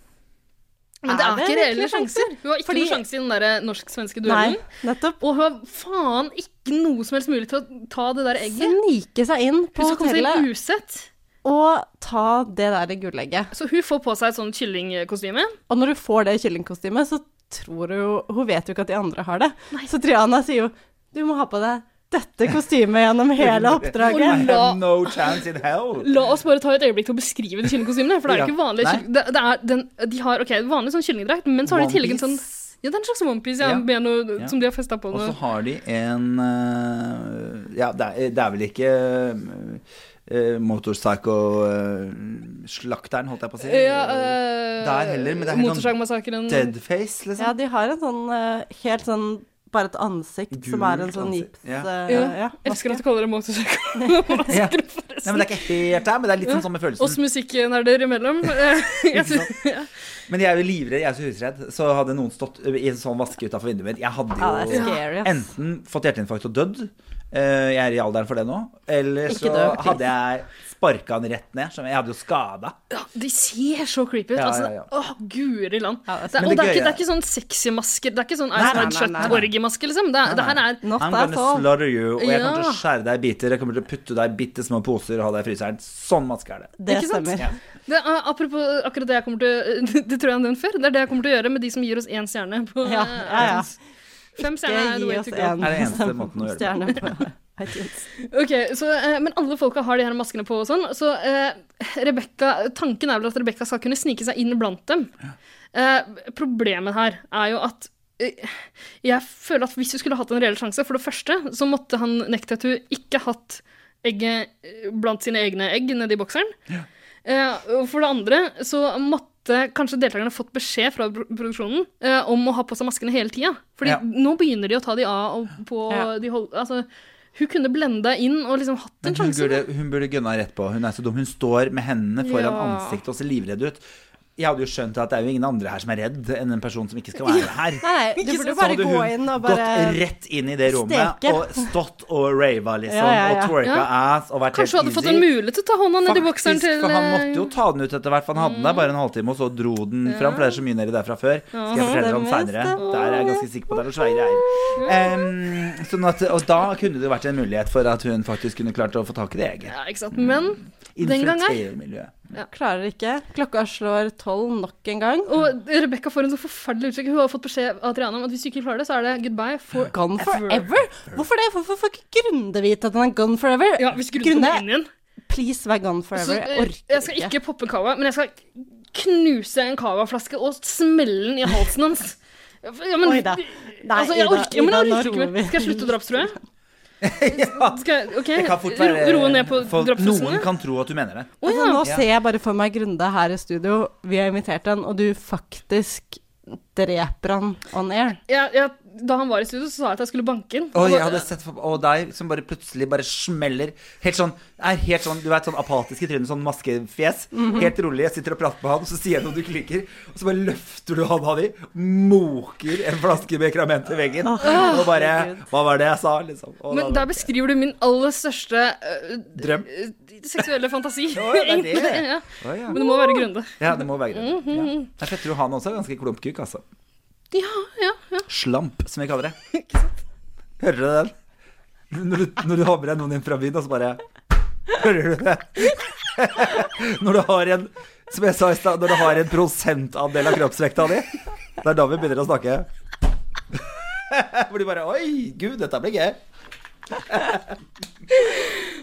Speaker 3: Men det er, ikke reelle
Speaker 5: virkelig
Speaker 3: sjanser. Hun har ikke
Speaker 5: Fordi-
Speaker 3: noen sjanse i den der eh, norsk-svenske
Speaker 5: Nei,
Speaker 3: duellen.
Speaker 5: nettopp.
Speaker 3: Og hun har faen ikke noe som helst mulig til å ta det der egget.
Speaker 5: Snike seg inn på
Speaker 3: Hun skal komme seg
Speaker 5: hotellet.
Speaker 3: usett.
Speaker 5: Og ta det der gullegget.
Speaker 3: Så hun får på seg et sånt kyllingkostyme.
Speaker 5: Og når du får det kyllingkostymet, så tror du jo Hun vet jo ikke at de andre har det. Så Triana sier jo Du må ha på deg dette kostymet gjennom hele
Speaker 4: I
Speaker 5: oppdraget.
Speaker 4: have no chance in hell.
Speaker 3: La oss bare ta et øyeblikk til å beskrive de kyllingkostymene. For det er jo
Speaker 4: Ja.
Speaker 3: ikke vanlig
Speaker 4: Nei.
Speaker 3: det, det er den, De har ok, vanlig sånn kyllingdrakt, men så har de i tillegg en sånn
Speaker 4: One
Speaker 3: Ja, det er en slags onepiece ja,
Speaker 4: Ja.
Speaker 3: med noe
Speaker 4: Ja.
Speaker 3: som de har festa på
Speaker 4: Og
Speaker 3: noe.
Speaker 4: så har de en eh, Ja, det er, det er vel ikke uh, Motorpsycho-slakteren, eh, holdt jeg på å si.
Speaker 3: Ja, eh,
Speaker 4: Der heller, men det er helt sånn
Speaker 3: Motorsagmassakren.
Speaker 4: deadface, liksom.
Speaker 5: Ja, de har en sånn eh, helt sånn Bare et ansikt som
Speaker 4: Gult
Speaker 5: er en sånn
Speaker 4: ansikt.
Speaker 5: gips
Speaker 4: Ja.
Speaker 5: eh,
Speaker 3: Ja.
Speaker 5: ja,
Speaker 3: Elsker at
Speaker 5: maske.
Speaker 3: du kaller det motorsagmassakren.
Speaker 4: *laughs* Ja. Nei, men det er ikke helt der, men det er litt sånn samme følelsen.
Speaker 3: Oss musikknerder
Speaker 4: *laughs*
Speaker 3: imellom. Eh, Jeg synes- ja.
Speaker 4: Men jeg er jo livredd, jeg er så husredd. Så hadde noen stått i en sånn vaske utenfor vinduet mitt Jeg hadde jo
Speaker 5: Ja, det er scary, ass.
Speaker 4: enten fått hjerteinfarkt og dødd, eh, jeg er i alderen for det nå, eller
Speaker 3: Ikke
Speaker 4: så
Speaker 3: dø.
Speaker 4: hadde jeg sparka han rett ned. Som jeg hadde jo skada.
Speaker 3: Ja, de ser så creepy ut.
Speaker 4: Ja,
Speaker 3: altså,
Speaker 4: ja, ja.
Speaker 3: Åh, guri land. det,
Speaker 4: Men
Speaker 3: og
Speaker 4: det
Speaker 3: det er, ikke,
Speaker 4: gøye-
Speaker 3: det er ikke sånn sexy masker. Det er ikke sånn
Speaker 4: Nei,
Speaker 3: Ice
Speaker 4: nei,
Speaker 3: White
Speaker 4: nei, nei, nei.
Speaker 3: Shut-orgie-maske, liksom. Det, er- det her er
Speaker 4: I'm gonna slaughter you, og jeg kommer til
Speaker 3: Ja.
Speaker 4: å skjære deg i biter. Jeg kommer til å putte deg i bitte små poser og ha deg i fryseren. Sånn maske er det.
Speaker 3: Ikke sant? Det er, apropos akkurat det jeg kommer til *laughs* Det tror jeg jeg har nevnt før. Det er det jeg kommer til å gjøre med de som gir oss én stjerne. På,
Speaker 5: Ja, ja, ja.
Speaker 3: *laughs* Fem stjerner
Speaker 5: Ikke
Speaker 3: er the
Speaker 5: gi
Speaker 3: way
Speaker 5: oss
Speaker 3: to
Speaker 5: en
Speaker 3: go.
Speaker 4: Er det eneste måten å gjøre det på.
Speaker 5: stjerne på *laughs* iTunes.
Speaker 3: Ok, så, eh, Men alle folka har de her maskene på og sånn. Så eh, Rebecca, tanken er vel at Rebekka skal kunne snike seg inn blant dem. Eh, problemet her er jo at eh, jeg føler at hvis du skulle hatt en reell sjanse, for det første så måtte han Nektatu ikke hatt egget eh, blant sine egne egg nedi bokseren. Eh, og for det andre så måtte kanskje deltakerne fått beskjed fra pro- produksjonen eh, om å ha på seg maskene hele tida. Fordi
Speaker 5: Ja.
Speaker 3: nå begynner de å ta de av og på
Speaker 5: Ja.
Speaker 3: de hold, altså, Hun kunne blenda inn og liksom hatt en
Speaker 4: Men hun
Speaker 3: sjanse.
Speaker 4: burde, hun burde gunna rett på. Hun er så dum. Hun står med hendene foran
Speaker 3: Ja.
Speaker 4: ansiktet og ser livredd ut. Jeg hadde jo skjønt at det er jo ingen andre her som er redd enn en person som ikke skal være her.
Speaker 5: Nei, du
Speaker 4: Ikke
Speaker 5: burde
Speaker 4: sant?
Speaker 5: jo
Speaker 4: Så
Speaker 5: bare
Speaker 4: hadde
Speaker 5: gå
Speaker 4: hun
Speaker 5: inn og
Speaker 4: Gått
Speaker 5: bare
Speaker 4: rett inn i det rommet
Speaker 5: steke.
Speaker 4: og stått og rava, liksom.
Speaker 3: Ja, ja, ja.
Speaker 4: Og twerka
Speaker 3: Ja.
Speaker 4: ass og vært
Speaker 3: Kanskje hun
Speaker 4: helt
Speaker 3: hadde fått en
Speaker 4: easy.
Speaker 3: mulighet til å ta hånda ned i bokseren til
Speaker 4: for han måtte jo
Speaker 3: eh, Mm.
Speaker 4: ta den ut etter hvert, for han hadde den der bare en halvtime, og så dro den
Speaker 3: Ja.
Speaker 4: fram, for det er så mye nedi der fra før. Skal
Speaker 3: Ja.
Speaker 4: jeg fortelle dere om
Speaker 3: Stemmer,
Speaker 4: seinere.
Speaker 3: stemmer.
Speaker 4: Der er jeg ganske sikker på at det er noen svære greier. Em, sånn at, og da kunne det jo vært en mulighet for at hun faktisk kunne klart å få tak i det eget.
Speaker 3: Ja, ikke sant. Men den gangen
Speaker 4: Infiltrermiljøet.
Speaker 5: Klarer ikke. Klokka slår tolv nok en gang.
Speaker 3: Og Rebekka får en så forferdelig uttrykk. Hun har fått beskjed av Triana om at hvis du ikke klarer det, så er det goodbye for
Speaker 5: Gone forever? Hvorfor det? Hvorfor får ikke Grunde vite at den er gone forever?
Speaker 3: Ja, hvis Grunde kommer inn igjen.
Speaker 5: Please, vær gone
Speaker 3: Så,
Speaker 5: forever.
Speaker 3: eh,
Speaker 5: Jeg orker
Speaker 3: jeg skal ikke poppe cava, men jeg skal knuse en cavaflaske og smelle den i halsen hans. Ja, men,
Speaker 5: Oi da. Nei,
Speaker 3: altså, jeg
Speaker 5: Ida,
Speaker 3: orker, ja, men jeg
Speaker 5: Ida, nå
Speaker 3: orker ikke
Speaker 5: roer
Speaker 3: mer.
Speaker 5: vi.
Speaker 3: Skal jeg slutte å drapstrue? Skal jeg, ok,
Speaker 4: Det kan fort være
Speaker 3: ro, roe ned på
Speaker 4: for Noen
Speaker 3: drapsfestene?
Speaker 4: kan tro at du mener det.
Speaker 5: Altså, nå
Speaker 4: Ja.
Speaker 5: ser jeg bare for meg Grunde her i studio. Vi har invitert han, og du faktisk dreper han on air.
Speaker 3: Ja, ja, da han var i studio, så sa jeg at jeg skulle banke den.
Speaker 4: Og jeg hadde sett for, og deg som bare plutselig bare smeller Helt sånn, er helt sånn du vet, sånn apatisk i trynet, sånn maskefjes.
Speaker 3: Mhm.
Speaker 4: Helt rolig. Jeg sitter og prater med han, og så sier jeg noe du ikke liker. Og så bare løfter du hånda di, moker en flaske med krament i veggen.
Speaker 3: Åh.
Speaker 4: og bare Hva var det jeg sa? Liksom. Og
Speaker 3: Men
Speaker 4: da,
Speaker 3: der beskriver du min aller største øh,
Speaker 4: Drøm.
Speaker 3: øh, seksuelle fantasi.
Speaker 4: ja, det
Speaker 3: *laughs*
Speaker 4: er det.
Speaker 3: Egentlig, ja.
Speaker 4: Å, ja.
Speaker 3: Men det må være Grunde.
Speaker 4: ja, det må være greit.
Speaker 3: Mhm.
Speaker 4: Jeg tror jeg tror han også er ganske klumpkuk, altså.
Speaker 3: Ja, ja, ja.
Speaker 4: Slamp, som vi kaller det. Hører du den? Når du, når du har med deg noen inn fra byen, og så bare Hører du det? *laughs* Når du har en Som jeg sa i stad, når du har en prosentandel av kroppsvekta di, det er da vi begynner å snakke. *laughs* Hvor de bare Oi, gud, dette blir gøy. *laughs*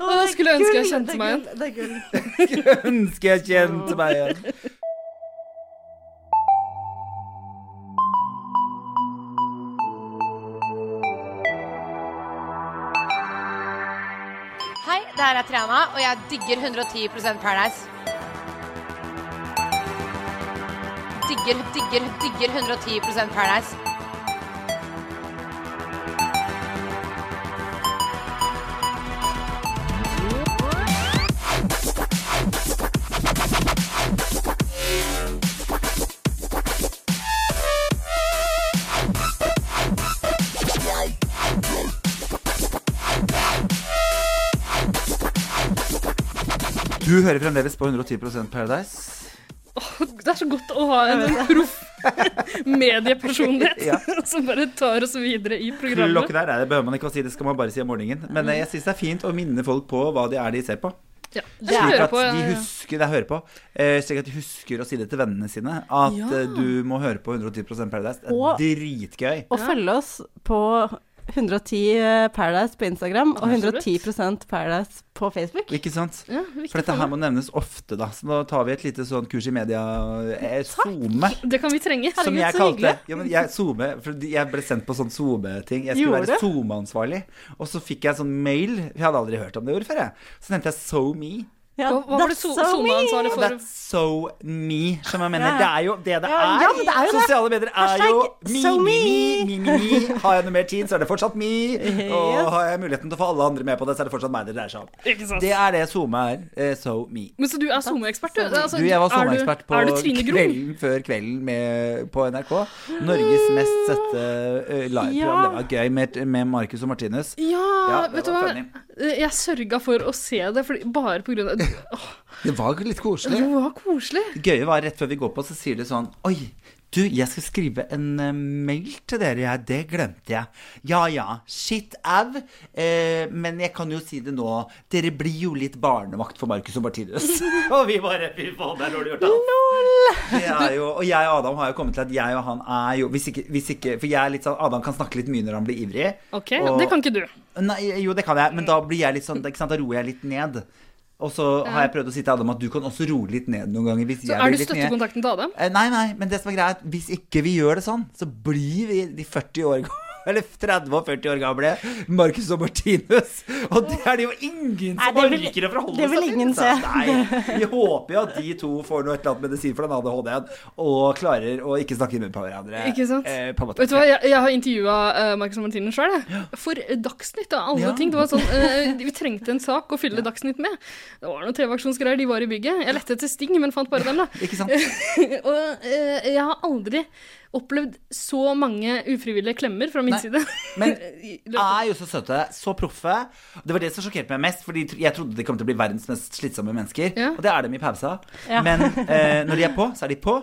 Speaker 3: Å, skulle jeg ønske jeg kjente meg igjen.
Speaker 5: Det er gull.
Speaker 4: Skulle ønske jeg kjente meg igjen.
Speaker 7: Hei, det her er Triana, og jeg digger 110 Paradise. Digger, digger, digger 110 Paradise.
Speaker 4: Du hører fremdeles på 110 Paradise.
Speaker 3: Det er så godt å ha en proff *laughs* mediepersonlighet
Speaker 4: Ja.
Speaker 3: *laughs* som bare tar oss videre i
Speaker 4: Klokken
Speaker 3: programmet.
Speaker 4: der er det, behøver man ikke å si, det skal man bare si om morgenen. Men eh, jeg syns det er fint å minne folk på hva det er de ser på.
Speaker 3: Ja, jeg skal
Speaker 4: Slik
Speaker 3: høre
Speaker 4: at
Speaker 3: på, ja,
Speaker 4: de
Speaker 3: ja.
Speaker 4: husker, det jeg hører på, eh, slik at de husker å si det til vennene sine. At
Speaker 5: Ja.
Speaker 4: eh, du må høre på 110 Paradise. Det er
Speaker 5: Og-
Speaker 4: dritgøy.
Speaker 5: Og følg oss på 110 eh, Paradise på Instagram og
Speaker 4: Absolutt.
Speaker 5: 110 Paradise på Facebook.
Speaker 4: Ikke sant?
Speaker 5: Ja, viktig
Speaker 4: For dette her må nevnes ofte, da. Så nå tar vi et lite sånn kurs i media. eh, SoMe.
Speaker 3: Det kan vi trenge.
Speaker 4: Som jeg kalte ja, men jeg, SoMe, for de- jeg ble sendt på sånn SoMe-ting. Jeg skulle
Speaker 3: Gjorde
Speaker 4: være
Speaker 3: du?
Speaker 4: SoMe-ansvarlig. Og så fikk jeg sånn mail. Jeg hadde aldri hørt om det ordet før, jeg. Så nevnte jeg SoMe.
Speaker 5: Ja,
Speaker 3: Hva- hva var det so- SoMe-ansvarlig for?
Speaker 4: That's so me, som jeg mener.
Speaker 3: Ja.
Speaker 4: Det er jo det det er.
Speaker 3: Ja, ja, men det er jo det.
Speaker 4: Sosiale medier er
Speaker 3: Hashtag
Speaker 4: jo me,
Speaker 3: so
Speaker 4: me, me, me, me, me. Har jeg noe mer tid, så er det fortsatt
Speaker 3: *laughs*
Speaker 4: me. Og har jeg muligheten til å få alle andre med på det, så er det fortsatt meg det dreier seg om.
Speaker 3: Ikke sant?
Speaker 4: Det er det SoMe er. eh, So me.
Speaker 3: Men så du er SoMe-ekspert, du? Altså,
Speaker 4: Du, jeg var
Speaker 3: er du-
Speaker 4: SoMe-ekspert på
Speaker 3: Er du Trine Grung?
Speaker 4: kvelden før kvelden med, på NRK. Norges mest sette eh, liveprogram.
Speaker 3: Ja.
Speaker 4: Det var gøy med, med Marcus og Martinus.
Speaker 3: Ja,
Speaker 4: Ja, det
Speaker 3: vet du
Speaker 4: var
Speaker 3: hva.
Speaker 4: funny.
Speaker 3: Jeg sørga for å se det, fordi, bare på grunn av Åh,
Speaker 4: Det var litt koselig.
Speaker 3: Det var koselig.
Speaker 4: Det gøye var rett før vi går på, så sier de sånn Oi, du, jeg skal skrive en eh, mail til dere, jeg. Det glemte jeg. Ja ja, shit au. Eh, men jeg kan jo si det nå. Dere blir jo litt barnevakt for Marcus og Martinus. *laughs* og vi bare Fy faen, det er dårlig gjort, ass. Det er jo, og jeg og Adam har jo kommet til at jeg og han er jo Hvis ikke, hvis ikke For jeg er litt sånn Adam kan snakke litt mye når han blir ivrig.
Speaker 3: Ok, Det kan ikke du.
Speaker 4: Nei, jo, det kan jeg, men da blir jeg litt sånn ikke sant? Da roer jeg litt ned. Og så har jeg prøvd å si til Adam at du kan også roe litt ned noen ganger. Hvis
Speaker 3: Så
Speaker 4: jeg
Speaker 3: er du
Speaker 4: blir litt ned.
Speaker 3: støttekontakten til Adam?
Speaker 4: Eh, Nei, nei, men det som er greia er at hvis ikke vi gjør det sånn, så blir vi de 40 år gamle *laughs* Eller 30 og 40 år gamle Marcus og Martinus. Og det er det jo ingen
Speaker 5: Nei,
Speaker 4: som
Speaker 5: det vil-
Speaker 4: liker å forholde
Speaker 5: det vil
Speaker 4: seg til.
Speaker 5: ingen
Speaker 4: så
Speaker 5: se.
Speaker 4: Nei, Vi håper jo at de to får noe et eller annet medisin for den ADHD-en, og klarer å ikke snakke i munnen på hverandre.
Speaker 3: Ikke sant?
Speaker 4: Eh, på en måte.
Speaker 3: Vet du hva, jeg, jeg har intervjua Marcus og Martine sjøl, for Dagsnytt av alle
Speaker 4: Ja.
Speaker 3: ting. Det var sånn,
Speaker 4: *laughs*
Speaker 3: eh, Vi trengte en sak å fylle Dagsnytt med. Det var noen TV-aksjonsgreier, de var i bygget. Jeg lette etter Sting, men fant bare
Speaker 4: *laughs*
Speaker 3: dem, da.
Speaker 4: Ikke sant?
Speaker 3: og eh, jeg har aldri opplevd så mange ufrivillige klemmer fra min side. *laughs*
Speaker 4: Men er jo så søte, så proffe. Det var det som sjokkerte meg mest, Fordi jeg trodde de kom til å bli verdens mest slitsomme mennesker. Og det er dem i pausa.
Speaker 3: Ja.
Speaker 4: Men eh, når de er på, så er de på.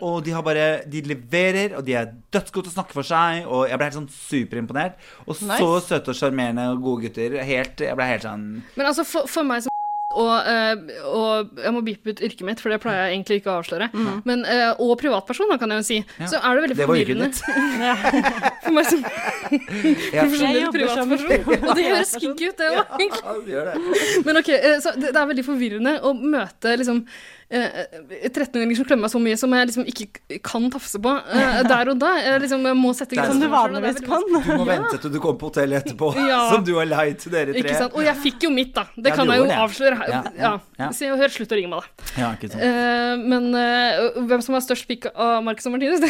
Speaker 4: og de har bare De leverer, og de er dødsgode til å snakke for seg. Og jeg ble helt sånn superimponert. Og så
Speaker 3: Nice.
Speaker 4: søte og sjarmerende og gode gutter. Helt, jeg ble helt sånn
Speaker 3: Men altså, for, for meg som og, eh, og jeg må beepe ut yrket mitt, for det pleier jeg egentlig ikke å avsløre. Men, eh, og privatperson, da, kan jeg jo si.
Speaker 4: Mm. Ja.
Speaker 3: Så er det veldig
Speaker 4: Det var yrket
Speaker 3: forvirrende. *laughs* for meg som *laughs* profesjonell
Speaker 5: Jeg jobber
Speaker 3: privatperson.
Speaker 5: som
Speaker 3: Og det
Speaker 5: privatperson.
Speaker 3: høres skinky ut, det òg, egentlig.
Speaker 4: gjør det.
Speaker 3: Men ok, eh, så det, det er veldig forvirrende å møte liksom eh, 13-åringer som klemmer meg så mye som jeg liksom ikke k- kan tafse på eh, der og da. Jeg liksom jeg må sette
Speaker 4: Det er
Speaker 3: grenser.
Speaker 4: som du
Speaker 3: for meg selv, og det er veldig
Speaker 4: Du må
Speaker 3: vanskelig. Ja,
Speaker 4: vente til du kommer på hotellet etterpå,
Speaker 3: *laughs* Ja.
Speaker 4: som du har leid til dere tre.
Speaker 3: Ikke sant? Og jeg fikk jo mitt, da. Det
Speaker 4: Ja,
Speaker 3: kan
Speaker 4: du
Speaker 3: jeg jo
Speaker 4: gjorde det.
Speaker 3: avsløre her.
Speaker 4: Ja,
Speaker 3: Ja.
Speaker 4: ja, ja.
Speaker 3: Se og hør, slutt å ringe meg, da.
Speaker 4: Ja, ikke sant.
Speaker 3: Eh, men eh, hvem som har størst pikk av Marcus og Martinus, *laughs*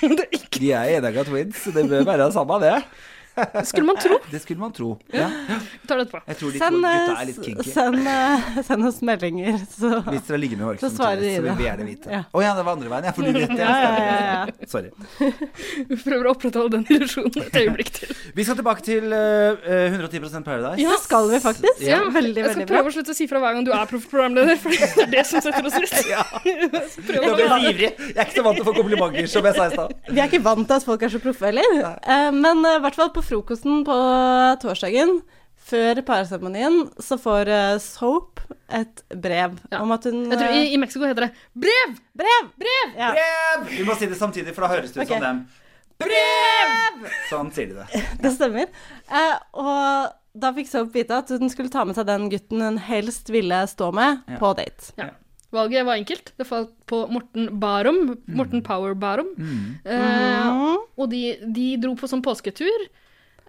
Speaker 3: det
Speaker 4: De er enegga twins, så det bør være det samme, det.
Speaker 3: Skulle man tro.
Speaker 4: Det skulle man tro. Ja.
Speaker 3: tar det etterpå.
Speaker 4: Jeg tror de to
Speaker 5: Send,
Speaker 4: sånn, gutta
Speaker 5: eh,
Speaker 4: er litt kinky.
Speaker 5: send, eh, send oss meldinger, så
Speaker 4: Hvis dere ligger med Marcus
Speaker 5: Så
Speaker 4: og
Speaker 5: svarer
Speaker 4: Martinus,
Speaker 5: de
Speaker 4: så vil
Speaker 5: det.
Speaker 4: vi gjerne vite. Å ja.
Speaker 5: Ja.
Speaker 4: det var andre veien. Jeg får du rett i
Speaker 5: Ja, ja, ja,
Speaker 4: det. Sorry.
Speaker 3: Vi prøver å opprettholde den illusjonen et øyeblikk til.
Speaker 4: Vi skal tilbake til eh, 110 Paradise.
Speaker 5: Det skal vi faktisk.
Speaker 4: Ja.
Speaker 3: Jeg
Speaker 5: Veldig,
Speaker 3: skal
Speaker 5: veldig bra.
Speaker 3: prøve å slutte å si fra hver gang du er proffprogramleder, for det er det som
Speaker 4: *laughs*
Speaker 3: setter oss ut. *laughs*
Speaker 4: Jeg ble så ivrig. Jeg er ikke så vant til å få komplimenter, som jeg sa i stad.
Speaker 5: Vi er ikke vant til at folk er så proffe heller. Eh, Men eh, i hvert fall på frokosten på eh, torsdagen, før parseremonien, så får eh, Soap et brev om at hun
Speaker 3: Jeg tror i,
Speaker 5: eh,
Speaker 3: I Mexico heter det 'brev'!
Speaker 5: Brev!
Speaker 3: Brev!
Speaker 5: Ja.
Speaker 4: Vi må si det samtidig, for da høres det ut
Speaker 5: Ok.
Speaker 4: som dem. Sånn sier de det.
Speaker 5: *laughs* Det stemmer. Eh, og da fikk Soap vite at hun skulle ta med seg den gutten hun helst ville stå med,
Speaker 3: Ja.
Speaker 5: på date.
Speaker 3: Ja. Valget var enkelt. Det falt på Morten Barum.
Speaker 5: Mm.
Speaker 3: Morten Power Barum. Eh,
Speaker 5: Mhm.
Speaker 3: og de, de dro på sånn påsketur.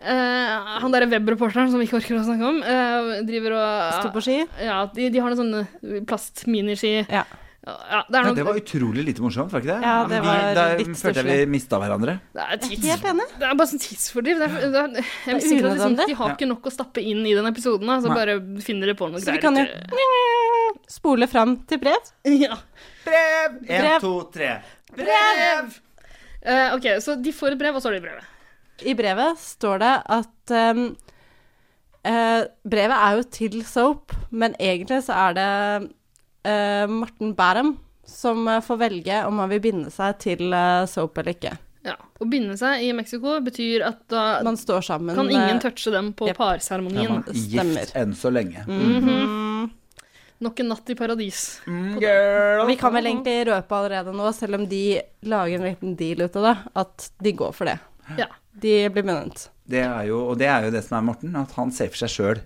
Speaker 3: Eh, han derre webreporteren som vi ikke orker å snakke om, eh, driver og
Speaker 5: Sto på ski?
Speaker 3: Ja, de, de har noen sånne plastminiski.
Speaker 5: Ja.
Speaker 3: ja, det er
Speaker 4: Ja,
Speaker 3: noe
Speaker 4: det var utrolig lite morsomt, var ikke det?
Speaker 3: Ja, det var
Speaker 4: da
Speaker 3: litt
Speaker 4: følte jeg
Speaker 3: stusslig.
Speaker 4: vi mista hverandre.
Speaker 3: Det er, tids,
Speaker 5: Helt
Speaker 3: det er bare sånn tidsfordriv. Det er, det er, jeg er
Speaker 5: Det er
Speaker 3: sikker på at liksom,
Speaker 5: unødvendig.
Speaker 3: de har ikke nok å stappe inn i den episoden. da, Så
Speaker 5: Nei.
Speaker 3: bare finner de på noe
Speaker 5: Så vi
Speaker 3: greier.
Speaker 5: kan jo
Speaker 3: til- eh,
Speaker 5: spole fram til brev.
Speaker 3: *laughs* Ja.
Speaker 4: Brev! En,
Speaker 5: Brev.
Speaker 4: to, tre.
Speaker 3: Brev! Eh, ok, så de får et brev, og så har de brevet.
Speaker 5: I brevet står det at um, eh, Brevet er jo til Soap, men egentlig så er det eh, Morten Bærum som eh, får velge om han vil binde seg til eh, Soap eller ikke.
Speaker 3: Ja. Å binde seg i Mexico betyr at da
Speaker 5: Man står sammen
Speaker 3: kan ingen
Speaker 5: eh,
Speaker 3: touche dem på
Speaker 4: Ja,
Speaker 3: parseremonien.
Speaker 4: man er gift enn så lenge.
Speaker 5: Mm.
Speaker 3: Mhm. Nok en natt i paradis.
Speaker 5: Mm. og Vi kan vel egentlig røpe allerede nå, selv om de lager en liten deal ut av det, at de går for det.
Speaker 3: Ja.
Speaker 5: De blir bundet.
Speaker 4: Det er jo, og det er jo det som er Morten, at han ser for seg sjøl.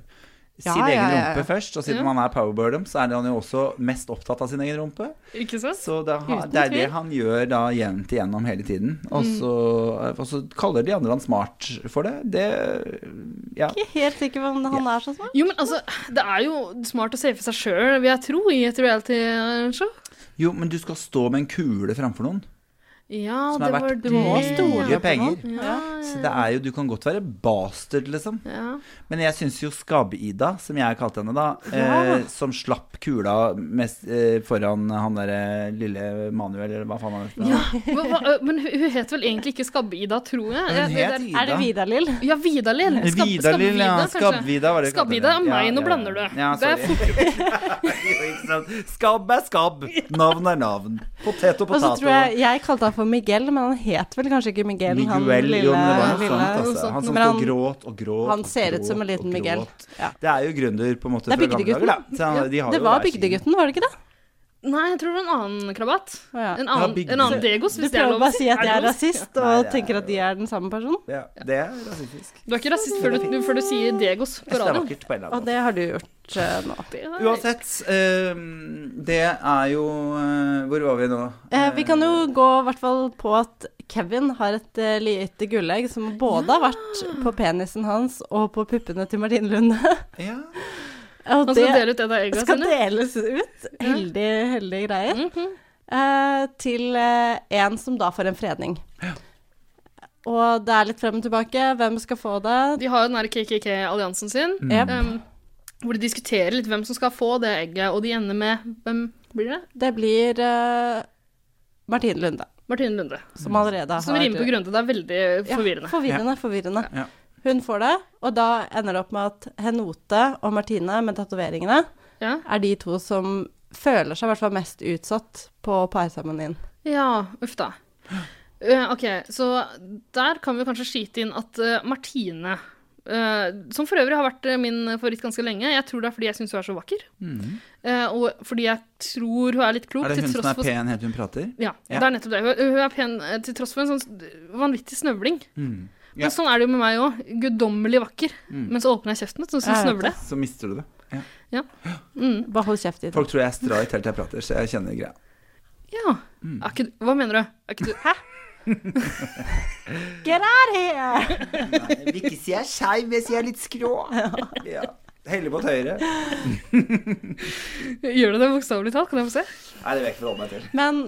Speaker 5: Ja,
Speaker 4: sin egen
Speaker 5: ja, ja, ja.
Speaker 4: rumpe først, og siden
Speaker 5: Ja.
Speaker 4: han er powerbirdom, så er han jo også mest opptatt av sin egen rumpe.
Speaker 3: Ikke sant?
Speaker 4: Så da har, det er det han gjør da jevnt igjennom hele tiden. Og
Speaker 5: Mm.
Speaker 4: så, og så kaller de andre han smart for det. Det Ja.
Speaker 5: Ikke helt sikker på om han er så smart.
Speaker 3: Jo, men altså, det er jo smart å safe seg sjøl, vil jeg tro, i et reality-show.
Speaker 4: Jo, men du skal stå med en kule framfor noen
Speaker 3: Ja,
Speaker 4: som
Speaker 3: det
Speaker 4: er
Speaker 3: var
Speaker 4: verdt
Speaker 3: det.
Speaker 4: mye penger.
Speaker 3: Ja.
Speaker 4: Så det er jo Du kan godt være bastard, liksom.
Speaker 3: Ja.
Speaker 4: Men jeg syns jo Skabbe-Ida, som jeg kalte henne da,
Speaker 3: Ja.
Speaker 4: eh, som slapp kula mest, eh, foran han derre lille Manuel, eller hva faen han heter.
Speaker 3: Ja, hva, hva, ø, men hun hun het vel egentlig ikke Skabbe-Ida, tror jeg.
Speaker 4: Men
Speaker 3: Jeg-
Speaker 4: hun
Speaker 3: det
Speaker 4: het
Speaker 3: der-
Speaker 4: Ida. Er det
Speaker 5: Vidar-Lill?
Speaker 3: Ja, Vidar-Lill. Skab-
Speaker 4: Vidar-Lill, ja.
Speaker 3: kanskje.
Speaker 4: Skabb-Vida var det vi kalte
Speaker 3: Skabb-Ida
Speaker 4: det.
Speaker 3: er meg,
Speaker 4: Ja,
Speaker 3: nå
Speaker 4: ja, ja.
Speaker 3: blander du.
Speaker 4: Ja,
Speaker 3: det er
Speaker 4: sorry. *laughs* Ikke sant? Skabb er skabb. Navn er navn. Potet og
Speaker 5: Og så
Speaker 4: potato.
Speaker 5: tror jeg jeg kalte han for Miguel, men han het vel kanskje ikke Miguel. han
Speaker 4: Miguel, jo, men det var noe
Speaker 5: lille-
Speaker 4: sånt, altså. Han som
Speaker 5: Men
Speaker 4: sto og gråt og gråt.
Speaker 5: han
Speaker 4: og
Speaker 5: ser ut som en
Speaker 4: gråt
Speaker 5: liten
Speaker 4: og
Speaker 5: Miguel.
Speaker 4: gråt. Det er jo gründer på en måte
Speaker 5: Det er
Speaker 4: fra gamle dager, da.
Speaker 5: bygdegutten.
Speaker 4: Så han- de har
Speaker 5: Det
Speaker 4: jo
Speaker 5: var
Speaker 4: hver sin-
Speaker 5: bygdegutten, var det ikke det?
Speaker 3: Nei, jeg tror det var en annen krabat. En
Speaker 4: Ja,
Speaker 3: annen,
Speaker 4: bygd-
Speaker 3: en annen Degos,
Speaker 5: Du
Speaker 3: hvis det er
Speaker 5: prøver
Speaker 3: lov.
Speaker 5: bare å si at jeg
Speaker 3: det
Speaker 5: er
Speaker 3: lov?
Speaker 5: rasist,
Speaker 4: Nei,
Speaker 5: og
Speaker 4: det er
Speaker 5: tenker at de er den samme personen.
Speaker 4: Ja, det er rasistisk.
Speaker 3: Du er ikke rasist før du, før du sier Degos på
Speaker 4: Jeg synes det er
Speaker 3: radioen.
Speaker 4: vakkert på en eller annen
Speaker 5: Og det har du gjort. gjort eh, nå.
Speaker 4: Uansett, eh, det er jo eh, Hvor var vi nå?
Speaker 5: Eh, vi kan jo gå i hvert fall på at Kevin har et eh, lite gullegg som både har vært på penisen hans og på puppene til Martine Lunde. *laughs*
Speaker 4: Eh, Ja.
Speaker 5: Og
Speaker 3: Han skal dele ut det da egga
Speaker 5: skal
Speaker 3: sine.
Speaker 5: deles ut. Heldig, heldige greier.
Speaker 3: Mhm.
Speaker 5: Eh, til eh, en som da får en fredning. Og det er litt frem og tilbake. Hvem skal få det?
Speaker 3: De har jo den der KKK-alliansen sin,
Speaker 5: Mm. Yep.
Speaker 3: em, hvor de diskuterer litt hvem som skal få det egget, og de ender med Hvem blir det?
Speaker 5: Det blir eh, Martine Lunde.
Speaker 3: Martine Lunde.
Speaker 5: Som allerede har
Speaker 3: Som rimer på Grunde. Det er veldig forvirrende.
Speaker 5: Ja, forvirrende, forvirrende. Hun får det, og da ender det opp med at Henote og Martine med tatoveringene er de to som føler seg i hvert fall mest utsatt på parseremonien.
Speaker 3: Ja, uff da. Eh, ok, så der kan vi kanskje skyte inn at eh, Martine eh, som for øvrig har vært eh, min favoritt ganske lenge. Jeg tror det er fordi jeg syns hun er så vakker. eh, og fordi jeg tror hun er litt klok.
Speaker 4: Er det
Speaker 3: til
Speaker 4: hun som
Speaker 3: tross
Speaker 4: er
Speaker 3: for-
Speaker 4: pen helt til hun prater?
Speaker 3: Ja, det er nettopp det. Hun- Hun er pen eh, til tross for en sånn vanvittig snøvling.
Speaker 4: Mm.
Speaker 3: Men sånn er det jo med meg òg. Guddommelig vakker.
Speaker 4: Mm.
Speaker 3: Men så åpner jeg kjeften, så sånn snøvler det.
Speaker 4: Så mister du det. Ja.
Speaker 3: Ja. Mm.
Speaker 5: Bare hold kjeft i
Speaker 4: Folk tror jeg er streit helt til jeg prater, så jeg kjenner greia.
Speaker 3: Ja. Er ikke, du- hva mener du? Er ikke du Hæ?
Speaker 5: Get out here!
Speaker 4: Nei, jeg vil ikke si jeg er skeiv, men jeg sier jeg er litt skrå. *laughs* Ja. Heller mot høyre.
Speaker 3: *laughs* Gjør du det bokstavelig talt? Kan jeg få se?
Speaker 4: Nei, det vil jeg ikke forholde meg til.
Speaker 5: Men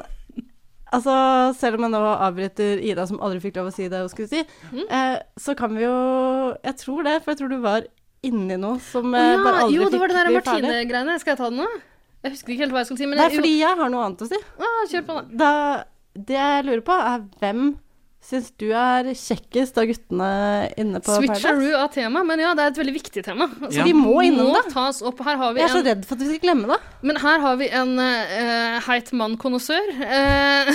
Speaker 5: altså, selv om jeg nå avbryter Ida, som aldri fikk lov å si det hun skulle si,
Speaker 3: Mhm.
Speaker 5: eh, så kan vi jo Jeg tror det, for jeg tror du var inni noe som
Speaker 3: Å
Speaker 5: eh, bare aldri
Speaker 3: jo, det var
Speaker 5: fikk
Speaker 3: det der
Speaker 5: bli ferdig.
Speaker 3: Martine-greiene. Skal jeg ta den nå? Jeg husker ikke helt hva jeg skulle si. Men
Speaker 5: Nei,
Speaker 3: jeg,
Speaker 5: fordi jeg har noe annet å si.
Speaker 3: Ah, kjør på, da.
Speaker 5: da. Det jeg lurer på, er hvem syns du er kjekkest av guttene inne på
Speaker 3: Switcheroo av tema, men ja, det er et veldig viktig tema. Altså,
Speaker 5: Ja. Vi må innom det.
Speaker 3: tas opp. Her har vi
Speaker 5: Jeg er så
Speaker 3: en-
Speaker 5: redd for at vi skal glemme det.
Speaker 3: Men her har vi en eh, heit mann-konnoissør eh,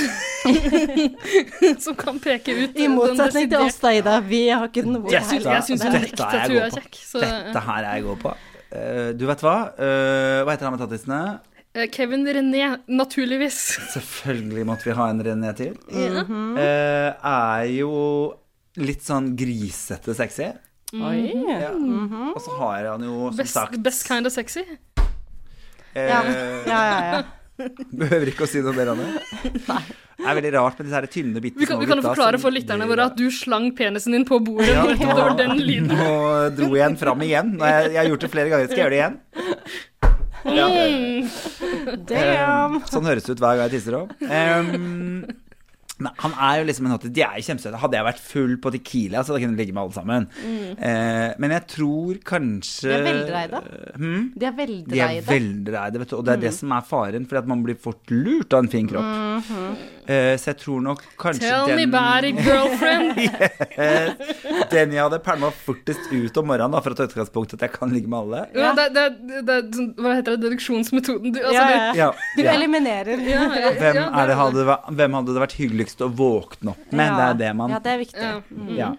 Speaker 3: *laughs* som kan peke ut
Speaker 5: I motsetning til oss, da, Ida. Vi har ikke noe
Speaker 3: Jeg syns- jeg syns hun er
Speaker 4: Dette
Speaker 3: ekte,
Speaker 4: er
Speaker 3: tror jeg
Speaker 4: jeg god
Speaker 3: er
Speaker 4: på.
Speaker 3: kjekk. Så,
Speaker 4: Dette her er jeg god på. Eh, du vet hva? Eh, hva heter han med tattisene?
Speaker 3: eh, Kevin René, naturligvis.
Speaker 5: *laughs*
Speaker 4: Selvfølgelig måtte vi ha en René til.
Speaker 3: Ja.
Speaker 4: Eh, er jo litt sånn grisete sexy.
Speaker 3: Oi.
Speaker 4: Ja. Og så har han jo, som
Speaker 3: Mm. Best,
Speaker 4: sagt
Speaker 3: best kind of sexy.
Speaker 4: eh,
Speaker 3: Ja, men- ja, ja,
Speaker 4: *laughs* Behøver ikke å si noe mer
Speaker 3: *laughs*
Speaker 4: om det. Det er veldig rart med disse her tynne, bitte
Speaker 3: Vi kan, vi kan jo forklare for lytterne våre at du slang penisen din på bordet.
Speaker 4: Ja,
Speaker 3: nettopp, det var
Speaker 4: *laughs*
Speaker 3: den lyden.
Speaker 4: nå, nå dro jeg den fram igjen. Nå, har jeg, jeg har gjort det flere ganger. Skal jeg gjøre det igjen? Ja.
Speaker 3: Mm,
Speaker 5: Damn.
Speaker 4: Eh, Sånn høres det ut hver gang jeg tisser òg. nei, han er jo liksom en hottie. De er jo kjempesøte. Hadde jeg vært full på Tequila, så hadde jeg kunnet ligge med alle sammen.
Speaker 5: Mm.
Speaker 4: Eh, men jeg tror kanskje
Speaker 5: De er veldreide.
Speaker 4: Hmm?
Speaker 5: De er
Speaker 4: De er
Speaker 5: veldreide.
Speaker 4: veldreide, vet du. Og det er det
Speaker 5: Mm.
Speaker 4: som er faren, fordi at man blir fort lurt av en fin kropp.
Speaker 5: Mhm.
Speaker 4: Eh, så jeg tror nok kanskje
Speaker 3: Tell me
Speaker 4: den
Speaker 3: about it, girlfriend.
Speaker 4: *laughs* Eh, Den jeg hadde pælma fortest ut om morgenen, da, for å ta utgangspunkt i at jeg kan ligge med alle.
Speaker 3: Ja, det, det, det, er sånn- hva heter det, deduksjonsmetoden? Du, altså,
Speaker 5: Ja,
Speaker 3: du-
Speaker 4: Ja,
Speaker 5: Du
Speaker 4: ja.
Speaker 5: eliminerer.
Speaker 3: Ja, ja,
Speaker 4: Hvem,
Speaker 3: ja,
Speaker 4: er det hadde, væ- hvem hadde det vært hyggeligst å våkne opp med? Det er det man
Speaker 5: Ja, det er viktig. Mm.
Speaker 4: Ja.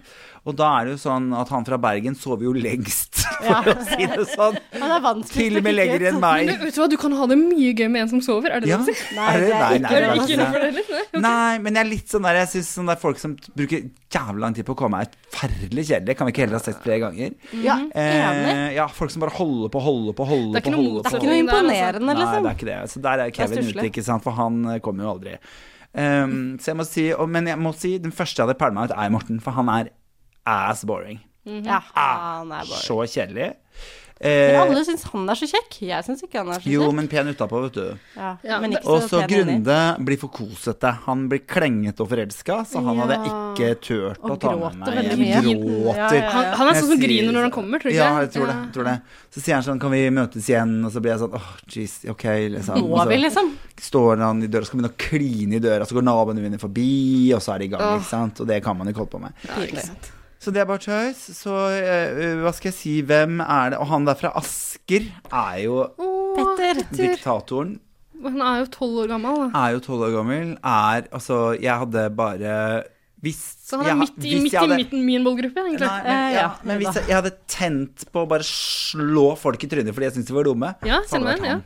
Speaker 4: Og da er det jo sånn at han fra Bergen sover jo lengst, *laughs* for
Speaker 5: Ja.
Speaker 4: å si det sånn.
Speaker 5: Ja, det er vanskelig
Speaker 4: Til og med
Speaker 5: å stikke
Speaker 4: lenger
Speaker 5: ut.
Speaker 4: enn meg.
Speaker 3: Men vet du hva, du kan ha det mye gøy med en som sover, er det
Speaker 4: Ja.
Speaker 3: sånn. det du sier?
Speaker 4: Nei, Er det- det er nei,
Speaker 3: Er
Speaker 4: nei, altså. ikke
Speaker 3: det
Speaker 4: det er
Speaker 3: ikke
Speaker 4: ikke
Speaker 3: noe for det, eller? Nei, ok.
Speaker 4: Nei, men jeg er litt sånn der Jeg synes sånn der folk som t- bruker jævlig lang tid på å komme, er forferdelig kjedelig. Kan vi ikke heller ha sett flere ganger?
Speaker 5: Mhm. Ja, enig.
Speaker 4: Eh, ja, folk som bare holder på, holder på, holder på.
Speaker 5: Det er ikke noe
Speaker 4: holder på,
Speaker 5: motsetning Det er ikke
Speaker 4: holder
Speaker 5: noe
Speaker 4: på.
Speaker 5: imponerende, liksom.
Speaker 4: Nei, det er ikke det. Så der er
Speaker 5: Det er
Speaker 4: Kevin
Speaker 5: stusslig.
Speaker 4: ute, ikke sant, for han eh, kommer jo aldri. Ehm, så jeg må si og, Men jeg må si den første jeg hadde pælma ut, er Morten, for han er ass boring.
Speaker 5: Ja, han er bare
Speaker 4: Ah, Så kjedelig.
Speaker 5: Men
Speaker 4: Eh,
Speaker 5: alle syns han er så kjekk. Jeg syns ikke han er så kjekk.
Speaker 4: jo, men pen utapå, vet du.
Speaker 5: Ja,
Speaker 3: Ja,
Speaker 5: men ikke
Speaker 4: Og så
Speaker 5: pen inni.
Speaker 4: Grunde blir for kosete. Han blir klengete og forelska, så han hadde jeg ikke turt å
Speaker 3: Og
Speaker 4: ta med
Speaker 3: gråter
Speaker 4: meg.
Speaker 3: veldig mye.
Speaker 4: Gråter.
Speaker 3: Ja, ja, ja. Han- han er sånn som
Speaker 4: Jeg sier-
Speaker 3: griner når han kommer, tror du ikke
Speaker 4: Ja, jeg
Speaker 3: det?
Speaker 4: tror det,
Speaker 3: Ja.
Speaker 4: tror det. Så sier han sånn, kan vi møtes igjen? Og så blir jeg sånn, åh, jeez, ok, liksom.
Speaker 5: Må
Speaker 4: Og så
Speaker 5: vi, liksom?
Speaker 4: Står han i døra, skal begynne å kline i døra, så går naboene mine forbi, og så er de i gang,
Speaker 5: Åh.
Speaker 4: ikke sant? Og det kan man ikke holde på med.
Speaker 5: Pinlig.
Speaker 4: Så det er bare tøys. Så eh, hva skal jeg si, hvem er det? Og han der fra Asker er jo
Speaker 3: Petter.
Speaker 4: diktatoren.
Speaker 3: Han er jo tolv år gammel. da.
Speaker 4: er jo tolv år gammel, er Altså, jeg hadde bare Hvis
Speaker 3: Så han er
Speaker 4: jeg-
Speaker 3: midt i,
Speaker 4: hvis
Speaker 3: midt
Speaker 4: jeg
Speaker 3: i
Speaker 4: hadde-
Speaker 3: midten Eh, min målgruppe, egentlig.
Speaker 4: Nei, men, ja, men hvis jeg, jeg hadde tent på å bare slå folk i trynet fordi jeg syntes de var dumme,
Speaker 3: Ja,
Speaker 4: så hadde det vært
Speaker 3: Simen, ja.
Speaker 4: han.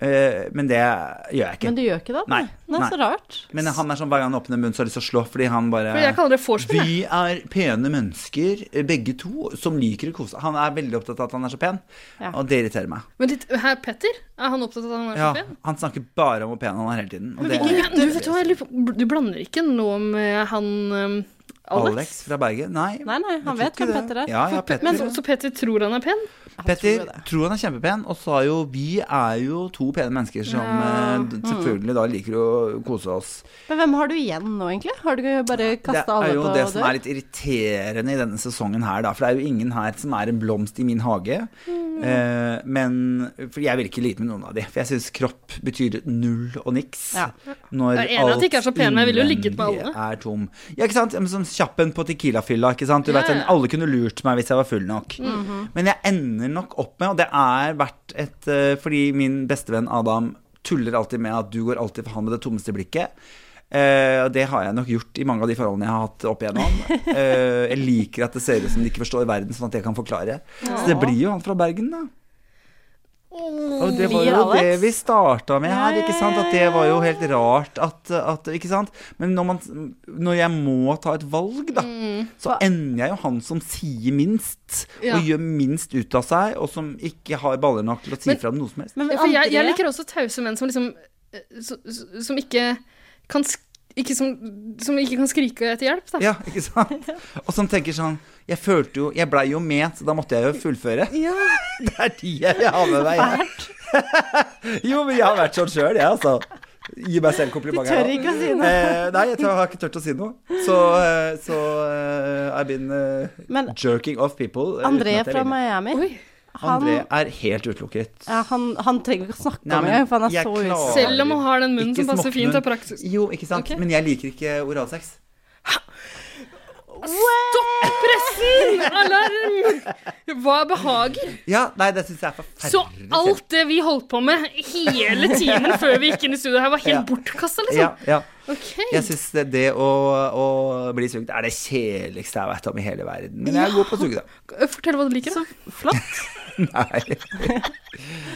Speaker 4: Eh, men det gjør jeg ikke.
Speaker 5: Men du gjør ikke det?
Speaker 4: Nei.
Speaker 5: Nei, så rart.
Speaker 4: Men han er sånn hver gang han åpner munnen, så har jeg lyst til å slå, fordi han bare
Speaker 5: Fordi jeg kaller det vorspiel,
Speaker 4: Vi er pene mennesker, eh, begge to, som liker å kose seg. Han er veldig opptatt av at han er så pen,
Speaker 3: Ja.
Speaker 4: og det irriterer meg.
Speaker 3: Men litt, her, Petter, er han opptatt av at han er så
Speaker 4: Ja,
Speaker 3: pen?
Speaker 4: han snakker bare om hvor pen han er hele tiden. Og
Speaker 3: Men
Speaker 4: det,
Speaker 3: hvilken gutter- du, vet du, hva, jeg lurer på- du blander ikke nå med han um, Alex?
Speaker 4: Alex fra Bergen? Nei.
Speaker 3: Nei, nei, han vet hvem Petter
Speaker 4: er. Ja,
Speaker 3: For
Speaker 4: ja,
Speaker 3: Pe-
Speaker 4: Petter.
Speaker 3: Men så, så Petter tror han er pen?
Speaker 4: Petter tror han er kjempepen, og sa jo vi er jo to pene mennesker som
Speaker 5: Ja. Mm.
Speaker 4: eh, d- selvfølgelig da liker å kose oss.
Speaker 5: Men hvem har du igjen nå, egentlig? Har du bare
Speaker 4: Det
Speaker 5: kasta
Speaker 4: er
Speaker 5: alle
Speaker 4: jo
Speaker 5: på
Speaker 4: det
Speaker 5: dør?
Speaker 4: som er litt irriterende i denne sesongen her, da. For det er jo ingen her som er en blomst i min hage.
Speaker 5: Mm.
Speaker 4: Eh, men For jeg vil ikke lite med noen av de. For jeg syns kropp betyr null og niks.
Speaker 3: Ja.
Speaker 4: Når
Speaker 3: Jeg er enig at de ikke er så pene, men jeg ville jo ligget med alle.
Speaker 4: innvendig Er tom. Ja, ikke sant? Ja, men Som kjappen på Tequila-fylla, ikke sant. Du
Speaker 3: Ja,
Speaker 4: vet,
Speaker 3: ja.
Speaker 4: den- alle kunne lurt meg hvis jeg var full nok.
Speaker 3: Mhm.
Speaker 4: Men jeg ender nok opp med, og det er verdt et eh, Fordi min bestevenn Adam tuller alltid med at du går alltid for han med det tommeste blikket. Eh, og det har jeg nok gjort i mange av de forholdene jeg har hatt opp igjennom.
Speaker 3: *laughs*
Speaker 4: Eh, jeg liker at det ser ut som de ikke forstår verden, sånn at jeg kan forklare. Så det
Speaker 3: Ja.
Speaker 4: blir jo han fra Bergen, da. Og det var
Speaker 3: Blir
Speaker 4: jo
Speaker 3: Alex?
Speaker 4: det vi starta med her, ikke sant? At det var jo helt rart at, at Ikke sant? Men når, man, når jeg må ta et valg, da, så ender jeg jo han som sier minst,
Speaker 3: Ja.
Speaker 4: og gjør minst ut av seg, og som ikke har baller nok til å si
Speaker 3: Men-
Speaker 4: fra om noe som helst.
Speaker 3: Ja, for jeg, jeg liker også tause menn som liksom eh, så- så- Som ikke kan sk- ikke som, som ikke kan skrike etter hjelp, da.
Speaker 4: Ja, ikke sant? Og som tenker sånn Jeg følte jo Jeg blei jo med, så da måtte jeg jo fullføre. *laughs* Det er de jeg vil ha med meg. *laughs* Jo, men jeg har vært sånn sjøl, jeg, altså. Gi meg selv kompliment.
Speaker 5: Du tør
Speaker 4: her nå.
Speaker 5: ikke å si noe.
Speaker 4: Eh, nei, jeg, tør, har ikke turt å si noe. Så, eh, så eh, I've been eh,
Speaker 5: Men-
Speaker 4: jerking off people. eh, uten
Speaker 5: André
Speaker 4: at jeg
Speaker 5: fra
Speaker 4: ville.
Speaker 5: Miami. Han,
Speaker 4: André er helt utelukket.
Speaker 5: ja, han, han trenger ikke å snakke
Speaker 4: Nei,
Speaker 5: om
Speaker 4: men
Speaker 5: det, for han
Speaker 4: jeg
Speaker 5: er så
Speaker 4: klarer-
Speaker 5: usikker.
Speaker 3: Selv om han har den munnen
Speaker 4: Ikke
Speaker 3: som passer fint
Speaker 4: smokkmunn.
Speaker 3: og praktisk.
Speaker 4: Jo, ikke sant. Men jeg liker ikke oralsex.
Speaker 3: Stopp pressen! Alarm! Hva behager?
Speaker 4: Ja, nei, det syns jeg er forferdelig.
Speaker 3: Så alt det vi holdt på med hele timen før vi gikk inn i studio her, var helt
Speaker 4: Ja.
Speaker 3: bortkasta,
Speaker 4: Ja,
Speaker 5: sånn?
Speaker 3: liksom?
Speaker 4: ja.
Speaker 3: Ok.
Speaker 4: Jeg syns det, det å, å bli sugd er det kjedeligste jeg vet om i hele verden. Men jeg er
Speaker 3: Ja.
Speaker 4: god på å suge, da.
Speaker 3: Eh, Fortell hva du liker, da. Flott.
Speaker 4: *laughs*
Speaker 5: *laughs*
Speaker 4: Nei.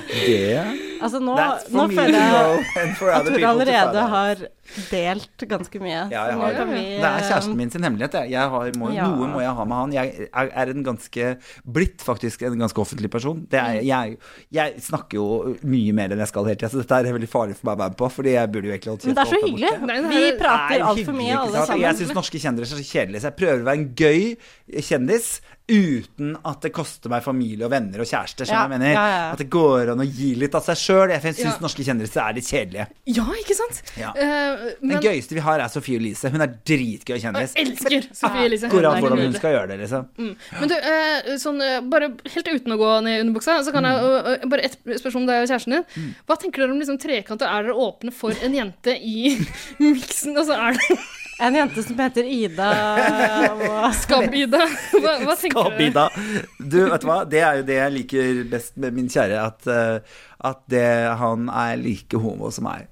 Speaker 4: Det
Speaker 5: Altså, nå,
Speaker 4: That's for
Speaker 5: nå
Speaker 4: me to
Speaker 5: føler jeg
Speaker 4: know *laughs* and for
Speaker 5: at
Speaker 4: other people
Speaker 5: du
Speaker 4: to find
Speaker 5: allerede
Speaker 4: out.
Speaker 5: har delt ganske mye.
Speaker 4: Ja,
Speaker 5: så
Speaker 4: jeg
Speaker 5: nå
Speaker 4: har
Speaker 5: kan
Speaker 4: det.
Speaker 5: vi,
Speaker 4: Det er kjæresten min sin hemmelighet. Jeg. Jeg har, må,
Speaker 5: Ja.
Speaker 4: Noe må jeg ha med han. Jeg er- er en ganske blitt faktisk en ganske offentlig person. Det
Speaker 5: Mm.
Speaker 4: er, jeg, jeg snakker jo mye mer enn jeg skal hele tida, så dette er veldig farlig for meg å være med på, fordi jeg burde jo egentlig holdt
Speaker 5: Men det
Speaker 4: kjeft og
Speaker 5: er så
Speaker 4: holdt meg
Speaker 5: hyggelig.
Speaker 4: borte.
Speaker 5: Vi
Speaker 4: Det
Speaker 5: prater
Speaker 4: er
Speaker 5: altfor
Speaker 4: hyggelig,
Speaker 5: mye,
Speaker 4: ikke
Speaker 5: alle
Speaker 4: sant? Jeg syns
Speaker 5: sammen.
Speaker 4: norske kjendiser er så kjedelige, så jeg prøver å være en gøy kjendis uten at det koster meg familie og venner og
Speaker 3: Ja,
Speaker 4: kjærester, skjønner du hva jeg mener.
Speaker 3: ja, ja, ja.
Speaker 4: At det går an å gi litt av seg sjøl. Jeg syns
Speaker 3: Ja.
Speaker 4: norske kjendiser er litt kjedelige.
Speaker 3: Ja, ikke sant?
Speaker 4: Ja.
Speaker 3: Eh, men
Speaker 4: Den gøyeste vi har, er Sophie Elise. Hun er dritgøy kjendis.
Speaker 3: Jeg elsker Sophie Elise.
Speaker 4: Går
Speaker 3: Hun
Speaker 4: an
Speaker 3: er
Speaker 4: hvordan hun
Speaker 3: nydelig.
Speaker 4: skal gjøre det, liksom.
Speaker 3: Mm. Men du, eh, sånn, eh, bare helt uten å gå ned i underbuksa, så kan jeg
Speaker 4: Mm.
Speaker 3: eh, eh, bare ett spørsmål om deg og kjæresten din. Hva tenker dere om liksom, trekant, og er dere åpne for en jente i *laughs* miksen? Altså, er det
Speaker 5: En jente som heter Ida
Speaker 4: *laughs*
Speaker 5: og
Speaker 3: Skabb-Ida? Hva, hva tenker
Speaker 4: Skal
Speaker 3: dere?
Speaker 4: bidra. Du, vet du hva? Det er jo det jeg liker best med min kjære, at, eh, at det, han er like homo som meg.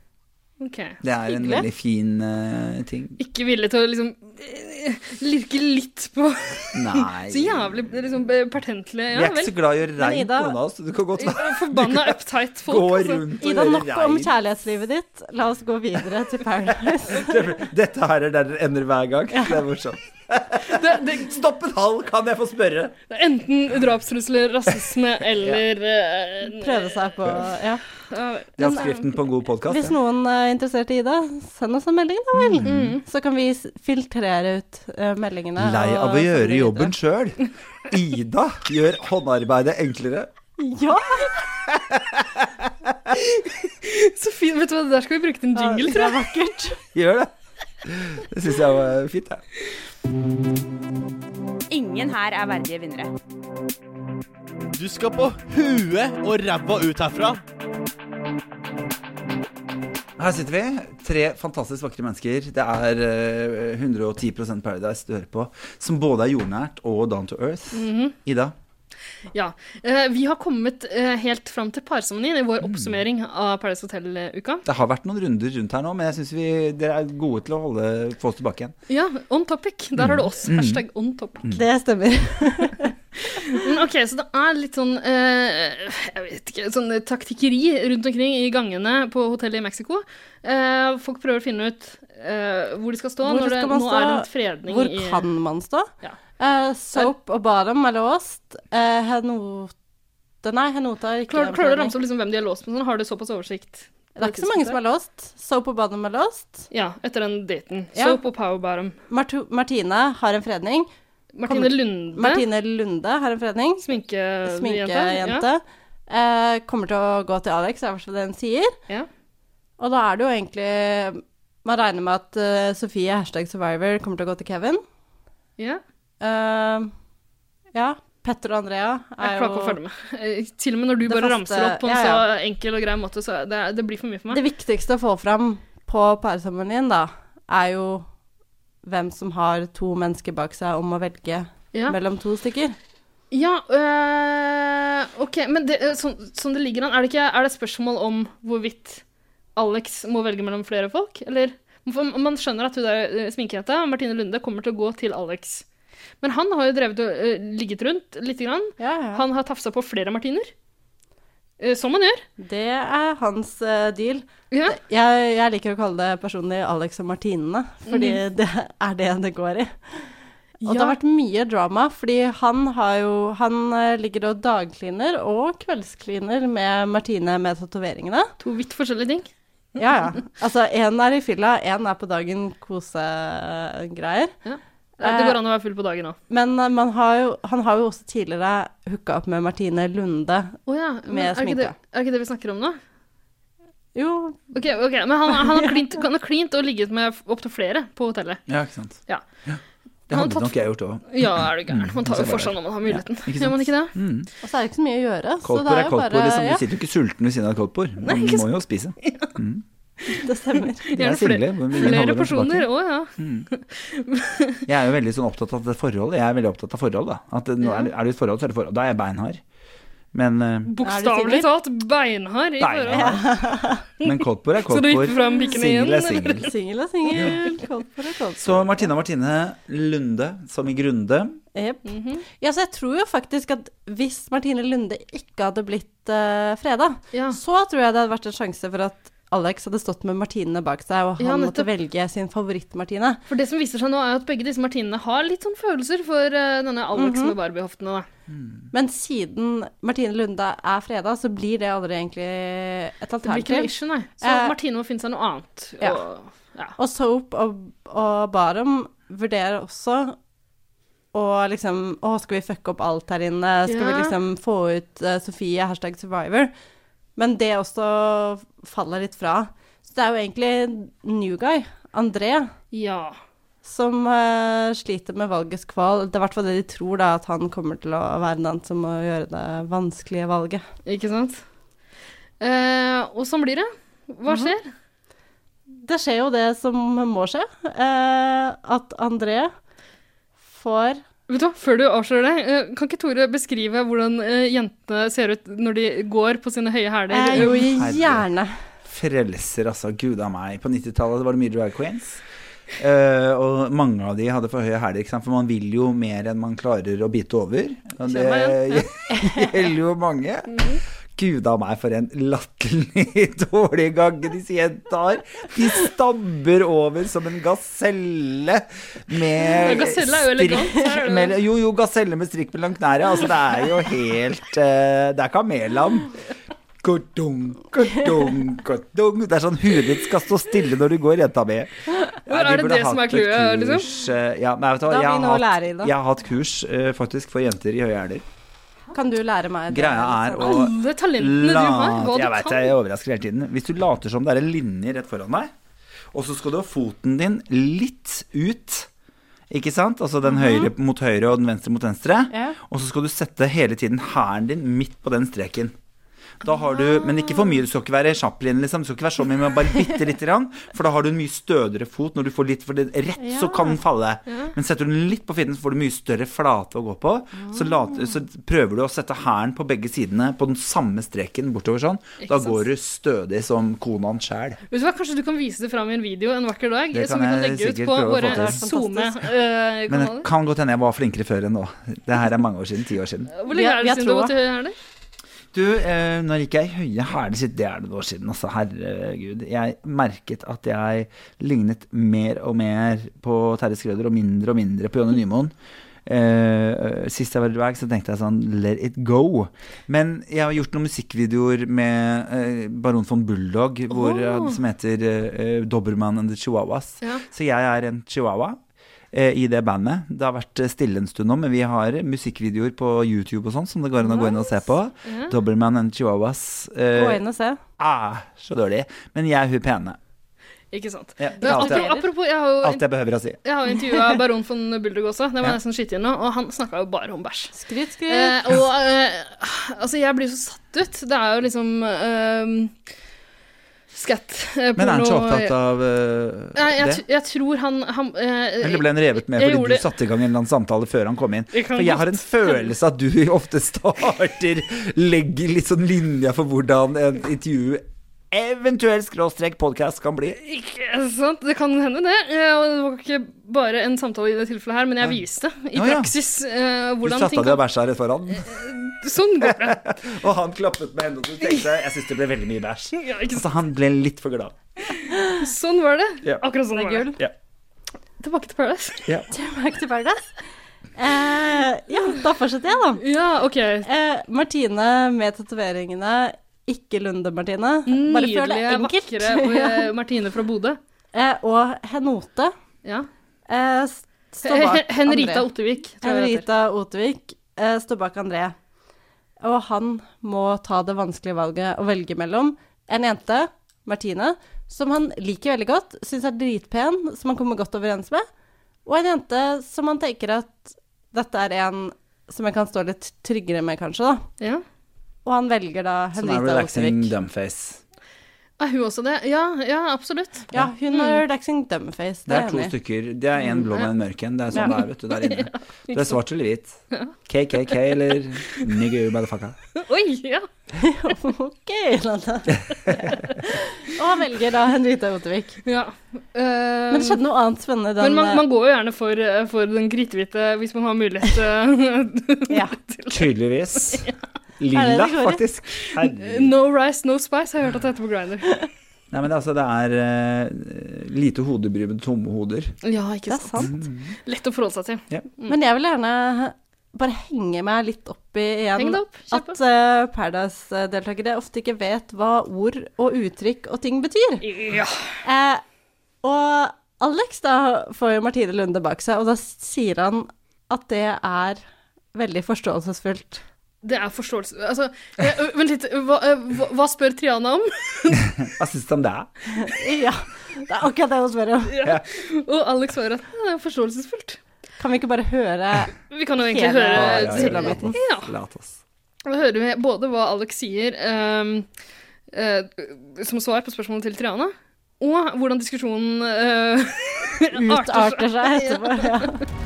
Speaker 3: Ok.
Speaker 4: Det er en
Speaker 3: Hyggelig.
Speaker 4: veldig fin eh, ting.
Speaker 3: Ikke villig til å liksom eh, lirke litt på
Speaker 4: Nei.
Speaker 3: Så jævlig liksom, eh, pertentlig.
Speaker 4: Vi
Speaker 3: Ja,
Speaker 4: er ikke
Speaker 3: vel.
Speaker 4: så glad i å gjøre reint noen av oss. så Du kan godt være
Speaker 3: Forbanna uptight folk.
Speaker 4: *laughs* gå
Speaker 3: altså.
Speaker 4: rundt og
Speaker 5: Ida,
Speaker 4: gjøre
Speaker 5: nok om
Speaker 4: reint.
Speaker 5: kjærlighetslivet ditt. La oss gå videre til
Speaker 4: *laughs*
Speaker 5: Paradise.
Speaker 4: Dette her er der det ender hver gang. Det er morsomt. Stopp en halv, kan jeg få spørre?
Speaker 3: Det er Enten drapstrusler, rasisme
Speaker 4: *laughs*
Speaker 3: eller eh,
Speaker 5: Prøve seg på Ja.
Speaker 4: Det
Speaker 5: eh,
Speaker 4: er oppskriften på en god podkast.
Speaker 5: Hvis noen er interessert i Ida, send oss en melding, da vel. Så kan vi s- filtrere ut eh, meldingene.
Speaker 4: Lei av
Speaker 5: og
Speaker 4: å
Speaker 5: sende
Speaker 4: gjøre
Speaker 5: det
Speaker 4: jobben
Speaker 5: videre.
Speaker 4: sjøl. Ida gjør håndarbeidet enklere.
Speaker 5: Ja!
Speaker 3: Så fint. Vet du hva, det der skal vi bruke til en jingle, tror jeg.
Speaker 5: Det er vakkert.
Speaker 4: Gjør det. Det syns jeg var fint, jeg.
Speaker 12: Ingen her er verdige vinnere.
Speaker 13: Du skal på huet og ræva ut herfra.
Speaker 4: Her sitter vi, tre fantastisk vakre mennesker. Det er eh, 110 Paradise du hører på, som både er jordnært og down to earth.
Speaker 3: Mhm.
Speaker 4: Ida,
Speaker 3: Ja. Eh, vi har kommet eh, helt fram til parseremonien i
Speaker 4: Mm.
Speaker 3: vår oppsummering av Paradise Hotel-uka.
Speaker 4: det har vært noen runder rundt her nå, men jeg syns dere er gode til å holde, få oss tilbake igjen.
Speaker 3: Ja, on topic. Der har du oss.
Speaker 4: Mm.
Speaker 3: Hashtag on topic.
Speaker 5: Det stemmer.
Speaker 3: Men ok, så det er litt sånn eh, Jeg vet ikke, sånn taktikkeri rundt omkring i gangene på hotellet i Mexico. Eh, folk prøver å finne ut eh, hvor de skal stå
Speaker 5: Hvor
Speaker 3: når det,
Speaker 5: skal man
Speaker 3: nå
Speaker 5: stå?
Speaker 3: er det litt fredning
Speaker 5: Hvor
Speaker 3: i
Speaker 5: kan man stå? Eh, soap og Baram er låst. Eh, Henota Nei, Henota er ikke
Speaker 3: Klarer, klarer du
Speaker 5: en
Speaker 3: å
Speaker 5: forening.
Speaker 3: ramse opp liksom hvem de er låst med? Sånn, har du såpass oversikt?
Speaker 5: Det er ikke så mange som er låst. Soap og Baram er låst.
Speaker 3: Ja, etter den daten.
Speaker 5: Ja.
Speaker 3: Soap og Power Bottom.
Speaker 5: Martu Martine har en fredning.
Speaker 3: Martine Lunde.
Speaker 5: Martine Lunde har en fredning.
Speaker 3: Sminkejente.
Speaker 5: Sminkejente. Eh, kommer til å gå til Alex, er i hvert fall det hun sier. Og da er det jo egentlig Man regner med at eh, Sofie hashtag survivor kommer til å gå til Kevin.
Speaker 3: Ja.
Speaker 5: Eh, ja. Petter og Andrea er
Speaker 3: Jeg klarer ikke å
Speaker 5: jo
Speaker 3: følge med. *laughs* Eh, Til og med når du
Speaker 5: Det
Speaker 3: bare
Speaker 5: faste-
Speaker 3: ramser opp på en
Speaker 5: ja, ja.
Speaker 3: så enkel og grei måte, så det, det blir for mye for meg.
Speaker 5: Det viktigste å få fram på parsammenligningen, da, er jo hvem som har to mennesker bak seg om å velge
Speaker 3: Ja.
Speaker 5: mellom to stykker.
Speaker 3: Ja, øh, ok, men det, øh, sånn, sånn det ligger an, er det, ikke, er det et spørsmål om hvorvidt Alex må velge mellom flere folk, eller? For man skjønner at hun der øh, sminkejenta, Martine Lunde, kommer til å gå til Alex. Men han har jo drevet og øh, ligget rundt litt. Grann. Han har tafsa på flere martiner. Eh, som man gjør.
Speaker 5: Det er hans eh, deal. Jeg, jeg liker å kalle det personlig Alex og Martinene, fordi
Speaker 3: Mhm.
Speaker 5: det er det det går i. Og det
Speaker 3: Ja.
Speaker 5: har vært mye drama, fordi han har jo Han eh, ligger og dagkliner og kveldskliner med Martine med tatoveringene.
Speaker 3: To vidt forskjellige ting.
Speaker 5: Ja, ja. Altså, én er i fylla, én er på dagen kosegreier.
Speaker 3: Eh, Det går an å være full på dagen òg.
Speaker 5: Men eh, man har jo, han har jo også tidligere hooka opp med Martine Lunde.
Speaker 3: Å ja, men
Speaker 5: Eh, Med
Speaker 3: er ikke, det,
Speaker 5: sminke.
Speaker 3: er ikke det vi snakker om nå?
Speaker 5: Jo.
Speaker 3: Ok, ok, Men han, han, har klint, han har klint og ligget med opptil flere på hotellet.
Speaker 4: Ja, ikke sant.
Speaker 3: Ja.
Speaker 4: Det
Speaker 3: Han har
Speaker 4: hadde
Speaker 3: tatt-
Speaker 4: nok jeg gjort òg.
Speaker 3: Ja, er du gæren. Man tar jo
Speaker 4: Mm,
Speaker 3: for seg når man har muligheten.
Speaker 4: Ja, ikke sant?
Speaker 3: Gjør man ikke det?
Speaker 4: Mm.
Speaker 5: Og så er det ikke så mye å gjøre. Så det
Speaker 4: Koldtbord
Speaker 5: er
Speaker 4: er
Speaker 5: jo
Speaker 4: koldtbord.
Speaker 5: bare
Speaker 4: Liksom.
Speaker 5: ja,
Speaker 4: Du sitter jo ikke sulten ved siden av et koldtbord.
Speaker 5: Nei,
Speaker 4: Man
Speaker 5: ikke
Speaker 4: må jo spise. Mm.
Speaker 5: det stemmer. *laughs*
Speaker 4: Det er single, men ingen holder
Speaker 3: flere
Speaker 4: dem
Speaker 3: porsjoner.
Speaker 4: tilbake.
Speaker 3: Å ja.
Speaker 4: Jeg er jo veldig sånn opptatt av det forholdet. Jeg er veldig opptatt av forhold, da. At eh, nå er, det- er det et forhold, så er det forhold. Da er jeg beinhard. Men, eh,
Speaker 3: Bokstavelig talt beinhard i
Speaker 4: Beinhard.
Speaker 3: forhold.
Speaker 4: men koldtbord er
Speaker 3: *laughs* Så du
Speaker 4: koldtbord.
Speaker 3: gikk fram pikkene igjen?
Speaker 4: Singel er singel.
Speaker 5: Singel er singel, koldtbord er koldtbord.
Speaker 4: Så Martina Martine Lunde, som i Grunde.
Speaker 5: Jep. Ja, så jeg tror jo faktisk at hvis Martine Lunde ikke hadde blitt uh, freda, så tror jeg det hadde vært en sjanse for at Alex hadde stått med Martine bak seg, og han
Speaker 3: Ja,
Speaker 5: måtte
Speaker 3: nettopp.
Speaker 5: velge sin favoritt-Martine.
Speaker 3: For det som viser seg nå, er at begge disse martinene har litt sånn følelser for eh, denne Alex
Speaker 5: Mhm.
Speaker 3: med Barbie-hoftene, da.
Speaker 5: Men siden Martine Lunde er freda, så blir det aldri egentlig et
Speaker 3: Det blir
Speaker 5: alternativ.
Speaker 3: ikke noe issue, nei. Så
Speaker 5: Eh,
Speaker 3: Martine må finne seg noe annet.
Speaker 5: Ja.
Speaker 3: Og, ja.
Speaker 5: Og Soap og, og Barum vurderer også å liksom Å, skal vi fucke opp alt her inne? Skal vi
Speaker 3: Ja.
Speaker 5: liksom få ut eh, Sofie, hashtag survivor? Men det også faller litt fra. Så det er jo egentlig new guy, André,
Speaker 3: ja.
Speaker 5: som eh, sliter med valgets kval. Det er i hvert fall det de tror, da, at han kommer til å være den som må gjøre det vanskelige valget.
Speaker 3: Ikke sant? Eh, og sånn blir det. Hva
Speaker 5: Mhm.
Speaker 3: skjer?
Speaker 5: Det skjer jo det som må skje. eh, at André får
Speaker 3: Vet du hva, Før du avslører det, eh, kan ikke Tore beskrive hvordan eh, jentene ser ut når de går på sine høye hæler?
Speaker 5: Eh, jo, gjerne.
Speaker 4: Frelser, altså. Gud av meg. På 90-tallet var det mye drag queens. Eh, og mange av de hadde for høye hæler, ikke sant? for man vil jo mer enn man klarer å bite over. Og det
Speaker 14: Kjenner meg
Speaker 4: gjelder jo mange.
Speaker 3: *laughs* Mhm.
Speaker 4: Gud av meg, for en latterlig *laughs* dårlig gang disse jentene har. De stabber over som en gaselle med
Speaker 3: Ja, gaselle er jo elegant,
Speaker 4: strikk
Speaker 3: her er det-
Speaker 4: med, Jo, jo, gaselle med strikk mellom knærne. Altså, det er jo helt eh, Det er kamellam. Kodung, kodung, kodung. Det er sånn huet ditt skal stå stille når du går, jenta mi.
Speaker 3: Hvor er det det som er clouet, liksom?
Speaker 4: eh, Ja, nei, vet du hva,
Speaker 5: Da
Speaker 4: jeg
Speaker 5: har vi
Speaker 4: har,
Speaker 5: noe å
Speaker 4: hatt,
Speaker 5: lære i det.
Speaker 4: jeg har hatt kurs eh, faktisk for jenter i høye hæler.
Speaker 5: Kan du lære meg det? Liksom,
Speaker 4: Greia er å
Speaker 3: Alle talentene du har, hva du
Speaker 4: late- Jeg vet,
Speaker 3: kan.
Speaker 4: jeg overrasker hele tiden. Hvis du later som det er en linje rett foran deg, og så skal du ha foten din litt ut, ikke sant? Altså den høyre mot høyre og den venstre mot venstre.
Speaker 5: Mhm. Ja.
Speaker 4: Og så skal du sette hele tiden hælen din midt på den streken. Da har du, men ikke for mye. Du skal ikke være Chaplin, liksom. Du skal ikke være så mye, men bare bitte lite grann. For da har du en mye stødigere fot når du får litt For det rett, så kan den falle.
Speaker 14: Ja.
Speaker 4: Men setter du den litt på fitten, så får du mye større flate å gå på. Så, lat, så prøver du å sette hælen på begge sidene på den samme streken bortover sånn. Da
Speaker 3: Ikke sant.
Speaker 4: går du stødig som konaen sjæl.
Speaker 3: Vet du hva, Kanskje du kan vise det fram i en video en vakker dag?
Speaker 4: Det
Speaker 3: Som vi
Speaker 4: kan
Speaker 3: kan
Speaker 4: jeg
Speaker 3: legge ut
Speaker 4: sikkert
Speaker 3: på
Speaker 4: prøve å få
Speaker 3: våre Eh,
Speaker 4: til. Men det
Speaker 3: SoMe-kanaler?
Speaker 4: kan godt hende jeg var flinkere før enn nå. Det her er mange år siden. Ti år siden.
Speaker 3: Hvor lenge er det siden du har gått i hæler?
Speaker 4: Du, eh, når gikk jeg i høye hæler sist? Det er det noen år siden, altså. Herregud. Jeg merket at jeg lignet mer og mer på Terje Skrøder, og mindre og mindre på Jonny Nymoen. Eh, sist jeg var i drag, så tenkte jeg sånn Let it go. Men jeg har gjort noen musikkvideoer med eh, Baron von Bulldog hvor,
Speaker 15: Åh.
Speaker 4: eh, som heter eh, Doberman and the Chihuahuas.
Speaker 15: Ja.
Speaker 4: Så jeg er en chihuahua eh, i det bandet. Det har vært eh, stille en stund nå, men vi har musikkvideoer på YouTube og sånn som det går an å gå inn og se på.
Speaker 5: Ja.
Speaker 4: Doberman and Chihuahuas. eh,
Speaker 5: Gå inn og se.
Speaker 4: Ah, så dårlig. Men jeg er hun pene.
Speaker 3: Ikke sant.
Speaker 4: Ja,
Speaker 3: Men altså-
Speaker 4: alt jeg-
Speaker 3: apropos, apropos, jeg har jo
Speaker 4: Alt jeg behøver å si.
Speaker 3: Jeg har jo
Speaker 4: *laughs*
Speaker 3: intervjua baron von Bulldog også, det må jeg
Speaker 4: Ja.
Speaker 3: nesten skyte inn nå, og han snakka jo bare om bæsj.
Speaker 5: Skryt, skryt.
Speaker 3: Eh, og eh, altså, jeg blir så satt ut. Det er jo liksom eh, skatt. eh,
Speaker 4: Men er han så
Speaker 3: porno-
Speaker 4: opptatt av eh,
Speaker 3: Nei, jeg,
Speaker 4: det?
Speaker 3: tr- jeg tror han, han eh,
Speaker 4: Eller ble han revet med
Speaker 3: jeg
Speaker 4: fordi
Speaker 3: gjorde-
Speaker 4: du satte i gang en eller annen samtale før han kom inn?
Speaker 3: Jeg kan
Speaker 4: For jeg har en følelse at du *laughs* ofte starter Legger litt sånn linja for hvordan et intervju Eventuell skråstrek podcast kan bli.
Speaker 3: Ikke sant? Det kan hende, det. Eh, Og det var ikke bare en samtale i det tilfellet her, men jeg viste i
Speaker 4: Å, ja.
Speaker 3: praksis eh,
Speaker 4: Du
Speaker 3: hvordan
Speaker 4: satte
Speaker 3: ting
Speaker 4: deg og bæsja rett foran,
Speaker 3: Sånn går
Speaker 4: *laughs*
Speaker 3: det.
Speaker 4: og han klappet med hendene og så tenkte jeg, jeg syns det ble veldig mye *laughs* bæsj.
Speaker 3: Ja, ikke
Speaker 4: Så han ble litt for glad.
Speaker 3: Sånn var det.
Speaker 4: Ja.
Speaker 3: Akkurat sånn var det.
Speaker 4: Ja.
Speaker 3: Tilbake til Paradise.
Speaker 4: Ja.
Speaker 5: *laughs* Tilbake til Paradise. Eh, ja, da fortsetter jeg, da.
Speaker 3: Ja, ok.
Speaker 5: Eh, Martine med tatoveringene. Ikke Lunde-Martine. Bare føl det
Speaker 3: Nydelige,
Speaker 5: enkelt.
Speaker 3: vakre og, eh, Martine fra Bodø.
Speaker 5: *laughs* Eh, og Henote.
Speaker 3: Ja.
Speaker 5: Eh, s- står
Speaker 3: He-
Speaker 5: bak
Speaker 3: he- Henrita
Speaker 5: André.
Speaker 3: Ottervik, tror jeg det
Speaker 5: Henrita Ottervik eh, står bak André. Og han må ta det vanskelige valget å velge mellom en jente, Martine, som han liker veldig godt, syns er dritpen, som han kommer godt overens med, og en jente som han tenker at dette er en som jeg kan stå litt tryggere med, kanskje, da. Og han velger da
Speaker 4: Som Sånn er
Speaker 5: Henrita Ottervik.
Speaker 4: relaxing dumbface.
Speaker 3: Er hun også det? Ja, ja absolutt.
Speaker 5: *laughs* Ja, hun
Speaker 3: Mm.
Speaker 5: er relaxing dumbface.
Speaker 4: Det er to stykker. Det er en blå med en mørk en. Det er sånn det
Speaker 5: Ja.
Speaker 4: er, vet du,
Speaker 3: *laughs*
Speaker 4: der inne. Du er svart eller hvit.
Speaker 3: Ja.
Speaker 4: KKK eller nigger motherfucker.
Speaker 3: Oi, ja.
Speaker 5: ok, Landa. *laughs* Og han velger da Henrita Ottervik.
Speaker 3: Ja. Eh,
Speaker 5: Men det skjedde noe annet spennende
Speaker 3: Men
Speaker 5: den
Speaker 3: man, man går jo gjerne for, eh, for den kritthvite hvis man har mulighet. eh, *laughs*
Speaker 4: Tydeligvis.
Speaker 3: Er
Speaker 4: Lilla,
Speaker 3: det det går i?
Speaker 4: faktisk. Herregud.
Speaker 3: Eh, no rice, no spice, har jeg hørt at det heter på Grinder.
Speaker 4: Nei, men det, er altså, det er eh, lite hodebry med tomme hoder.
Speaker 3: Ja, ikke
Speaker 5: Det er sant.
Speaker 3: Lett å forholde seg til. Mm.
Speaker 5: Men jeg vil gjerne bare henge meg litt opp i igjen
Speaker 3: Heng deg opp, kjør
Speaker 5: at eh, Paradise-deltakere ofte ikke vet hva ord og uttrykk og ting betyr.
Speaker 3: Ja.
Speaker 5: Eh, og Alex da får jo Martine Lunde bak seg, og da sier han at det er veldig forståelsesfullt.
Speaker 3: Det er forståelse Altså, eh, ø, vent litt. Hva, eh, hva, hva spør Triana om? *laughs*
Speaker 4: Hva syns du om det?
Speaker 5: ja, det er akkurat det hun spør om.
Speaker 3: Og Alex svarer at ja, det er forståelsesfullt.
Speaker 5: Kan vi ikke bare
Speaker 3: *laughs*
Speaker 5: høre
Speaker 3: Vi kan jo egentlig
Speaker 5: hele
Speaker 3: høre
Speaker 5: sulamitten?
Speaker 3: Ja.
Speaker 4: Lat oss.
Speaker 3: Da hører vi både hva Alex sier ehm, eh, som svar på spørsmålet til Triana, og hvordan diskusjonen eh,
Speaker 5: Utarter seg
Speaker 3: *laughs*
Speaker 5: etterpå. Ja.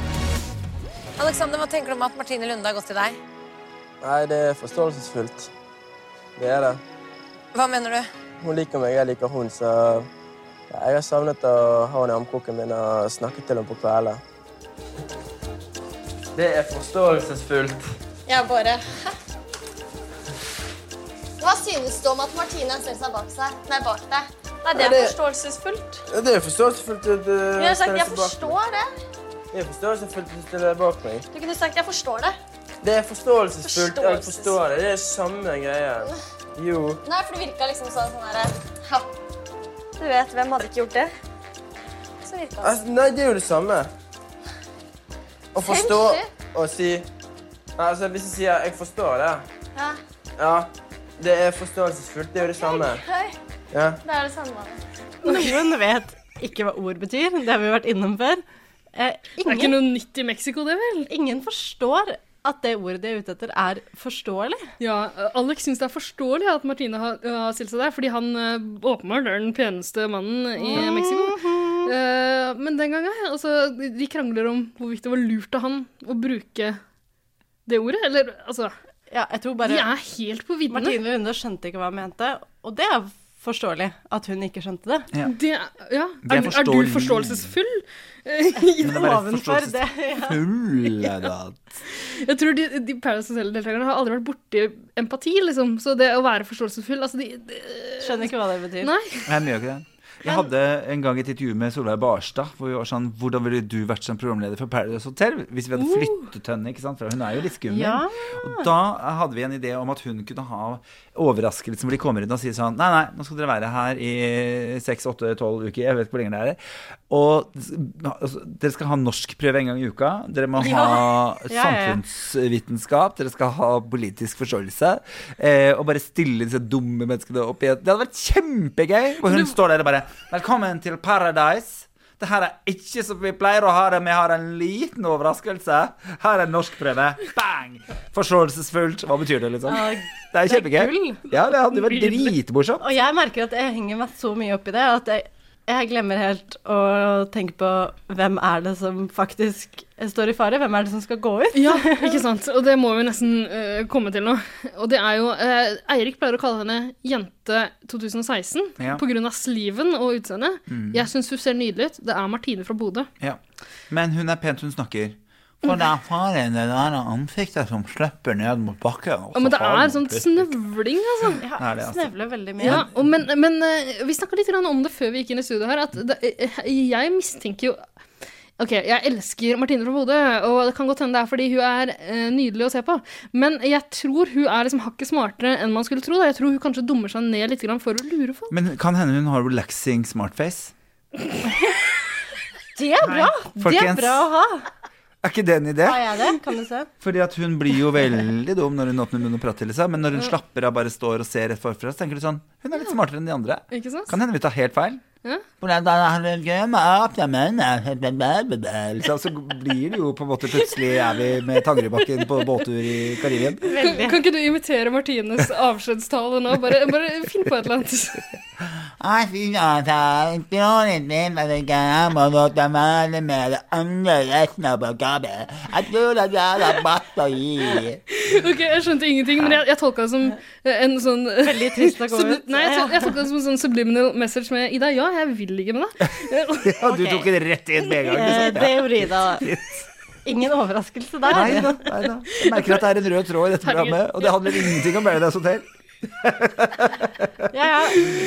Speaker 7: Alexander, hva tenker du om at Martine Lunde har gått til deg?
Speaker 16: Nei, det er forståelsesfullt. Det er det.
Speaker 7: Hva mener du?
Speaker 16: Hun liker meg, jeg liker hun, så ja, jeg har savnet å ha henne i armkroken min og snakke til henne på kvelden. Det er forståelsesfullt.
Speaker 17: Jeg bare Hæ? Hva synes du om at Martine ser seg bak seg? Nei, bak deg. Nei, det
Speaker 16: Er
Speaker 17: er
Speaker 16: det-
Speaker 17: forståelsesfullt.
Speaker 16: Det er forståelsesfullt at du
Speaker 17: Du kunne sagt 'jeg
Speaker 16: stiller seg bak meg.
Speaker 17: forstår det'.
Speaker 16: Det er forståelsesfullt at du stiller deg bak meg.
Speaker 17: Du kunne sagt 'jeg forstår det'.
Speaker 16: Det er forståelsesfullt. Jeg
Speaker 17: Forståelses-
Speaker 16: forstår det. Det er samme greie. Jo.
Speaker 17: Nei, for det virka liksom sånn sånn derre Ja. Du vet, hvem hadde ikke gjort det? Så virka det.
Speaker 16: Altså, nei, det er jo det samme. Å forstå og si Nei, altså, Hvis jeg sier 'jeg forstår det'
Speaker 17: Ja.
Speaker 16: Ja, det er forståelsesfullt. Det er jo det samme.
Speaker 17: Hei.
Speaker 16: Ja.
Speaker 17: Det er det samme. *laughs*
Speaker 5: Noen vet ikke hva ord betyr, det har vi vært innom før. Eh,
Speaker 3: Det er ikke noe nytt i Mexico, det vel?
Speaker 5: Ingen forstår at det ordet de er ute etter, er forståelig.
Speaker 3: Ja, eh, Alex syns det er forståelig at Martine har, eh, har stilt seg der, fordi han eh, åpenbart er den peneste mannen i
Speaker 5: Mhm.
Speaker 3: Mexico. Eh, men den gangen altså, de- De krangler om hvorvidt det var lurt av han å bruke det ordet, eller altså
Speaker 5: Ja, jeg tror bare
Speaker 3: De er helt på viddene.
Speaker 5: Martine Lunde skjønte ikke hva hun mente, og det er forståelig at hun ikke skjønte det.
Speaker 4: Ja.
Speaker 3: det, ja.
Speaker 4: Det er
Speaker 3: Er, du- er du
Speaker 4: forståelig.
Speaker 3: forståelsesfull? I
Speaker 4: Men det er
Speaker 3: den
Speaker 4: bare
Speaker 3: ovenfor det, ja.
Speaker 4: Full eh, er det at-
Speaker 3: Jeg tror de, de Paradise Hotel-deltakerne har aldri vært borti empati, liksom. Så det å være forståelsesfull altså de, de,
Speaker 5: Skjønner ikke hva det betyr.
Speaker 3: Nei.
Speaker 4: Jeg gjør ikke det. Jeg hadde en gang et intervju med Solveig Barstad. Hvor vi var sånn, Hvordan ville du vært som programleder for Paradise Hotel hvis vi hadde
Speaker 14: Uh.
Speaker 4: flyttet henne? ikke sant? For hun er jo litt skummel.
Speaker 5: Ja.
Speaker 4: Og da hadde vi en idé om at hun kunne ha overraskelsen hvor de kommer inn og sier sånn Nei, nei, nå skal dere være her i seks, åtte, tolv uker. Jeg vet ikke hvor lenge det er. Og s- altså, dere skal ha norskprøve en gang i uka. Dere må
Speaker 14: Ja. Ja,
Speaker 4: ha
Speaker 14: ja, ja.
Speaker 4: samfunnsvitenskap. Dere skal ha politisk forståelse. Eh, og bare stille disse dumme menneskene opp igjen. Det hadde vært kjempegøy! Og hun står der og bare Velkommen til Paradise. Det her er ikke som vi pleier å ha det. Vi har en liten overraskelse. Her er en norskprøve. Bang! Forståelsesfullt. Hva betyr det, liksom?
Speaker 5: Ja,
Speaker 4: Det er
Speaker 5: det er
Speaker 4: kjempegøy.
Speaker 5: gull.
Speaker 4: Ja, det hadde vært dritmorsomt.
Speaker 5: Og jeg merker at jeg henger meg så mye opp i det at jeg, jeg glemmer helt å tenke på hvem er det som faktisk står i fare, hvem er det som skal gå ut?
Speaker 3: Ja, ikke sant. Og det må vi nesten eh, komme til nå. Og det er jo eh, Eirik pleier å kalle henne Jente 2016
Speaker 4: Ja.
Speaker 3: på grunn av sliven og utseendet.
Speaker 4: Mm.
Speaker 3: Jeg syns hun ser nydelig ut. Det er Martine fra Bodø.
Speaker 4: Ja. Men hun er pent, hun snakker. For det er faren det der ansiktet som slipper ned mot bakken. og
Speaker 3: Ja, men
Speaker 4: så
Speaker 3: det
Speaker 4: faller
Speaker 3: er sånn
Speaker 4: mot pusten.
Speaker 3: snøvling, altså.
Speaker 4: Ja, Det er det, altså.
Speaker 5: snøvler veldig mye.
Speaker 3: Ja, og men, men eh, vi snakka litt grann om det før vi gikk inn i studio her, at det, eh, jeg mistenker jo Ok, jeg elsker Martine fra Bodø, og det kan godt hende det er fordi hun er eh, nydelig å se på, men jeg tror hun er liksom hakket smartere enn man skulle tro. Da. Jeg tror hun kanskje dummer seg ned litt grann for å lure folk.
Speaker 4: Men kan hende hun har relaxing smartface.
Speaker 5: Det er bra! Det er
Speaker 4: Folkens.
Speaker 5: bra å ha.
Speaker 4: Er ikke det en idé?
Speaker 5: Har jeg det? Kan du se?
Speaker 4: Fordi at hun blir jo veldig dum når hun åpner munnen og prater, liksom. Men
Speaker 5: Mm.
Speaker 4: når hun slapper av, bare står og ser rett forfra, så tenker du sånn Hun er litt smartere enn de andre.
Speaker 3: Ikke sant?
Speaker 4: Kan hende vi tar helt feil.
Speaker 3: Ja.
Speaker 4: Hvordan da har hun gøy med opp, ja, men, eh, bla, bla, bla, bla. Liksom, Så blir det jo på en måte plutselig er vi med Tangerudbakken på båttur i Karibien.
Speaker 3: Kan, kan ikke du imitere Martines avskjedstale nå? Bare, bare finn på et eller annet. *laughs*
Speaker 4: Jeg synes at jeg er broren min, men ikke jeg må låte være med det andre resten av programmet. Jeg tror at jeg har batteri.
Speaker 3: Ok, Jeg skjønte ingenting, men jeg, jeg tolka det som eh, en sånn Veldig
Speaker 5: trist å gå ut.
Speaker 3: Nei, jeg, tol- jeg tolka det som en sånn subliminal message med Ida. Ja, jeg vil ligge med deg.
Speaker 4: *laughs* Ja, du tok det rett inn med en gang.
Speaker 5: Eh,
Speaker 4: liksom.
Speaker 5: det gjorde Ida.
Speaker 4: *laughs*
Speaker 5: Ingen overraskelse der.
Speaker 4: Nei da, nei da. Jeg merker at det er en rød tråd i dette programmet, og det handler ingenting om Paradise Hotel.
Speaker 5: Ja, ja.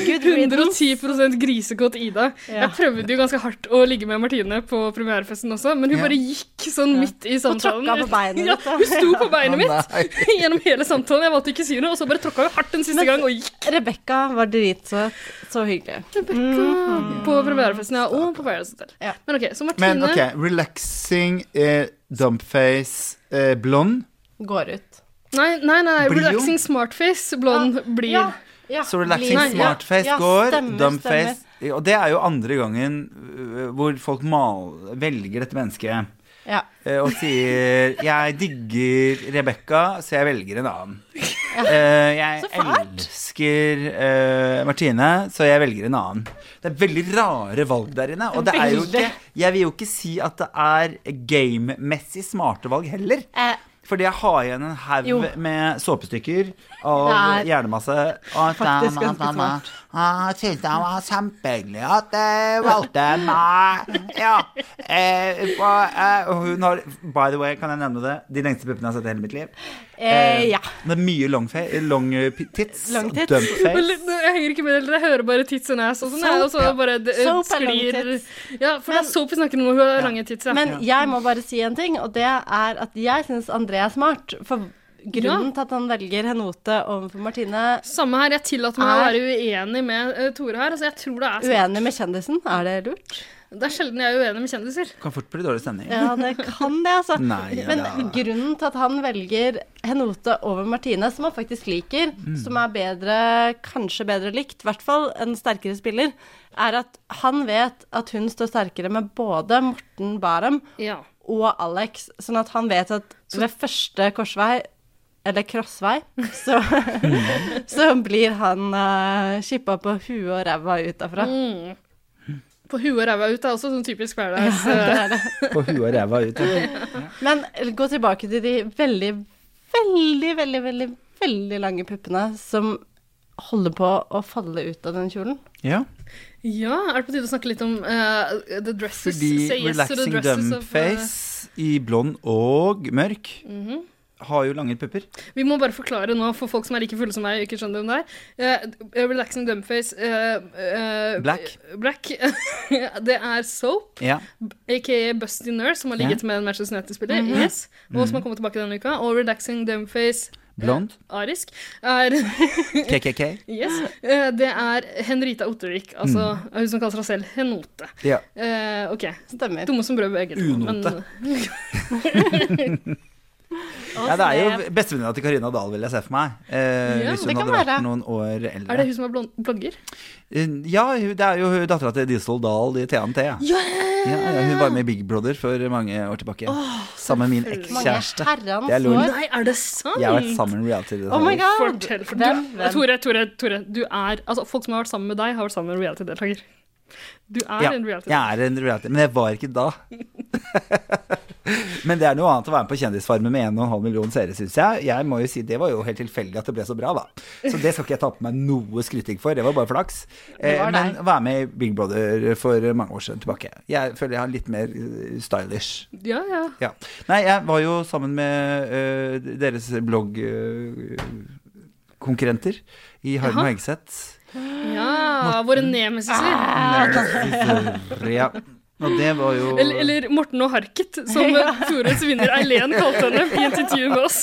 Speaker 5: Good riddance.
Speaker 3: 110 grisekåt Ida.
Speaker 5: Ja.
Speaker 3: Jeg prøvde jo ganske hardt å ligge med Martine på premierefesten også, men hun
Speaker 5: Ja.
Speaker 3: bare gikk sånn midt i samtalen.
Speaker 5: tråkka på beinet
Speaker 3: Ja,
Speaker 5: ditt, da.
Speaker 3: hun sto på beinet
Speaker 5: Å,
Speaker 3: mitt *laughs* gjennom hele samtalen. Jeg valgte ikke å si noe, og så bare tråkka hun hardt den siste gang og gikk.
Speaker 5: Rebekka var dritsøt. Så hyggelig. Mm-hmm.
Speaker 3: På premierefesten, ja. Og på Paradise Hotel. Men ok, så Martine
Speaker 14: Men ok, relaxing, eh, dumpface, eh, blond.
Speaker 5: går ut.
Speaker 3: Nei, nei, nei.
Speaker 14: Blir jo.
Speaker 3: Relaxing smartface,
Speaker 5: Ah,
Speaker 3: blond, blir.
Speaker 4: Så relaxing
Speaker 3: Nei, ja.
Speaker 4: smartface
Speaker 3: Ja,
Speaker 4: går,
Speaker 3: stemmer,
Speaker 4: dumbface Og det er jo andre gangen øh, hvor folk mal, velger dette mennesket.
Speaker 5: Ja.
Speaker 4: eh, Og sier 'Jeg digger Rebekka, så jeg velger en annen'.
Speaker 5: Ja.
Speaker 4: Eh, 'Jeg elsker eh, Martine, så jeg velger en annen'. Det er veldig rare valg der inne. Og det er jo ikke,
Speaker 14: Veldig.
Speaker 4: jeg vil jo ikke si at det er gamemessig smarte valg heller.
Speaker 5: Eh,
Speaker 4: Fordi jeg har igjen en
Speaker 14: Jo.
Speaker 4: haug med såpestykker av
Speaker 14: Det er
Speaker 4: hjernemasse. Og
Speaker 14: faktisk ganske smart. Jeg synes det var kjempehyggelig at
Speaker 4: eh,
Speaker 14: jeg valgte meg. Ja. Eh, hva- eh,
Speaker 4: Og hun har, by the way, kan jeg nevne det, de lengste puppene jeg har sett i hele mitt liv.
Speaker 5: Eh, ja.
Speaker 4: Det er mye long, fa- long eh, pi- tits.
Speaker 5: Long tits.
Speaker 4: Dump *laughs*
Speaker 3: Og
Speaker 4: face.
Speaker 3: litt- Jeg henger ikke med dere, jeg hører bare tits and ass og sånn. jeg, Og så
Speaker 5: Soap, ja.
Speaker 3: bare det, eh,
Speaker 5: Soap er lang
Speaker 3: sklir
Speaker 5: tits.
Speaker 3: Ja, for det er soap vi snakker om nå, hun har lange tits. Ja.
Speaker 5: Men jeg må bare si en ting, og det er at jeg syns André er smart. For grunnen
Speaker 3: Ja.
Speaker 5: til at han velger Henote overfor Martine
Speaker 3: Samme her, jeg tillater meg å
Speaker 5: Er-
Speaker 3: være uenig med eh, Tore her. Altså, jeg tror det er
Speaker 5: Ah. Uenig med kjendisen, er det lurt?
Speaker 3: Det er sjelden jeg er uenig med kjendiser.
Speaker 4: Kan fort bli dårlig stemning.
Speaker 5: Ja, det kan det, altså.
Speaker 4: *laughs* Nei, ja.
Speaker 5: Men grunnen til at han velger Henote over Martine, som han faktisk liker,
Speaker 4: Mm.
Speaker 5: som er bedre, kanskje bedre likt, i hvert fall en sterkere spiller, er at han vet at hun står sterkere med både Morten Barum
Speaker 3: Ja.
Speaker 5: og Alex, sånn at han vet at ved første korsvei, eller *laughs* krossvei, så, så blir han uh, chippa på huet og ræva ut derfra.
Speaker 3: På huet og ræva ut er også sånn typisk hverdags...
Speaker 5: Ja, det er
Speaker 4: På huet og ræva ut.
Speaker 5: Men gå tilbake til de veldig, veldig, veldig, veldig, veldig lange puppene som holder på å falle ut av den kjolen.
Speaker 4: Ja.
Speaker 3: Ja, er det på tide å snakke litt om eh, the dresses?
Speaker 4: Fordi
Speaker 3: Say yes to the
Speaker 4: relaxing
Speaker 3: dresses of, eh,
Speaker 4: dumbface i blond og mørk
Speaker 3: mhm.
Speaker 4: har jo lange pupper.
Speaker 3: Vi må bare forklare nå for folk som er like fulle som meg og ikke skjønner hvem det er. Eh, relaxing dumbface eh, eh,
Speaker 4: Black.
Speaker 3: Black. *laughs* det er Soap.
Speaker 4: Ja.
Speaker 3: aka Busty Nurr, som har ligget med en Manchester United-spiller,
Speaker 4: Mhm.
Speaker 3: yes, og som har kommet tilbake denne uka. Og Relaxing Dumbface eh,
Speaker 4: Blond.
Speaker 3: Arisk er *laughs*
Speaker 4: KKK.
Speaker 3: Yes. eh, Det er Henrita Ottervik, altså hun som kaller seg selv Henote.
Speaker 4: Mm. Ja.
Speaker 3: Eh, OK.
Speaker 5: Stemmer.
Speaker 3: Dumme som brød liksom. begge to.
Speaker 4: Unote.
Speaker 3: eh, men-
Speaker 4: Ja, det er jo bestevenninna til Karina Dahl, vil jeg se for meg. Eh,
Speaker 3: Ja,
Speaker 4: hvis
Speaker 3: det
Speaker 4: hun
Speaker 3: kan
Speaker 4: hadde vært
Speaker 3: være.
Speaker 4: noen år eldre.
Speaker 3: er det hun som er blond- blogger?
Speaker 4: Eh, Ja, hun- det er jo hun dattera til Diesel Dahl i TNT. Ja. Ja, ja, hun var med i Big Brother for mange år tilbake.
Speaker 3: Åh,
Speaker 4: sammen med min ekskjæreste. Det er lol.
Speaker 3: Nei, er det sant?
Speaker 4: Jeg har vært sammen med reality.
Speaker 3: Oh my
Speaker 4: deltaker.
Speaker 3: god!
Speaker 5: Fortell,
Speaker 3: Du,
Speaker 5: fortell. Hvem?
Speaker 3: Tore, Tore, Tore, du er, altså, folk som har vært sammen med deg, har vært sammen med en reality-deltaker. Du er
Speaker 4: Ja,
Speaker 3: en reality-deltaker.
Speaker 4: jeg er en reality, men jeg var
Speaker 3: *laughs*
Speaker 4: ikke da. men det er noe annet å være med på Kjendisfarmen med 1,5 million seere, syns jeg. Jeg må jo si Det var jo helt tilfeldig at det ble så bra, da. Så det skal ikke jeg ta på meg noe skryting for, det var bare flaks.
Speaker 5: Det
Speaker 4: Eh,
Speaker 5: var
Speaker 4: men
Speaker 5: deg.
Speaker 4: være med i Big Brother for mange år siden tilbake. Jeg føler jeg har litt mer eh, stylish.
Speaker 3: Ja, ja.
Speaker 4: Ja. Nei, jeg var jo sammen med eh, deres bloggkonkurrenter i Harm og
Speaker 3: Jaha.
Speaker 4: Hegseth.
Speaker 3: Ja, våre nemesiser.
Speaker 4: Ah. Ja. Og det var jo
Speaker 3: Eller, eller Morten og Harket,
Speaker 4: *laughs*
Speaker 3: som Tores vinner Eileen kalte henne i et intervju med oss.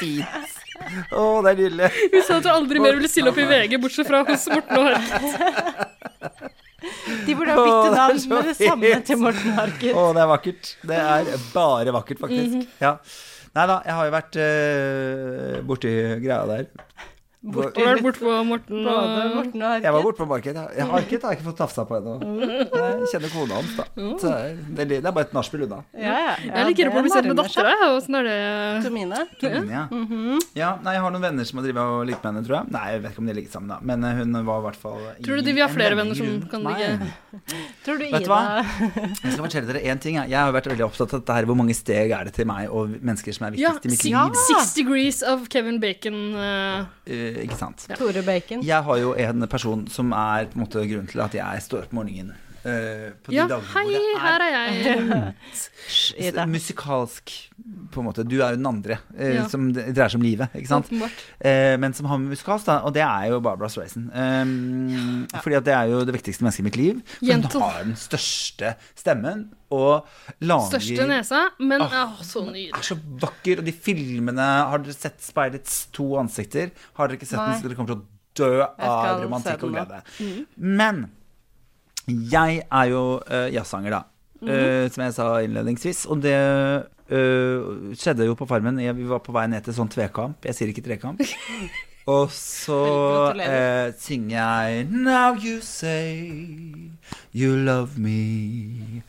Speaker 4: Fint. Å, det er nydelig.
Speaker 3: Hun sa at hun aldri mer ville stille opp i VG, bortsett fra hos Morten og Harket.
Speaker 5: De
Speaker 4: Å,
Speaker 5: burde ha byttet
Speaker 4: det er
Speaker 5: navn
Speaker 4: så
Speaker 5: med det samme
Speaker 4: fint.
Speaker 5: til Morten Harket.
Speaker 4: Å, det er vakkert. Det er bare vakkert, faktisk.
Speaker 5: Mhm.
Speaker 4: Ja. Nei da, jeg har jo vært eh, borti greia der.
Speaker 3: Borti. Har vært bort på Morten og- Både Morten og Harket.
Speaker 4: Jeg var borte på Market. ja. Jeg har ikke, jeg har ikke fått tafsa på ennå.
Speaker 3: Mhm.
Speaker 4: Jeg kjenner kona hans, da.
Speaker 3: Mm.
Speaker 4: Så det er- det er det er bare et nachspiel unna.
Speaker 3: jeg er litt gira på å bli kjent med
Speaker 5: nærmer seg.
Speaker 3: dattera. ja, Åssen er det
Speaker 5: Tomine.
Speaker 4: Tomine, Mm, ja.
Speaker 3: Mhm.
Speaker 4: Ja, nei, jeg har noen venner som har drevet og ligget med henne, tror jeg. Nei, jeg vet ikke om de ligger sammen, da. Men eh, hun var i hvert fall i
Speaker 3: Tror du de vil ha
Speaker 4: en
Speaker 3: flere venner
Speaker 4: vending
Speaker 3: som
Speaker 4: rundt
Speaker 3: kan
Speaker 4: meg.
Speaker 3: ligge
Speaker 5: Tror du
Speaker 4: Vet du hva? Jeg skal fortelle dere en ting. Jeg, jeg har vært veldig opptatt av dette her, hvor mange steg er det til meg og mennesker som er
Speaker 3: Ja,
Speaker 4: viktigst i mitt
Speaker 3: si-
Speaker 4: liv.
Speaker 3: Six Degrees of Kevin Bacon. eh,
Speaker 4: Eh, ikke sant.
Speaker 5: Tore Bacon.
Speaker 4: Jeg har jo en person som er på en måte grunnen til at jeg står opp om morgenen. eh, på de
Speaker 3: ja,
Speaker 4: dagene
Speaker 3: hei, her er jeg.
Speaker 4: hvor det er musikalsk, på en måte. Du er jo den andre eh,
Speaker 3: Ja.
Speaker 4: som det dreier seg om livet, ikke sant?
Speaker 3: Åpenbart.
Speaker 4: Eh, men som har med musikalsk, da. Og det er jo Barbara Streisand. Um, Fordi at det er jo det viktigste mennesket i mitt liv. For
Speaker 3: Jento.
Speaker 4: Hun har den største stemmen og lager
Speaker 3: Største nesa, men åh,
Speaker 4: Åh,
Speaker 3: så nydelig.
Speaker 4: er så vakker, og de filmene Har dere sett Speidets to ansikter? Har dere ikke sett
Speaker 3: Nei.
Speaker 4: den, så dere kommer til å dø av romantikk og glede. Men jeg er jo uh, jazzsanger, da.
Speaker 11: Mhm.
Speaker 4: eh, som jeg sa innledningsvis. Og det eh, skjedde jo på Farmen. Jeg, vi var på vei ned til sånn tvekamp. Jeg sier ikke trekamp. Og så eh, synger jeg Now you say you love me.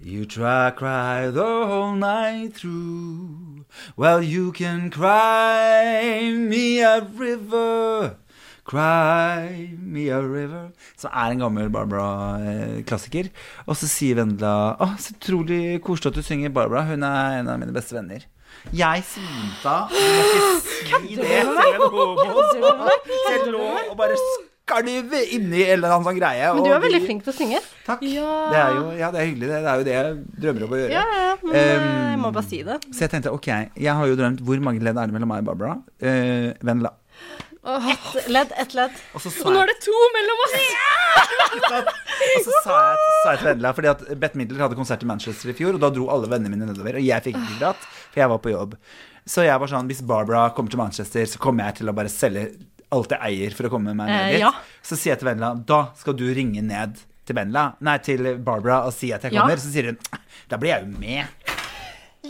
Speaker 4: You try cry the whole night through. Well, you can cry me a river. Cry me a river Som er en gammel Barbara-klassiker. Og så sier Vendela Å, så utrolig koselig at du synger Barbara. Hun er en av mine beste venner. Jeg svimte av. Kødder
Speaker 14: det
Speaker 4: du med meg? Jeg lå og bare skalv inni en eller annen sånn greie.
Speaker 5: Men
Speaker 4: og
Speaker 5: du er veldig
Speaker 4: vi-
Speaker 5: flink til å synge.
Speaker 4: Takk. Det er jo, ja, det er hyggelig. Det Det er jo det jeg drømmer om å gjøre.
Speaker 5: Ja, ja, ja, men eh, jeg må bare si det.
Speaker 4: Så jeg tenkte ok, jeg har jo drømt hvor mange ledd er det mellom meg og Barbara? Eh, Vendela.
Speaker 5: Ett ledd, ett ledd.
Speaker 4: Og så
Speaker 3: Og
Speaker 4: sa
Speaker 3: nå
Speaker 4: jeg,
Speaker 3: er det to mellom oss!
Speaker 4: og så sa jeg, sa jeg til Vendela, fordi at Bette Midler hadde konsert i Manchester i fjor, og da dro alle vennene mine nedover, og jeg fikk ikke dratt, for jeg var på jobb. Så jeg var sånn, hvis Barbara kommer til Manchester, så kommer jeg til å bare selge alt jeg eier for å komme meg ned
Speaker 5: Eh,
Speaker 4: dit.
Speaker 5: ja.
Speaker 4: Så sier jeg til Vendela, da skal du ringe ned til Vendela, nei, til Barbara og si at jeg
Speaker 5: Ja.
Speaker 4: kommer. Så sier hun, da blir jeg jo med.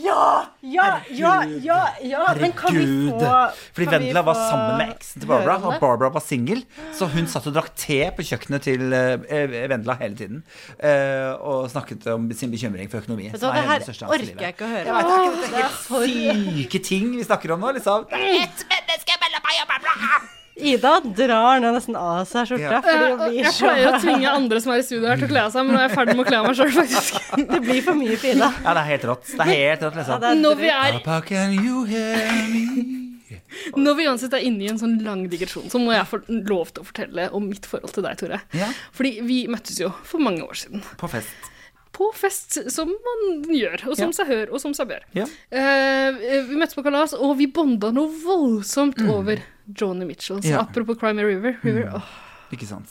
Speaker 5: Ja! Ja! Ja, ja, ja, ja. Men kan vi få
Speaker 4: Fordi
Speaker 5: kan vi
Speaker 4: Vendela var
Speaker 5: få
Speaker 4: sammen med eksen til Barbara,
Speaker 5: høre den,
Speaker 4: og
Speaker 5: da?
Speaker 4: Barbara var singel. Så hun satt og drakk te på kjøkkenet til eh, Vendela hele tiden. eh, og snakket om sin bekymring for økonomi.
Speaker 5: Vet du
Speaker 4: som
Speaker 5: hva,
Speaker 4: er
Speaker 5: det her
Speaker 4: hennes største angst i
Speaker 5: orker
Speaker 4: livet.
Speaker 5: jeg ikke å høre.
Speaker 4: Jeg vet, det er ikke- det er
Speaker 5: Åh,
Speaker 4: helt Syke ting vi snakker om nå, liksom. Det er ett menneske mellom meg og Barbara!
Speaker 5: Ida drar nå nesten av seg
Speaker 4: Ja.
Speaker 5: skjorta. Fordi hun
Speaker 3: Eh,
Speaker 5: blir
Speaker 3: Jeg
Speaker 5: så
Speaker 3: pleier å tvinge andre som er i studio her til å kle av seg, men nå er jeg ferdig med å kle av meg sjøl, faktisk.
Speaker 5: *laughs* Det blir for mye for Ida.
Speaker 4: Ja, det er helt rått. Det er helt rått, liksom.
Speaker 3: Når vi er-
Speaker 4: Papa, can you hear me?
Speaker 3: Når vi uansett er inne i en sånn lang digresjon, så må jeg få lov til å fortelle om mitt forhold til deg, Tore.
Speaker 4: Ja.
Speaker 3: Fordi vi møttes jo for mange år siden.
Speaker 4: På fest.
Speaker 3: På fest, som man gjør, og som
Speaker 4: Ja.
Speaker 3: seg hør, og som seg bør.
Speaker 4: Ja.
Speaker 3: Eh, vi møttes på kalas, og vi bonda noe voldsomt over Johnny Mitchell. Så
Speaker 4: Mm. Ja. Mm.
Speaker 3: apropos Crime River, River åh,
Speaker 4: Ikke sant.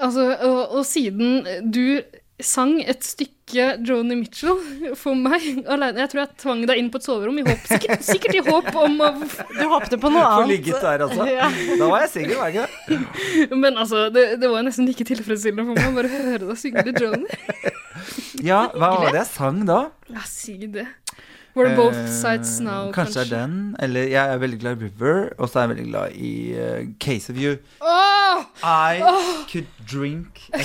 Speaker 3: altså, og, og siden du sang et stykke Joni Mitchell for meg alene Jeg tror jeg tvang deg inn på et soverom, i håp, sikkert, sikkert i håp om å Du
Speaker 5: håpte på
Speaker 4: Få ligget der, altså. Da var jeg singel, var jeg ikke det?
Speaker 3: Men altså, det, det var jo nesten like tilfredsstillende for meg å bare høre deg synge litt Joni.
Speaker 4: Ja, hva var det jeg sang da?
Speaker 3: Ja, si det. We're both
Speaker 4: Eh,
Speaker 3: sides now,
Speaker 4: Kanskje det er den. Eller jeg er veldig glad i River, og så er jeg veldig glad i eh, Case of You.
Speaker 3: Åh!
Speaker 4: I
Speaker 3: Åh!
Speaker 4: could drink a
Speaker 3: A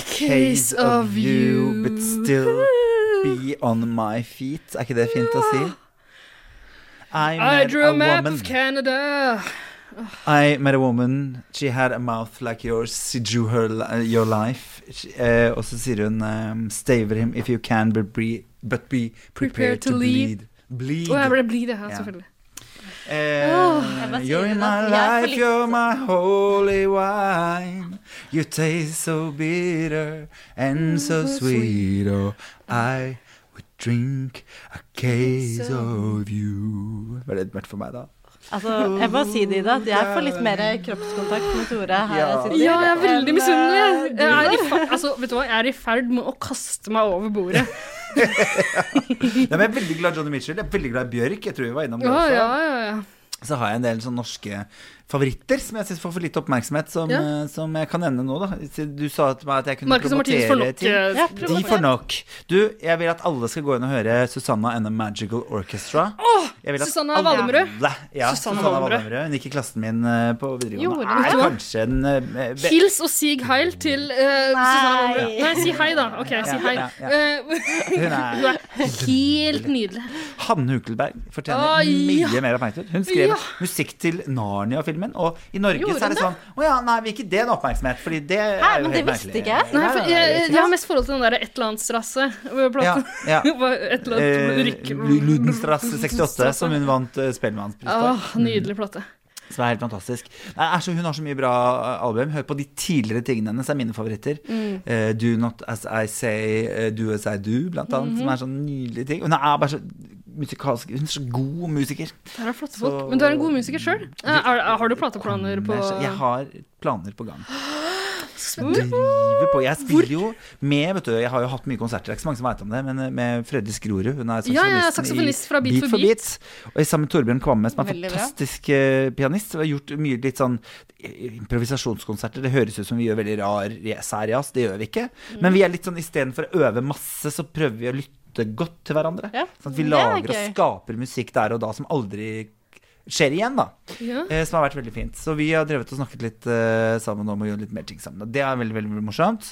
Speaker 3: case
Speaker 4: case, of
Speaker 3: of
Speaker 4: you,
Speaker 3: you.
Speaker 4: but still be on my feet. Er ikke det fint å si? I
Speaker 3: I
Speaker 4: met
Speaker 3: drew a
Speaker 4: a
Speaker 3: map
Speaker 4: woman.
Speaker 3: of Canada.
Speaker 4: I met a woman. She had a mouth like yours. She drew her li- your life. She, eh, og så sier hun um, Stay with him if you can, but be, but be prepared to,
Speaker 3: to lead.
Speaker 4: bleed. Bleed.
Speaker 3: Å, jeg ble blid, jeg, ja,
Speaker 4: Ja.
Speaker 3: selvfølgelig.
Speaker 4: Eh,
Speaker 3: Åh.
Speaker 4: you're in my
Speaker 5: Jeg er for
Speaker 4: life, you're my holy wine. You taste so bitter
Speaker 3: Mm,
Speaker 4: and so sweet. Oh, I would drink a case of you. Var det mørkt for meg, da?
Speaker 5: Altså, jeg må si det, Ida. at Jeg får litt mer kroppskontakt med Tore her.
Speaker 4: Ja.
Speaker 5: jeg sitter,
Speaker 3: Ja, jeg er veldig
Speaker 5: enn,
Speaker 3: misunnelig. jeg.
Speaker 5: eh,
Speaker 3: Jeg er, i
Speaker 5: du.
Speaker 3: fa altså, vet du hva? jeg er i ferd med å kaste meg over bordet.
Speaker 4: *laughs* Nei, men jeg er veldig glad i Johnny Mitchell. Jeg er veldig glad i Bjørk. Jeg tror vi var innom det
Speaker 3: Ja,
Speaker 4: også.
Speaker 3: ja, ja, ja.
Speaker 4: Så har jeg en del sånne norske favoritter som jeg syns får for lite oppmerksomhet, som,
Speaker 3: Ja.
Speaker 4: eh, som jeg kan nevne nå, da. Siden Du sa til meg at jeg kunne
Speaker 3: Marcus og Martinus får
Speaker 4: promotere
Speaker 3: nok,
Speaker 4: ting.
Speaker 3: eh, Ja,
Speaker 4: De
Speaker 3: promotere.
Speaker 4: får nok. Du, jeg vil at alle skal gå inn og høre Susanna and the Magical Orchestra.
Speaker 3: Åh,
Speaker 4: Jeg vil at
Speaker 3: Susanna
Speaker 4: alle-
Speaker 3: Valmrød.
Speaker 4: Ja,
Speaker 3: Susanna
Speaker 4: Susanna
Speaker 3: Valmrød.
Speaker 4: Valmrød. Hun gikk i klassen min eh, på
Speaker 3: Gjorde hun
Speaker 4: videregående. Er
Speaker 3: det?
Speaker 4: kanskje en eh, be-
Speaker 3: Hils og sig heil til eh, Susanne Wallrød. Nei, si hei, da. OK, si
Speaker 4: Ja,
Speaker 3: hei.
Speaker 4: ja, ja.
Speaker 3: Eh,
Speaker 4: Hun er-
Speaker 3: Hun er helt nydelig.
Speaker 4: Hanne Hukelberg fortjener
Speaker 3: Å, ja.
Speaker 4: mye mer oppmerksomhet. Hun skrev
Speaker 3: Ja.
Speaker 4: musikk til Narnia-filmen, og i Norge
Speaker 3: Gjorde
Speaker 4: så er det
Speaker 3: hun
Speaker 4: sånn Å ja, nei, vi gir ikke den oppmerksomhet, fordi det
Speaker 5: Hæ,
Speaker 4: er jo
Speaker 5: men det
Speaker 4: helt
Speaker 5: visste
Speaker 4: merkelig.
Speaker 5: ikke jeg.
Speaker 3: Nei, for jeg, jeg
Speaker 4: Ja.
Speaker 3: har mest forhold til den derre et eller annet strasse. platen.
Speaker 4: Ja,
Speaker 3: *laughs*
Speaker 4: ja.
Speaker 3: Var et eller annet
Speaker 4: Eh,
Speaker 3: rykke...
Speaker 4: Lu- Ludenstrasse 68, som hun vant eh, Spellemannspris for.
Speaker 3: Åh, nydelig plate.
Speaker 4: Som er helt fantastisk. Nei, er så, hun har så mye bra eh, album. Hør på de tidligere tingene hennes, er mine favoritter.
Speaker 3: Mm.
Speaker 4: Eh, do Not As I Say, eh, Do As I Do, blant annet. Som
Speaker 3: Mhm.
Speaker 4: er sånn nydelige ting. Hun er bare så musikalsk Hun er så god musiker.
Speaker 3: Det her er flotte folk. Men du er en god musiker sjøl. Har du plateplaner på
Speaker 4: Kommer seg- Jeg har planer på gang. Driver på. Jeg spiller jo med vet du, Jeg har jo hatt mye konserter, det er ikke så mange som vet om det, men eh, med Freddy Skrorud. Hun er saksofonisten,
Speaker 3: Ja, ja, saksofonist
Speaker 4: i
Speaker 3: fra Beat for Beat.
Speaker 4: Og sammen med Torbjørn Kvamme, som er
Speaker 3: Veldig bra.
Speaker 4: fantastisk eh, pianist. Og har gjort mye litt sånn improvisasjonskonserter. Det høres ut som vi gjør veldig rar særjazz, det gjør vi ikke.
Speaker 3: Mm.
Speaker 4: Men vi er litt sånn istedenfor å øve masse, så prøver vi å lytte godt til hverandre. Sånn at
Speaker 3: Det
Speaker 4: vi
Speaker 3: er
Speaker 4: lager og
Speaker 3: gøy.
Speaker 4: skaper musikk der og da som aldri skjer igjen, da.
Speaker 3: Ja.
Speaker 4: Eh, som har vært veldig fint. Så vi har drevet og snakket litt eh, sammen om å gjøre litt mer ting sammen. Og det er veldig veldig, veldig morsomt.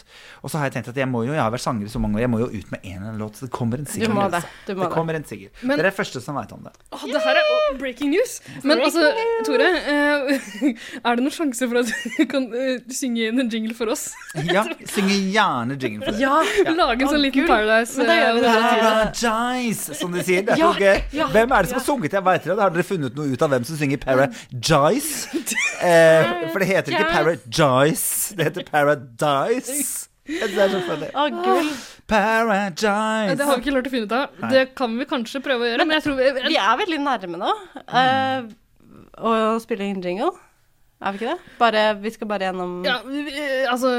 Speaker 4: Og så har jeg tenkt at jeg må jo, jeg har vært sanger i så mange år, jeg må jo ut med en eller annen låt. Så det kommer en
Speaker 5: Du
Speaker 4: sikker.
Speaker 5: må
Speaker 4: altså.
Speaker 5: det. Du må
Speaker 4: det kommer en sikker.
Speaker 3: Men-
Speaker 4: Dere er første som veit
Speaker 5: *laughs*
Speaker 4: om det.
Speaker 3: Åh, det her er oh, breaking news. Men altså, Tore, eh, *laughs* er det noen sjanse for at du kan eh, synge inn en jingle for oss?
Speaker 4: Ja, syng gjerne jingle for det.
Speaker 3: Ja, *laughs* Lage en sånn liten Paradise.
Speaker 5: Men da gjør vi det.
Speaker 3: eh,
Speaker 4: Paradise, som de sier. Det er
Speaker 5: Ja,
Speaker 4: så gøy.
Speaker 5: ja,
Speaker 4: Hvem er det som har sunget? Jeg vet det. Har dere funnet noe ut av hvem som synger
Speaker 5: *laughs*
Speaker 4: Paradise? Eh, for det heter ikke Paradise, det heter
Speaker 5: *laughs*
Speaker 4: Paradise. Det er så funny.
Speaker 5: Å, gull.
Speaker 3: Ja,
Speaker 4: Paradise.
Speaker 3: Det har vi ikke klart å finne ut av.
Speaker 4: Nei.
Speaker 3: Det kan vi kanskje prøve å
Speaker 5: Eh,
Speaker 3: gjøre, men jeg tror vi,
Speaker 5: Vi er veldig nærme nå. eh, å spille inn jingle. Er vi ikke det? Bare, vi skal bare gjennom
Speaker 3: Ja, vi, vi- altså,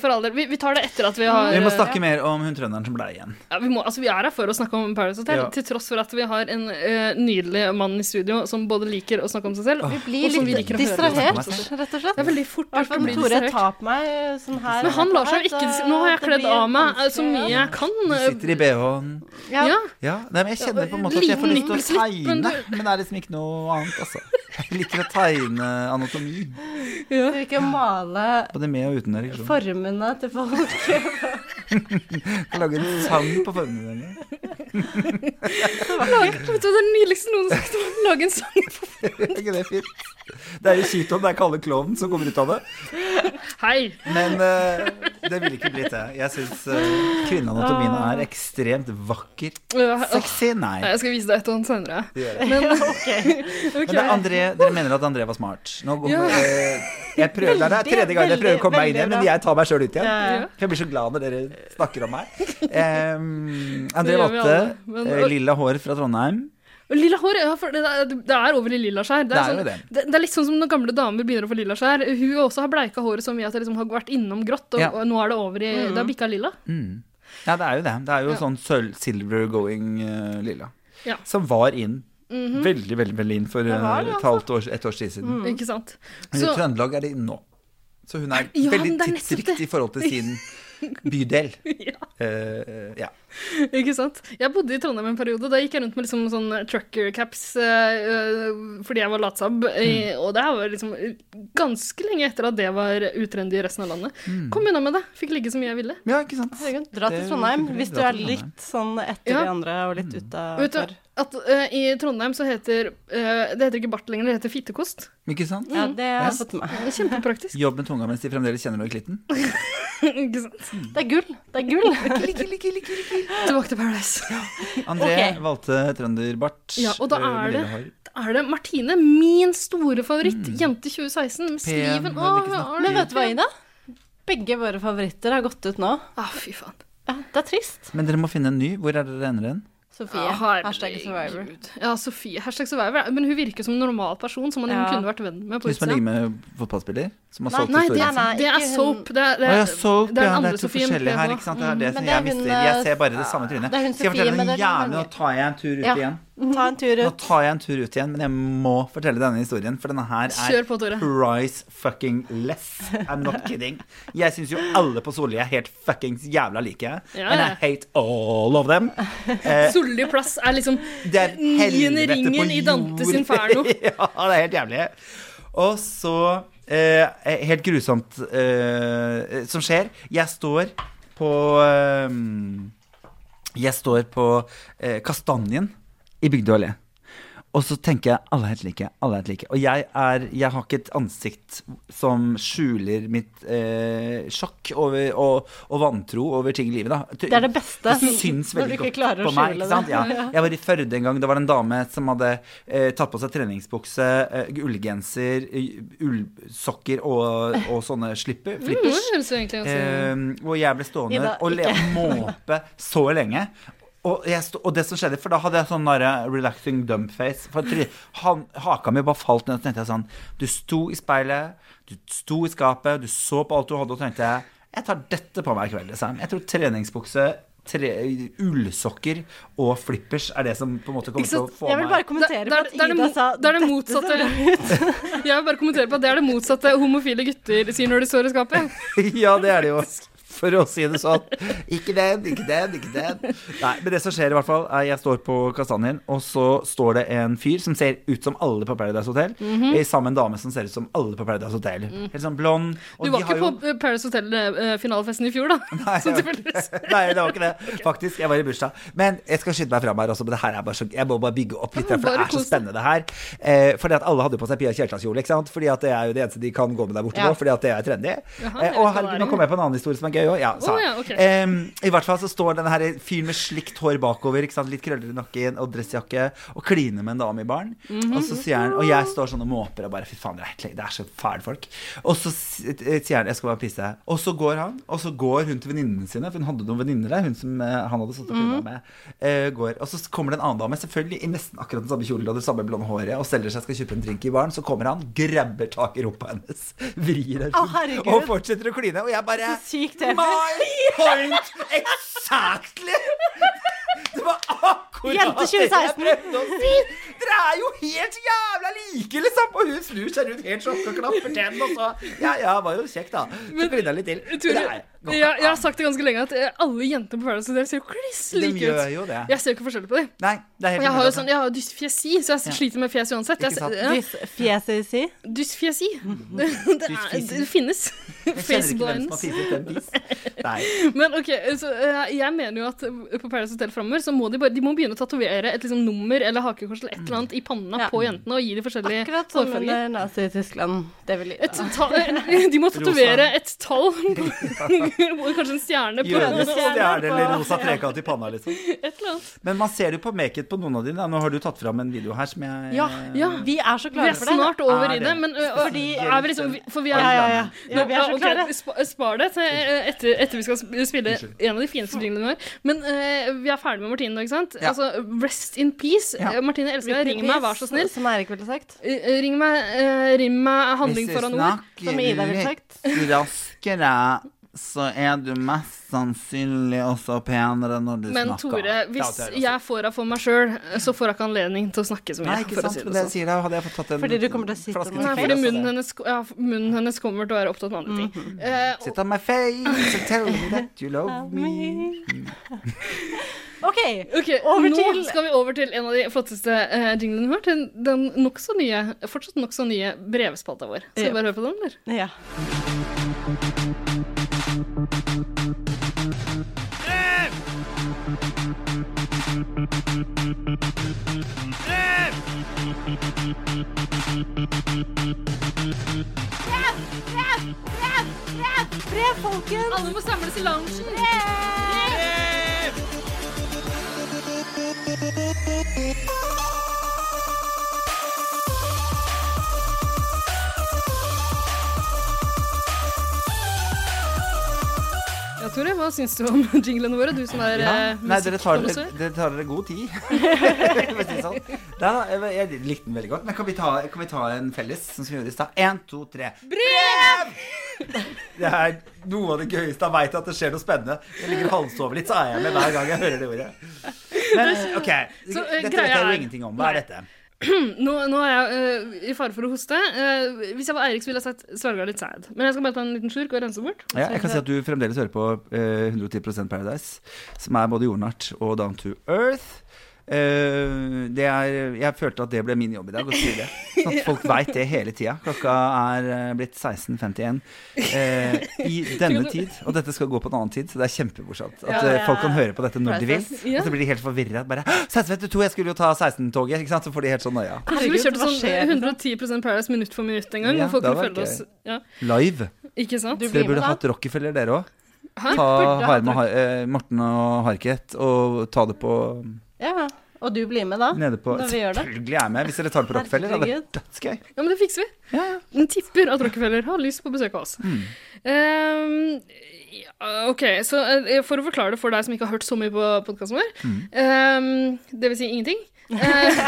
Speaker 3: for all del. Vi, vi tar det etter at vi har
Speaker 4: Vi må
Speaker 3: ja.
Speaker 4: snakke mer om hun trønderen som ble igjen.
Speaker 3: Ja, vi, må, altså, vi er her for å snakke om Paradise Hotel,
Speaker 4: Ja.
Speaker 3: til tross for at vi har en eh, nydelig mann i studio som både liker å snakke om seg selv,
Speaker 5: Vi blir
Speaker 3: og som vi
Speaker 5: litt
Speaker 3: liker å høre.
Speaker 5: distrahert,
Speaker 3: om seg selv.
Speaker 5: rett og slett.
Speaker 3: Det er veldig fort
Speaker 5: Hvert
Speaker 3: gjort å
Speaker 5: fall
Speaker 3: bli
Speaker 5: Tore
Speaker 3: distrahert.
Speaker 5: tar på meg sånn her. eh,
Speaker 3: Men han lar seg jo ikke dis- Nå har jeg
Speaker 5: Det
Speaker 3: kledd
Speaker 5: blir
Speaker 3: av meg eh, så mye jeg kan. eh,
Speaker 4: Sitter i BH-en.
Speaker 3: Ja.
Speaker 4: Ja, nei, men jeg kjenner på en måte at jeg får lyst til å tegne, men det er liksom ikke noe annet, altså. Jeg liker å tegne anatomi,
Speaker 5: Du vil ikke male
Speaker 4: både med og uten liksom. ereksjon.
Speaker 5: formene til folk.
Speaker 4: Lage en sang på formene dine.
Speaker 3: Lage, vet du hva det nydeligste noen har sagt? om å Lage en sang for
Speaker 4: *laughs* Er ikke det fint? Det er jo kjipt om det er Kalle Klovnen som kommer ut av det,
Speaker 3: Hei!
Speaker 4: men eh, det ville ikke blitt det. Jeg syns uh, kvinneanatomien er ekstremt vakker.
Speaker 3: Ja, Ah. åh.
Speaker 4: Sexy? Nei.
Speaker 3: Øh, Jeg skal vise deg et og annet senere.
Speaker 4: Det gjør jeg.
Speaker 3: Men,
Speaker 4: Men det er André, dere mener at André var smart. Nå går,
Speaker 3: Ja.
Speaker 4: eh, jeg prøver, det er tredje gang jeg prøver å komme meg inn igjen, men jeg tar meg sjøl ut
Speaker 3: *laughs*
Speaker 4: igjen.
Speaker 3: Ja,
Speaker 5: Eh,
Speaker 3: ja.
Speaker 4: For jeg blir så glad når dere snakker
Speaker 3: *laughs*
Speaker 4: om meg. Em, André
Speaker 3: Det gjør vi
Speaker 4: valgte
Speaker 3: alle, men-
Speaker 4: eh, lilla hår fra Trondheim.
Speaker 3: Og Lilla hår, ja, for det, er- det er over i lilla skjær. Det
Speaker 4: Det
Speaker 3: er,
Speaker 4: er
Speaker 3: sånn,
Speaker 4: jo
Speaker 3: det.
Speaker 4: det.
Speaker 3: Det, er litt sånn som når gamle damer begynner å få lilla skjær. Hun også har bleika håret så mye at det liksom har vært innom grått, og,
Speaker 4: Ja.
Speaker 3: og nå er det over i
Speaker 4: Mm.
Speaker 3: Det har bikka lilla.
Speaker 4: Mm. Ja, det er jo det. Det er jo
Speaker 3: Ja.
Speaker 4: sånn sølv, silver going eh, lilla.
Speaker 3: Ja.
Speaker 4: Som var inn.
Speaker 3: Mhm.
Speaker 4: Veldig, veldig veldig inn for eh,
Speaker 3: var det, altså. Mm.
Speaker 4: et halvt år, et års tid siden.
Speaker 3: Ikke sant?
Speaker 4: Men I Trøndelag er det inn nå. Så hun er
Speaker 3: Ja,
Speaker 4: veldig
Speaker 3: men det er nettopp
Speaker 4: tidsriktig i forhold til
Speaker 3: *laughs*
Speaker 4: sin bydel. Eh, ja.
Speaker 3: Ikke sant? Jeg bodde i Trondheim en periode. Da gikk jeg rundt med liksom sånn trucker caps eh, øh, fordi jeg var latsabb. eh, Og det her var liksom ganske lenge etter at det var utrendy i resten av landet. Kom unna med det. Fikk ligge så mye jeg ville.
Speaker 4: Ja, ikke sant?
Speaker 5: Herregud, dra
Speaker 3: Det er
Speaker 5: til
Speaker 3: jo
Speaker 5: Trondheim
Speaker 3: kjempefint.
Speaker 5: hvis du
Speaker 3: Dra
Speaker 5: er
Speaker 3: til Trondheim. Mm.
Speaker 5: litt sånn etter
Speaker 3: Ja.
Speaker 5: de andre og litt
Speaker 3: Vet du
Speaker 5: utafor.
Speaker 3: at eh, i Trondheim så heter eh, Det heter ikke bart lenger, det heter fittekost.
Speaker 4: Ikke sant?
Speaker 5: Ja,
Speaker 3: Mm.
Speaker 5: det har jeg
Speaker 4: Ja.
Speaker 5: fått med meg.
Speaker 3: Kjempepraktisk. *laughs*
Speaker 4: Jobb med tunga mens de fremdeles kjenner noe i klitten.
Speaker 3: ikke sant?
Speaker 5: Det er gull. Det er gull.
Speaker 3: *laughs* Tilbake til Paradise.
Speaker 4: *laughs* André
Speaker 3: Ok.
Speaker 4: valgte trønderbart.
Speaker 3: Ja, og da
Speaker 4: eh,
Speaker 3: er
Speaker 4: med
Speaker 3: det,
Speaker 4: lille hår.
Speaker 3: da er det Martine, min store favoritt,
Speaker 4: Mm.
Speaker 3: jente 2016, med sliven
Speaker 4: var det ikke
Speaker 3: Åh,
Speaker 5: Men vet du hva, Ida? Begge våre favoritter har gått ut nå.
Speaker 3: Ah, fy faen.
Speaker 5: Ja, det er trist.
Speaker 4: Men dere må finne en ny. Hvor er dere ender den?
Speaker 5: Sofie.
Speaker 3: Ja, herregud.
Speaker 5: hashtag survivor.
Speaker 3: Ja, Sofie. Hashtag survivor. Men hun virker som en normal person som man
Speaker 5: Ja.
Speaker 3: kunne vært venn med på
Speaker 4: Hvis man
Speaker 3: utsida.
Speaker 4: ligger med fotballspiller som har
Speaker 3: Nei,
Speaker 4: solgt
Speaker 3: nei, det,
Speaker 4: historien sin.
Speaker 3: det er
Speaker 5: ikke hun-
Speaker 3: soap. Det er, det
Speaker 4: Å
Speaker 3: er,
Speaker 4: ja, soap,
Speaker 3: det er den
Speaker 4: ja, det
Speaker 3: andre
Speaker 4: er to
Speaker 3: Sofien
Speaker 4: forskjellige her,
Speaker 3: PH.
Speaker 4: ikke sant? Det er det som
Speaker 5: Mm. Men det
Speaker 4: jeg
Speaker 5: er hun,
Speaker 4: mister. Jeg
Speaker 5: eh,
Speaker 4: ser bare det samme trynet.
Speaker 5: det er hun
Speaker 4: Skal jeg
Speaker 5: Sofie,
Speaker 4: fortelle
Speaker 5: men
Speaker 4: den
Speaker 5: det er
Speaker 4: jævlig
Speaker 5: mange.
Speaker 4: Nå tar jeg en tur ut
Speaker 5: Ja.
Speaker 4: igjen.
Speaker 5: Ta en tur
Speaker 4: Nå
Speaker 5: ut.
Speaker 4: tar jeg en tur ut igjen, men jeg må fortelle denne historien, for denne her
Speaker 3: Kjør
Speaker 4: er
Speaker 3: på, Tore.
Speaker 4: price fucking less.
Speaker 3: *laughs*
Speaker 4: I'm not kidding. Jeg syns jo alle på Solli er helt fuckings jævla like.
Speaker 3: Ja,
Speaker 4: And
Speaker 3: ja.
Speaker 4: I hate all of them. Eh,
Speaker 3: Solli plass er liksom
Speaker 4: det er et
Speaker 3: niende
Speaker 4: helvete på
Speaker 3: ringen i Dantes
Speaker 4: jord.
Speaker 3: inferno.
Speaker 4: *laughs*
Speaker 3: Mm,
Speaker 4: ja, det er helt jævlig. Og så eh, Helt grusomt eh, som skjer. Jeg står på eh, Jeg står på eh, Kastanjen i Bygdøy allé. Og så tenker jeg alle er helt like. alle er helt like. Og jeg, er, jeg har ikke et ansikt som skjuler mitt eh, sjokk over, og, og vantro over ting i livet. Da.
Speaker 5: Det er det beste,
Speaker 4: Det syns
Speaker 5: når du
Speaker 4: veldig
Speaker 5: ikke
Speaker 4: godt
Speaker 5: klarer å
Speaker 4: på meg.
Speaker 5: skjule
Speaker 4: Ikke sant?
Speaker 5: det.
Speaker 4: Ja.
Speaker 5: Ja.
Speaker 4: Jeg var i Førde en gang. Det var en dame som hadde eh, tatt på seg treningsbukse, eh, ullgenser, eh, ullsokker og, og sånne slipper,
Speaker 3: Mm, det
Speaker 4: flippers.
Speaker 3: høres jo egentlig ganske
Speaker 4: Eh, og jeg ble stående
Speaker 3: Ida,
Speaker 4: og le
Speaker 3: ikke.
Speaker 4: *laughs* måpe så lenge. Og, jeg sto, og det som skjedde, for da hadde jeg sånn der, relaxing dump face. For try, han, haka mi bare falt ned, og så tenkte jeg sånn Du sto i speilet, du sto i skapet, du så på alt du hadde, og tenkte jeg Jeg tar dette på meg i kveld, liksom. Jeg tror treningsbukse, tre, ullsokker og flippers er det som på en måte kommer til å få
Speaker 5: Jeg vil
Speaker 4: meg
Speaker 5: bare kommentere
Speaker 3: Det er-
Speaker 5: på at
Speaker 3: det er det
Speaker 5: Ida
Speaker 3: mo-
Speaker 5: sa
Speaker 3: det er det
Speaker 5: «Dette
Speaker 3: motsatte».
Speaker 5: ser *laughs* bra ut».
Speaker 3: Jeg vil bare kommentere på at det er det motsatte homofile gutter sier når de står i skapet.
Speaker 4: *laughs* ja, det er det jo. For å si det sånn. Ikke den, ikke den, ikke den. Nei, men det som skjer i hvert fall, er jeg står på kastanjen, og så står det en fyr som ser ut som alle på Paradise Hotel,
Speaker 3: Mhm.
Speaker 4: eh, sammen med en dame som ser ut som alle på Paradise Hotel.
Speaker 3: Mm.
Speaker 4: Helt sånn blond.
Speaker 3: Du var ikke på eh, Paris Hotel-finalefesten i fjor, da?
Speaker 4: *laughs* Nei, jeg var- *laughs* Nei, det var ikke
Speaker 3: *laughs*
Speaker 4: det. Faktisk, jeg var i bursdag. Men jeg skal skynde meg fram her også, men det her er bare så, jeg må bare bygge opp litt,
Speaker 3: Ja,
Speaker 4: her,
Speaker 3: men
Speaker 4: for det
Speaker 3: bare
Speaker 4: er så
Speaker 3: kos
Speaker 4: spennende, det her. Eh, fordi at alle hadde på seg Pia Kjeltas-kjole, ikke sant? Fordi at det er jo det eneste de kan gå med der borte
Speaker 3: Ja.
Speaker 4: nå, fordi at det er trendy.
Speaker 3: Jaha, jeg
Speaker 4: Eh,
Speaker 3: vet
Speaker 4: og
Speaker 3: hva det
Speaker 4: herregud,
Speaker 3: er.
Speaker 4: nå kommer jeg på en annen historie som er gøy jo. Ja, sa
Speaker 3: Å,
Speaker 4: jeg.
Speaker 3: ja, ok.
Speaker 4: Em, I hvert fall så står denne her fyren med slikt hår bakover, ikke sant? litt krøller i nakken og dressjakke, og kliner med en dame i baren.
Speaker 15: Mhm.
Speaker 4: Og så sier han Og jeg står sånn og måper og bare Fy faen, det er, helt- det er så fæle folk. Og så s- eh, sier han Jeg skal bare pisse. Og så går han, og så går hun til venninnene sine, for hun hadde noen venninner der, hun som eh, han hadde satt opp
Speaker 15: Mhm.
Speaker 4: unna med. eh, går. Og så kommer det en annen dame, selvfølgelig i nesten akkurat den samme kjolen og det samme blonde håret, og selger seg skal kjøpe en drink i baren. Så kommer han, grabber tak i rumpa hennes, *laughs* vrir den
Speaker 15: Å,
Speaker 4: rundt
Speaker 15: herregud.
Speaker 4: og fortsetter å kline. Og jeg bare My point exactly! Det var akkurat
Speaker 15: Jente 2016.
Speaker 4: det jeg prøvde å si! Dere er jo helt jævla like, liksom! Og hun snur seg rundt helt sjokka og klapper til den, og så Ja, ja, var jo kjekt, da. Så klina jeg litt til.
Speaker 3: Tror du,
Speaker 4: Det er-
Speaker 3: jeg, jeg har sagt det ganske lenge at eh, alle jenter på Paradise Hotel ser jo kliss
Speaker 4: De
Speaker 3: like ut.
Speaker 4: gjør jo det.
Speaker 3: Jeg ser jo ikke forskjell på dem.
Speaker 4: Nei, det
Speaker 3: Og
Speaker 4: er helt
Speaker 3: jeg har jo
Speaker 4: umulig, altså.
Speaker 3: sånn, jeg har jo dysfjesi, så jeg sliter med fjes uansett. Jeg, ser- ja.
Speaker 5: Dysfjesi?
Speaker 4: *laughs*
Speaker 3: Dysfjesi. Det, det, er,
Speaker 4: Dysfjesi.
Speaker 3: det finnes.
Speaker 4: *laughs* Jeg kjenner ikke hvem som har
Speaker 3: Face
Speaker 4: fiset den bis. Nei.
Speaker 3: Men ok, så eh, jeg mener jo at eh, på Paradise Hotel framover så må de, bare, de må begynne å tatovere et liksom, nummer eller hakekors eller et
Speaker 4: Mm.
Speaker 3: eller annet i panna på jentene og gi dem forskjellige
Speaker 5: Akkurat som under Nazi-Tyskland. Det vil
Speaker 3: Et ta- *laughs* de må tatovere et tall,
Speaker 4: *laughs*
Speaker 3: *laughs* og kanskje en stjerne på
Speaker 4: Jødisk stjerne eller rosa trekant i panna, liksom.
Speaker 3: Et eller annet.
Speaker 4: Men man ser det på make-it på noen av dine. da. Nå har du tatt fram en video her som jeg eh,
Speaker 3: Ja,
Speaker 5: Eh, Vi er så klare
Speaker 3: vi er
Speaker 5: for det.
Speaker 3: snart over
Speaker 4: Er
Speaker 3: i
Speaker 4: det?
Speaker 3: det, men ø, ø,
Speaker 5: Fordi-
Speaker 3: er vi liksom, for vi er,
Speaker 5: Ja, ja, ja. Ja, vi er så
Speaker 3: ok,
Speaker 5: klare.
Speaker 3: sp- Spar det til ø, etter, etter vi skal sp- spille en av de fineste jinglene våre. Men ø, vi er ferdig med Martine nå, ikke sant?
Speaker 5: Ja.
Speaker 3: Altså, rest in peace.
Speaker 5: Ja.
Speaker 3: Eh, Martine, jeg elsker
Speaker 5: Rest
Speaker 3: deg.
Speaker 5: in
Speaker 3: Ring meg,
Speaker 5: peace,
Speaker 3: vær så snill.
Speaker 5: Som Eirik ville sagt.
Speaker 3: Eh, eh, Ring meg, eh, ring meg handling
Speaker 4: Hvis du
Speaker 3: foran ord.
Speaker 4: snakker raskere, så er du mest sannsynlig også penere når du
Speaker 3: Men
Speaker 4: snakker.
Speaker 3: Tore, hvis
Speaker 4: Ja, det altså. er det.
Speaker 3: jeg får henne for meg sjøl, så får jeg ikke anledning til å snakke så mye.
Speaker 4: Nei, ikke
Speaker 3: for å
Speaker 4: sant.
Speaker 3: si
Speaker 4: for det jeg
Speaker 3: sånn.
Speaker 4: sier deg, hadde jeg fått tatt en
Speaker 5: Fordi du kommer til å sitte
Speaker 4: flaske
Speaker 3: Nei,
Speaker 4: tequila,
Speaker 3: fordi
Speaker 4: så
Speaker 3: munnen hennes, ja, munnen hennes kommer til å være opptatt med andre ting. Eh,
Speaker 4: Sit on my face and tell me that you love me.
Speaker 5: OK,
Speaker 3: over
Speaker 5: over
Speaker 3: nå
Speaker 5: til-
Speaker 3: skal vi over til en av de flotteste uh, jinglene vi har. Til den nokså nye, fortsatt nokså nye brevspalta vår. Skal
Speaker 5: Ja.
Speaker 3: vi bare høre på den, eller?
Speaker 5: Ja.
Speaker 15: Brev!
Speaker 5: Brev, brev, brev, brev, folkens!
Speaker 3: Alle må samles i loungen. Ja, Tore, hva syns du om *laughs* jinglene våre? Du som er
Speaker 4: Ja.
Speaker 3: eh,
Speaker 4: Nei, dere tar dere,
Speaker 3: musikkprodusør.
Speaker 4: dere tar dere god
Speaker 3: *laughs*
Speaker 4: tid. *laughs* For å si det sånn. Nei da, jeg, jeg likte den veldig godt. Men kan vi ta, kan vi ta en felles, som vi gjorde i stad? Én, to, tre.
Speaker 15: Brev!
Speaker 4: *laughs* Det er noe av det gøyeste jeg veit at det skjer noe spennende. Jeg ligger og halvsover litt, så er jeg med hver gang jeg hører det ordet. Men OK,
Speaker 3: Så, eh, greia
Speaker 4: dette vet jeg jo
Speaker 3: er-
Speaker 4: ingenting om. Hva er dette?
Speaker 3: *clears throat* nå, nå er jeg eh, i fare for å hoste. Eh, hvis jeg var Eirik, så ville jeg sagt svelga litt sæd. Men jeg skal bare ta en liten slurk og rense bort.
Speaker 4: Ja, jeg kan si at du fremdeles hører på eh, 110 Paradise, som er både jordnært og down to earth. Eh, det er, jeg følte at det ble min jobb i dag, å si
Speaker 15: *laughs*
Speaker 4: det. Sånn at folk veit det hele tida. Klokka er eh, blitt 16.51 eh, i
Speaker 15: *laughs*
Speaker 4: denne tid, og dette skal gå på en annen tid, så det er kjempemorsomt. At
Speaker 15: Ja,
Speaker 4: eh,
Speaker 15: ja.
Speaker 4: folk kan høre på dette når de vil.
Speaker 15: Priceless. Ja.
Speaker 4: Og så blir de helt forvirra. Bare «Hå, 16.52, jeg skulle jo ta 16-toget, ikke sant. Så får de helt sånn nøya.
Speaker 3: Kanskje vi kjørte
Speaker 5: hva
Speaker 3: sånn
Speaker 5: skjer, liksom?
Speaker 3: 110 Paradise minutt for minutt en gang.
Speaker 4: Ja,
Speaker 3: hvor folk
Speaker 4: det
Speaker 3: kunne
Speaker 4: var
Speaker 3: følge
Speaker 4: gøy.
Speaker 3: oss ja.
Speaker 4: Live.
Speaker 3: Ikke sant?
Speaker 4: Dere burde hatt Rockefeller, dere òg.
Speaker 3: Hæ?
Speaker 4: Ta
Speaker 5: Burde hatt
Speaker 4: Harme, Har- eh, Morten og Harket og ta det på
Speaker 5: Ja, Og du blir med da?
Speaker 4: nede på
Speaker 5: Når vi gjør det?
Speaker 4: Selvfølgelig er jeg med, hvis dere tar det på Rockefeller. Da.
Speaker 5: Herregud.
Speaker 4: Dødsgøy.
Speaker 3: Ja, men det fikser vi. Den tipper at Rockefeller har lyst på besøk av oss.
Speaker 4: Mm.
Speaker 3: Ehm, ja, ok, så eh, for å forklare det for deg som ikke har hørt så mye på podkasten vår
Speaker 4: Mm.
Speaker 3: ehm, Det vil si ingenting.
Speaker 4: *laughs*
Speaker 3: Eh,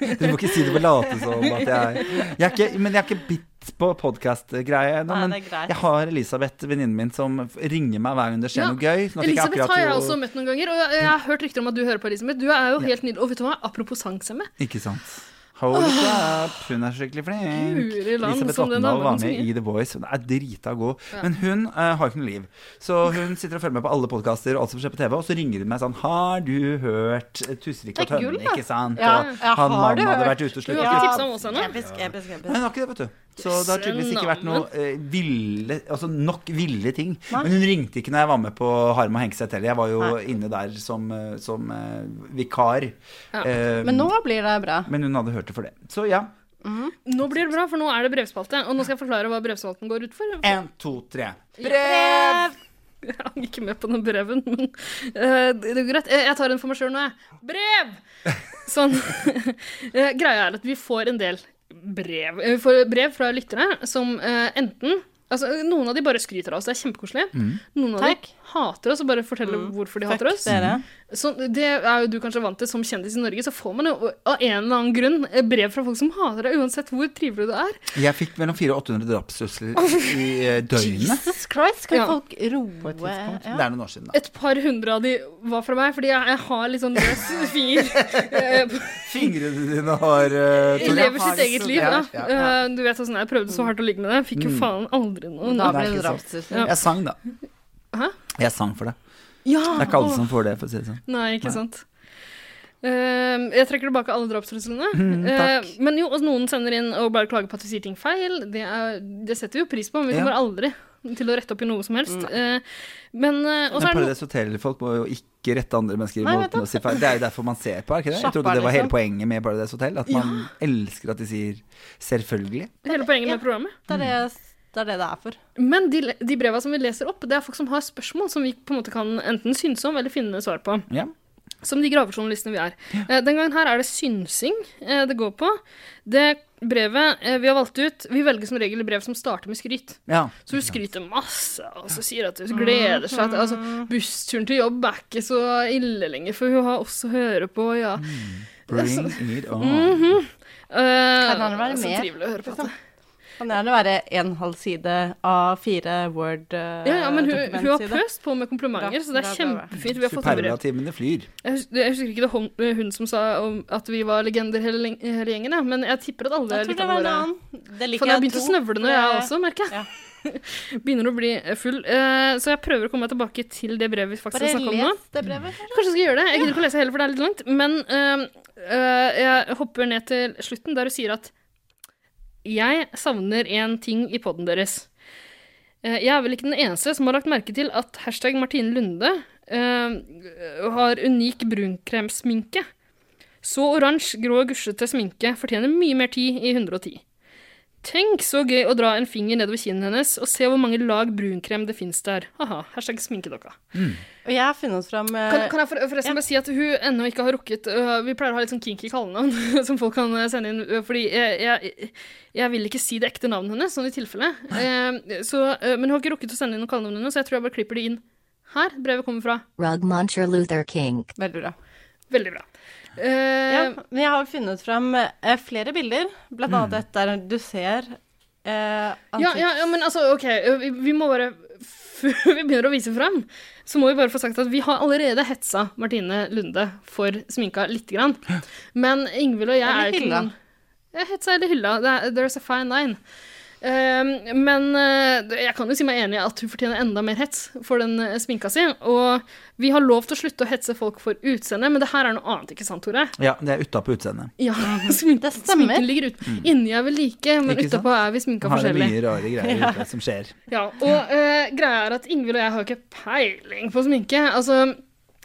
Speaker 4: Dere må ikke si det på late som at jeg, jeg er ikke, Men jeg er ikke bitt på podkast-greie ennå.
Speaker 3: Nei,
Speaker 4: Men
Speaker 3: det er greit.
Speaker 4: jeg har Elisabeth, venninnen min, som f- ringer meg hver gang det skjer
Speaker 3: ja,
Speaker 4: noe gøy. Sånn at jeg ikke
Speaker 3: Elisabeth
Speaker 4: akkurat
Speaker 3: har jeg
Speaker 4: jo-
Speaker 3: også møtt noen ganger, og jeg, jeg har hørt rykter om at du hører på Elisabeth. Du er jo
Speaker 4: Ja.
Speaker 3: helt nydelig. Og vet du hva, apropos sangsemme.
Speaker 4: Ikke sant. Holy
Speaker 5: Ah.
Speaker 4: crap, hun er skikkelig flink.
Speaker 3: Guri land,
Speaker 4: Elisabeth
Speaker 3: som den
Speaker 4: Vatndal
Speaker 3: dama
Speaker 4: var
Speaker 3: kan
Speaker 4: med
Speaker 3: synge.
Speaker 4: i The Voice. Hun er drita god.
Speaker 3: Ja.
Speaker 4: Men hun eh, har ikke noe liv. Så hun sitter og følger med på alle podkaster og alt som skjer på TV, og så ringer hun meg sånn Har du hørt eh, Tusvik og
Speaker 5: Det er gull,
Speaker 4: Tønne,
Speaker 5: da.
Speaker 4: ikke sant?
Speaker 5: Ja,
Speaker 4: Og
Speaker 5: ja, har
Speaker 4: han mannen
Speaker 5: du
Speaker 4: hadde
Speaker 5: hørt?
Speaker 4: vært ute og
Speaker 5: Du har
Speaker 4: sluttet.
Speaker 5: ikke
Speaker 4: Ja.
Speaker 5: tipset om
Speaker 3: oss ennå?
Speaker 5: Episk, episk, episk.
Speaker 4: Nei, hun har ikke det, vet du. Så det har tydeligvis ikke vært noe eh, ville, altså nok ville ting.
Speaker 5: Nei.
Speaker 4: Men hun ringte ikke når jeg var med på Harm og Hengseth heller. Jeg var jo
Speaker 5: Nei.
Speaker 4: inne der som, eh, som eh, vikar.
Speaker 3: Ja.
Speaker 4: Eh,
Speaker 5: Men nå blir det bra.
Speaker 4: men hun hadde hørt det for det. Så ja.
Speaker 3: Nå blir det bra, for nå er det brevspalte. Og nå skal jeg forklare hva brevspalten går ut for.
Speaker 4: Én, to, tre.
Speaker 3: Brev! *laughs* Jeg hang ikke med på noen breven, men eh, det det går greit. Eh, Jeg tar en for meg sjøl nå, jeg. Brev! Sånn. *laughs* Eh, Greia er at vi får en del brev. Eh, Vi får brev fra lyttere som eh, enten Altså, noen av de bare skryter av oss, det er kjempekoselig.
Speaker 15: Mm.
Speaker 3: Noen av de hater oss og bare forteller hvorfor de
Speaker 5: Mm. Fuck
Speaker 3: hater oss.
Speaker 5: dere.
Speaker 3: Så det er jo du kanskje vant til som kjendis i Norge, så får man jo av en eller annen grunn eh, brev fra folk som hater deg, uansett hvor trivelig du er.
Speaker 4: Jeg fikk mellom 400 og 800 drapstrusler i eh, døgnet.
Speaker 5: Jesus Christ,
Speaker 3: *laughs*
Speaker 5: skal
Speaker 3: Ja.
Speaker 5: folk roe
Speaker 3: eh,
Speaker 4: Det er noen år siden, da.
Speaker 3: Et par hundre av de var fra meg, fordi jeg, jeg har litt sånn løs finger. Eh,
Speaker 4: Fingrene dine har eh,
Speaker 3: Jeg lever sitt eget liv, da.
Speaker 4: Ja, ja, ja.
Speaker 3: Eh, Du vet åssen jeg prøvde så hardt å ligge med det. Fikk jo
Speaker 4: Mm.
Speaker 3: faen aldri noe.
Speaker 4: Nei, det er ikke sant. Jeg sang, da.
Speaker 3: Hæ?
Speaker 4: Jeg sang for det.
Speaker 3: Ja,
Speaker 4: det er ikke alle
Speaker 3: åh.
Speaker 4: som får det, for å si det sånn.
Speaker 3: Nei, ikke sant. Eh, jeg trekker tilbake alle drapstruslene.
Speaker 4: Mm,
Speaker 3: Eh,
Speaker 4: takk.
Speaker 3: men jo, og noen sender inn og bare klager på at vi sier ting feil. Det, er, det setter vi jo pris på, men vi
Speaker 4: Ja. Mm.
Speaker 3: kommer aldri til å rette opp i noe som helst. Eh, men eh, og så er det
Speaker 4: Men Paradise Hotel-folk må jo ikke rette andre mennesker i
Speaker 3: Nei, vet
Speaker 4: måten å si feil. Det er jo derfor man ser på, er ikke det? Jeg
Speaker 3: Slapp
Speaker 4: trodde
Speaker 3: av,
Speaker 4: det var hele
Speaker 3: liksom.
Speaker 4: poenget med Paradise Hotel. At man elsker at de sier 'selvfølgelig'.
Speaker 3: no- hele poenget med programmet.
Speaker 5: Det er det, det er det det er for.
Speaker 3: Men de, le- de breva som vi leser opp, det er folk som har spørsmål som vi på en måte kan enten synse om eller finne svar på.
Speaker 4: Ja.
Speaker 3: Som de gravejournalistene vi er. Eh, Den gangen her er det synsing eh, det går på. Det brevet eh, vi har valgt ut Vi velger som regel brev som starter med skryt.
Speaker 4: Ja.
Speaker 3: Så hun skryter masse, og så sier at hun gleder seg. At, altså, bussturen til jobb er ikke så ille lenger, for hun har også høre på, ja.
Speaker 4: Bring it on.
Speaker 3: Mhm. Eh,
Speaker 5: Kan han være
Speaker 3: så
Speaker 5: med?
Speaker 3: trivelig å høre på. at-
Speaker 5: Kan gjerne være en halv side av fire eh, Word-dokumentsider.
Speaker 3: Ja, ja, men hun, hun har pøst på med komplimenter, så det er kjempefint. Vi har fått brev.
Speaker 4: Superlativene flyr.
Speaker 3: Jeg hus- jeg husker ikke det hun, hun som sa om at vi var legender hele, leng- hele gjengen, ja. men jeg tipper at alle
Speaker 5: Jeg tror det var en annen. Det liker
Speaker 3: For jeg har
Speaker 5: jeg
Speaker 3: begynt å
Speaker 5: to,
Speaker 3: snøvle nå,
Speaker 5: for
Speaker 3: jeg
Speaker 5: det-
Speaker 3: også, merker jeg. *laughs* Begynner å bli full. Eh, Så jeg prøver å komme meg tilbake til det brevet vi faktisk
Speaker 5: Bare
Speaker 3: har snakket om nå.
Speaker 5: les det brevet.
Speaker 3: Kanskje jeg skal gjøre det. Jeg gidder ikke å lese heller, for det er litt langt. Men øhm, øh, jeg hopper ned til slutten, der hun sier at jeg savner en ting i poden deres. Eh, Jeg er vel ikke den eneste som har lagt merke til at hashtag Martine Lunde øh, har unik brunkremsminke. Så oransje, grå og gusjete sminke fortjener mye mer tid i 110. Tenk så gøy å dra en finger nedover kinnet hennes og se hvor mange lag brunkrem det fins der. Haha, hashtag sminkedokka.
Speaker 5: Og jeg har funnet fram eh,
Speaker 3: Kan, kan jeg for, forresten bare si at hun ennå ikke har rukket øh, Vi pleier å ha litt sånn kinky kallenavn *laughs* som folk kan øh, sende inn. øh, fordi jeg, jeg, jeg vil ikke si det ekte navnet hennes, sånn i tilfelle. Eh, så, øh, men hun har ikke rukket å sende inn noen kallenavn ennå, så jeg tror jeg bare klipper det inn her. Brevet kommer fra.
Speaker 18: Rug Muncher Luther King.
Speaker 5: Veldig bra.
Speaker 3: Veldig bra. Eh,
Speaker 5: ja, men jeg har funnet fram eh, flere bilder, blant annet et der du ser eh,
Speaker 3: Mm. Ja,
Speaker 5: ansikt-
Speaker 3: ja, ja, men altså, OK. øh, Vi, vi må bare Før *laughs* vi begynner å vise fram, så må vi bare få sagt at vi har allerede hetsa Martine Lunde for sminka lite grann. Men Ingvild og jeg
Speaker 5: Eller
Speaker 3: er jo ikke
Speaker 5: hylla.
Speaker 3: noen Jeg hetsa eller hylla. Det er, there's a fine line. Ehm, men eh, jeg kan jo si meg enig i at hun fortjener enda mer hets for den eh, sminka si. Og vi har lov til å slutte å hetse folk for utseendet, men det her er noe annet, ikke sant, Tore?
Speaker 4: Ja, det er utapå utseendet.
Speaker 3: *laughs* Ja, smink, sminken ligger ut. Inni er vi like, men
Speaker 4: Ikke sant?
Speaker 3: utapå er vi sminka
Speaker 4: Har det
Speaker 3: forskjellig.
Speaker 4: mye rare
Speaker 5: *laughs*
Speaker 4: greier
Speaker 3: Ja.
Speaker 4: ute som skjer.
Speaker 3: Ja, og eh, greia er at Ingvild og jeg har jo ikke peiling på sminke. Altså,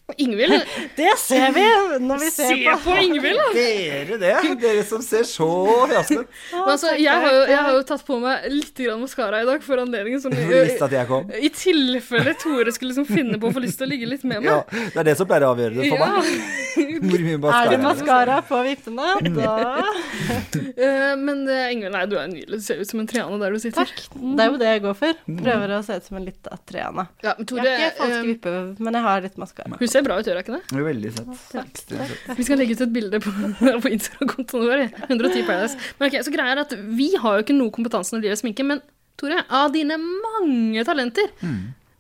Speaker 3: *laughs* Ingvild
Speaker 5: Det ser vi når vi ser
Speaker 3: Se på,
Speaker 5: på-
Speaker 3: Ingvild, da!
Speaker 4: Dere det, dere som ser så jasne ut.
Speaker 5: *laughs*
Speaker 3: Men altså, jeg, har jo, jeg har jo tatt på meg litt maskara i dag for anledningen. Sånn,
Speaker 4: Du visste at jeg kom.
Speaker 3: I tilfelle Tore skulle liksom finne på å få lyst til å ligge litt med
Speaker 4: Ja,
Speaker 3: meg.
Speaker 4: det er det som pleier å avgjøre det for meg. Hvor mye
Speaker 5: Er
Speaker 4: mascara er
Speaker 5: det
Speaker 4: det?
Speaker 5: maskara på *laughs* vippene? Da
Speaker 3: Eh, men eh, Ingvild, nei, du er nydelig. Du ser ut som en Triana der du sitter. Takk.
Speaker 5: Det er jo det jeg går for.
Speaker 4: Mm.
Speaker 5: Prøver å se ut som en litt Atreana.
Speaker 3: Ja, men Tore,
Speaker 5: jeg har ikke falske
Speaker 3: eh,
Speaker 5: vipper, men jeg har litt maskara.
Speaker 3: Hun ser bra ut, gjør hun ikke det?
Speaker 4: Hun er veldig søt. Ekstremt søt.
Speaker 3: Vi skal legge ut et bilde på, *laughs* på Instagram-kontoen vår. 110 Paradise. Men ok, så greia er at Vi har jo ikke noe kompetanse når det gjelder sminke, men Tore, av dine mange talenter
Speaker 4: Mm.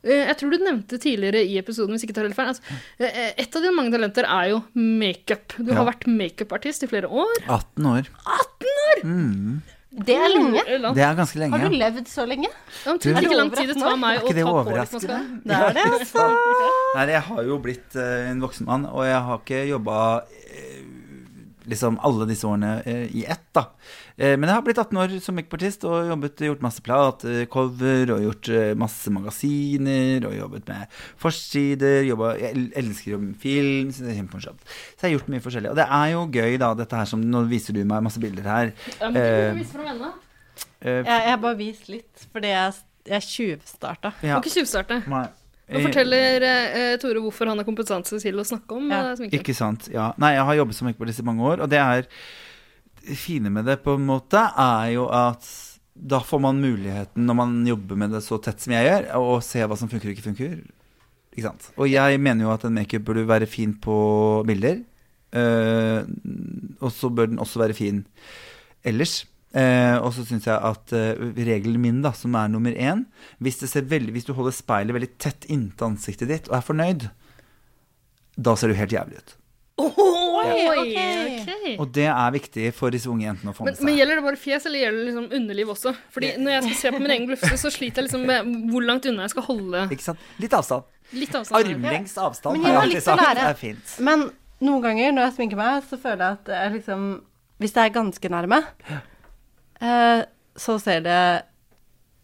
Speaker 3: eh, Jeg tror du nevnte tidligere i episoden, hvis ikke tar helt feil altså, eh, Et av dine mange talenter er jo makeup. Du har
Speaker 4: Ja.
Speaker 3: vært makeupartist i flere år.
Speaker 4: 18 år.
Speaker 3: 18 år!
Speaker 4: Mm.
Speaker 5: Det er lenge.
Speaker 4: Det er ganske lenge.
Speaker 5: Har du levd så lenge?
Speaker 3: Ja, men tenk
Speaker 4: Du-
Speaker 3: ikke lang tid det tar meg
Speaker 4: Er
Speaker 3: å
Speaker 4: ikke det
Speaker 3: ta på litt
Speaker 4: overraskende?
Speaker 3: maskara.
Speaker 5: Det er det, altså.
Speaker 4: Nei, jeg har jo blitt eh, en voksen mann, og jeg har ikke jobba eh, liksom alle disse årene eh, i ett, da. Eh, men jeg har blitt 18 år som makeupartist og jobbet, gjort masse platecover og gjort eh, masse magasiner og jobbet med forsider. Jobba, jeg el- elsker å jobbe med film, synes det er kjempemorsomt. Så jeg har gjort mye forskjellig. Og det er jo gøy, da, dette her som Nå viser du meg masse bilder her.
Speaker 5: Ja, men du
Speaker 4: Eh,
Speaker 5: må vise frem ennå.
Speaker 4: eh,
Speaker 5: Jeg, jeg har bare vist litt, fordi jeg, jeg tjuvstarta.
Speaker 4: Ja. Må ikke
Speaker 3: tjuvstarte.
Speaker 4: Nei.
Speaker 3: Nå forteller eh, Tore hvorfor han har kompetanse til å snakke om eh, sminking.
Speaker 4: Ikke sant, ja Nei, jeg har jobbet som makeupartist i mange år Og det er det fine med det på en måte Er jo at da får man muligheten Når man jobber med det så tett som jeg gjør Å se hva som funker og ikke funker Ikke sant Og jeg mener jo at en makeup burde være fin på bilder eh, Og så bør den også være fin ellers Eh, og så syns jeg at eh, regelen min, da, som er nummer én hvis, det ser veldig, hvis du holder speilet veldig tett inntil ansiktet ditt og er fornøyd, da ser du helt jævlig ut.
Speaker 3: Oi, ok.
Speaker 4: Og det er viktig for disse unge jentene å få
Speaker 3: Men,
Speaker 4: med seg.
Speaker 3: men gjelder det bare fjes, eller gjelder det liksom underliv også? Fordi når jeg skal se på min egen glufse, så sliter jeg liksom med hvor langt unna jeg skal holde
Speaker 4: Ikke sant? Litt avstand.
Speaker 3: litt avstand.
Speaker 4: Armlengs avstand
Speaker 5: Men jeg har
Speaker 4: alltid
Speaker 5: lyst til å
Speaker 4: sagt
Speaker 5: lære.
Speaker 4: er fint.
Speaker 5: Men noen ganger når jeg sminker meg, så føler jeg at det er liksom Hvis det er ganske nærme, eh, så ser det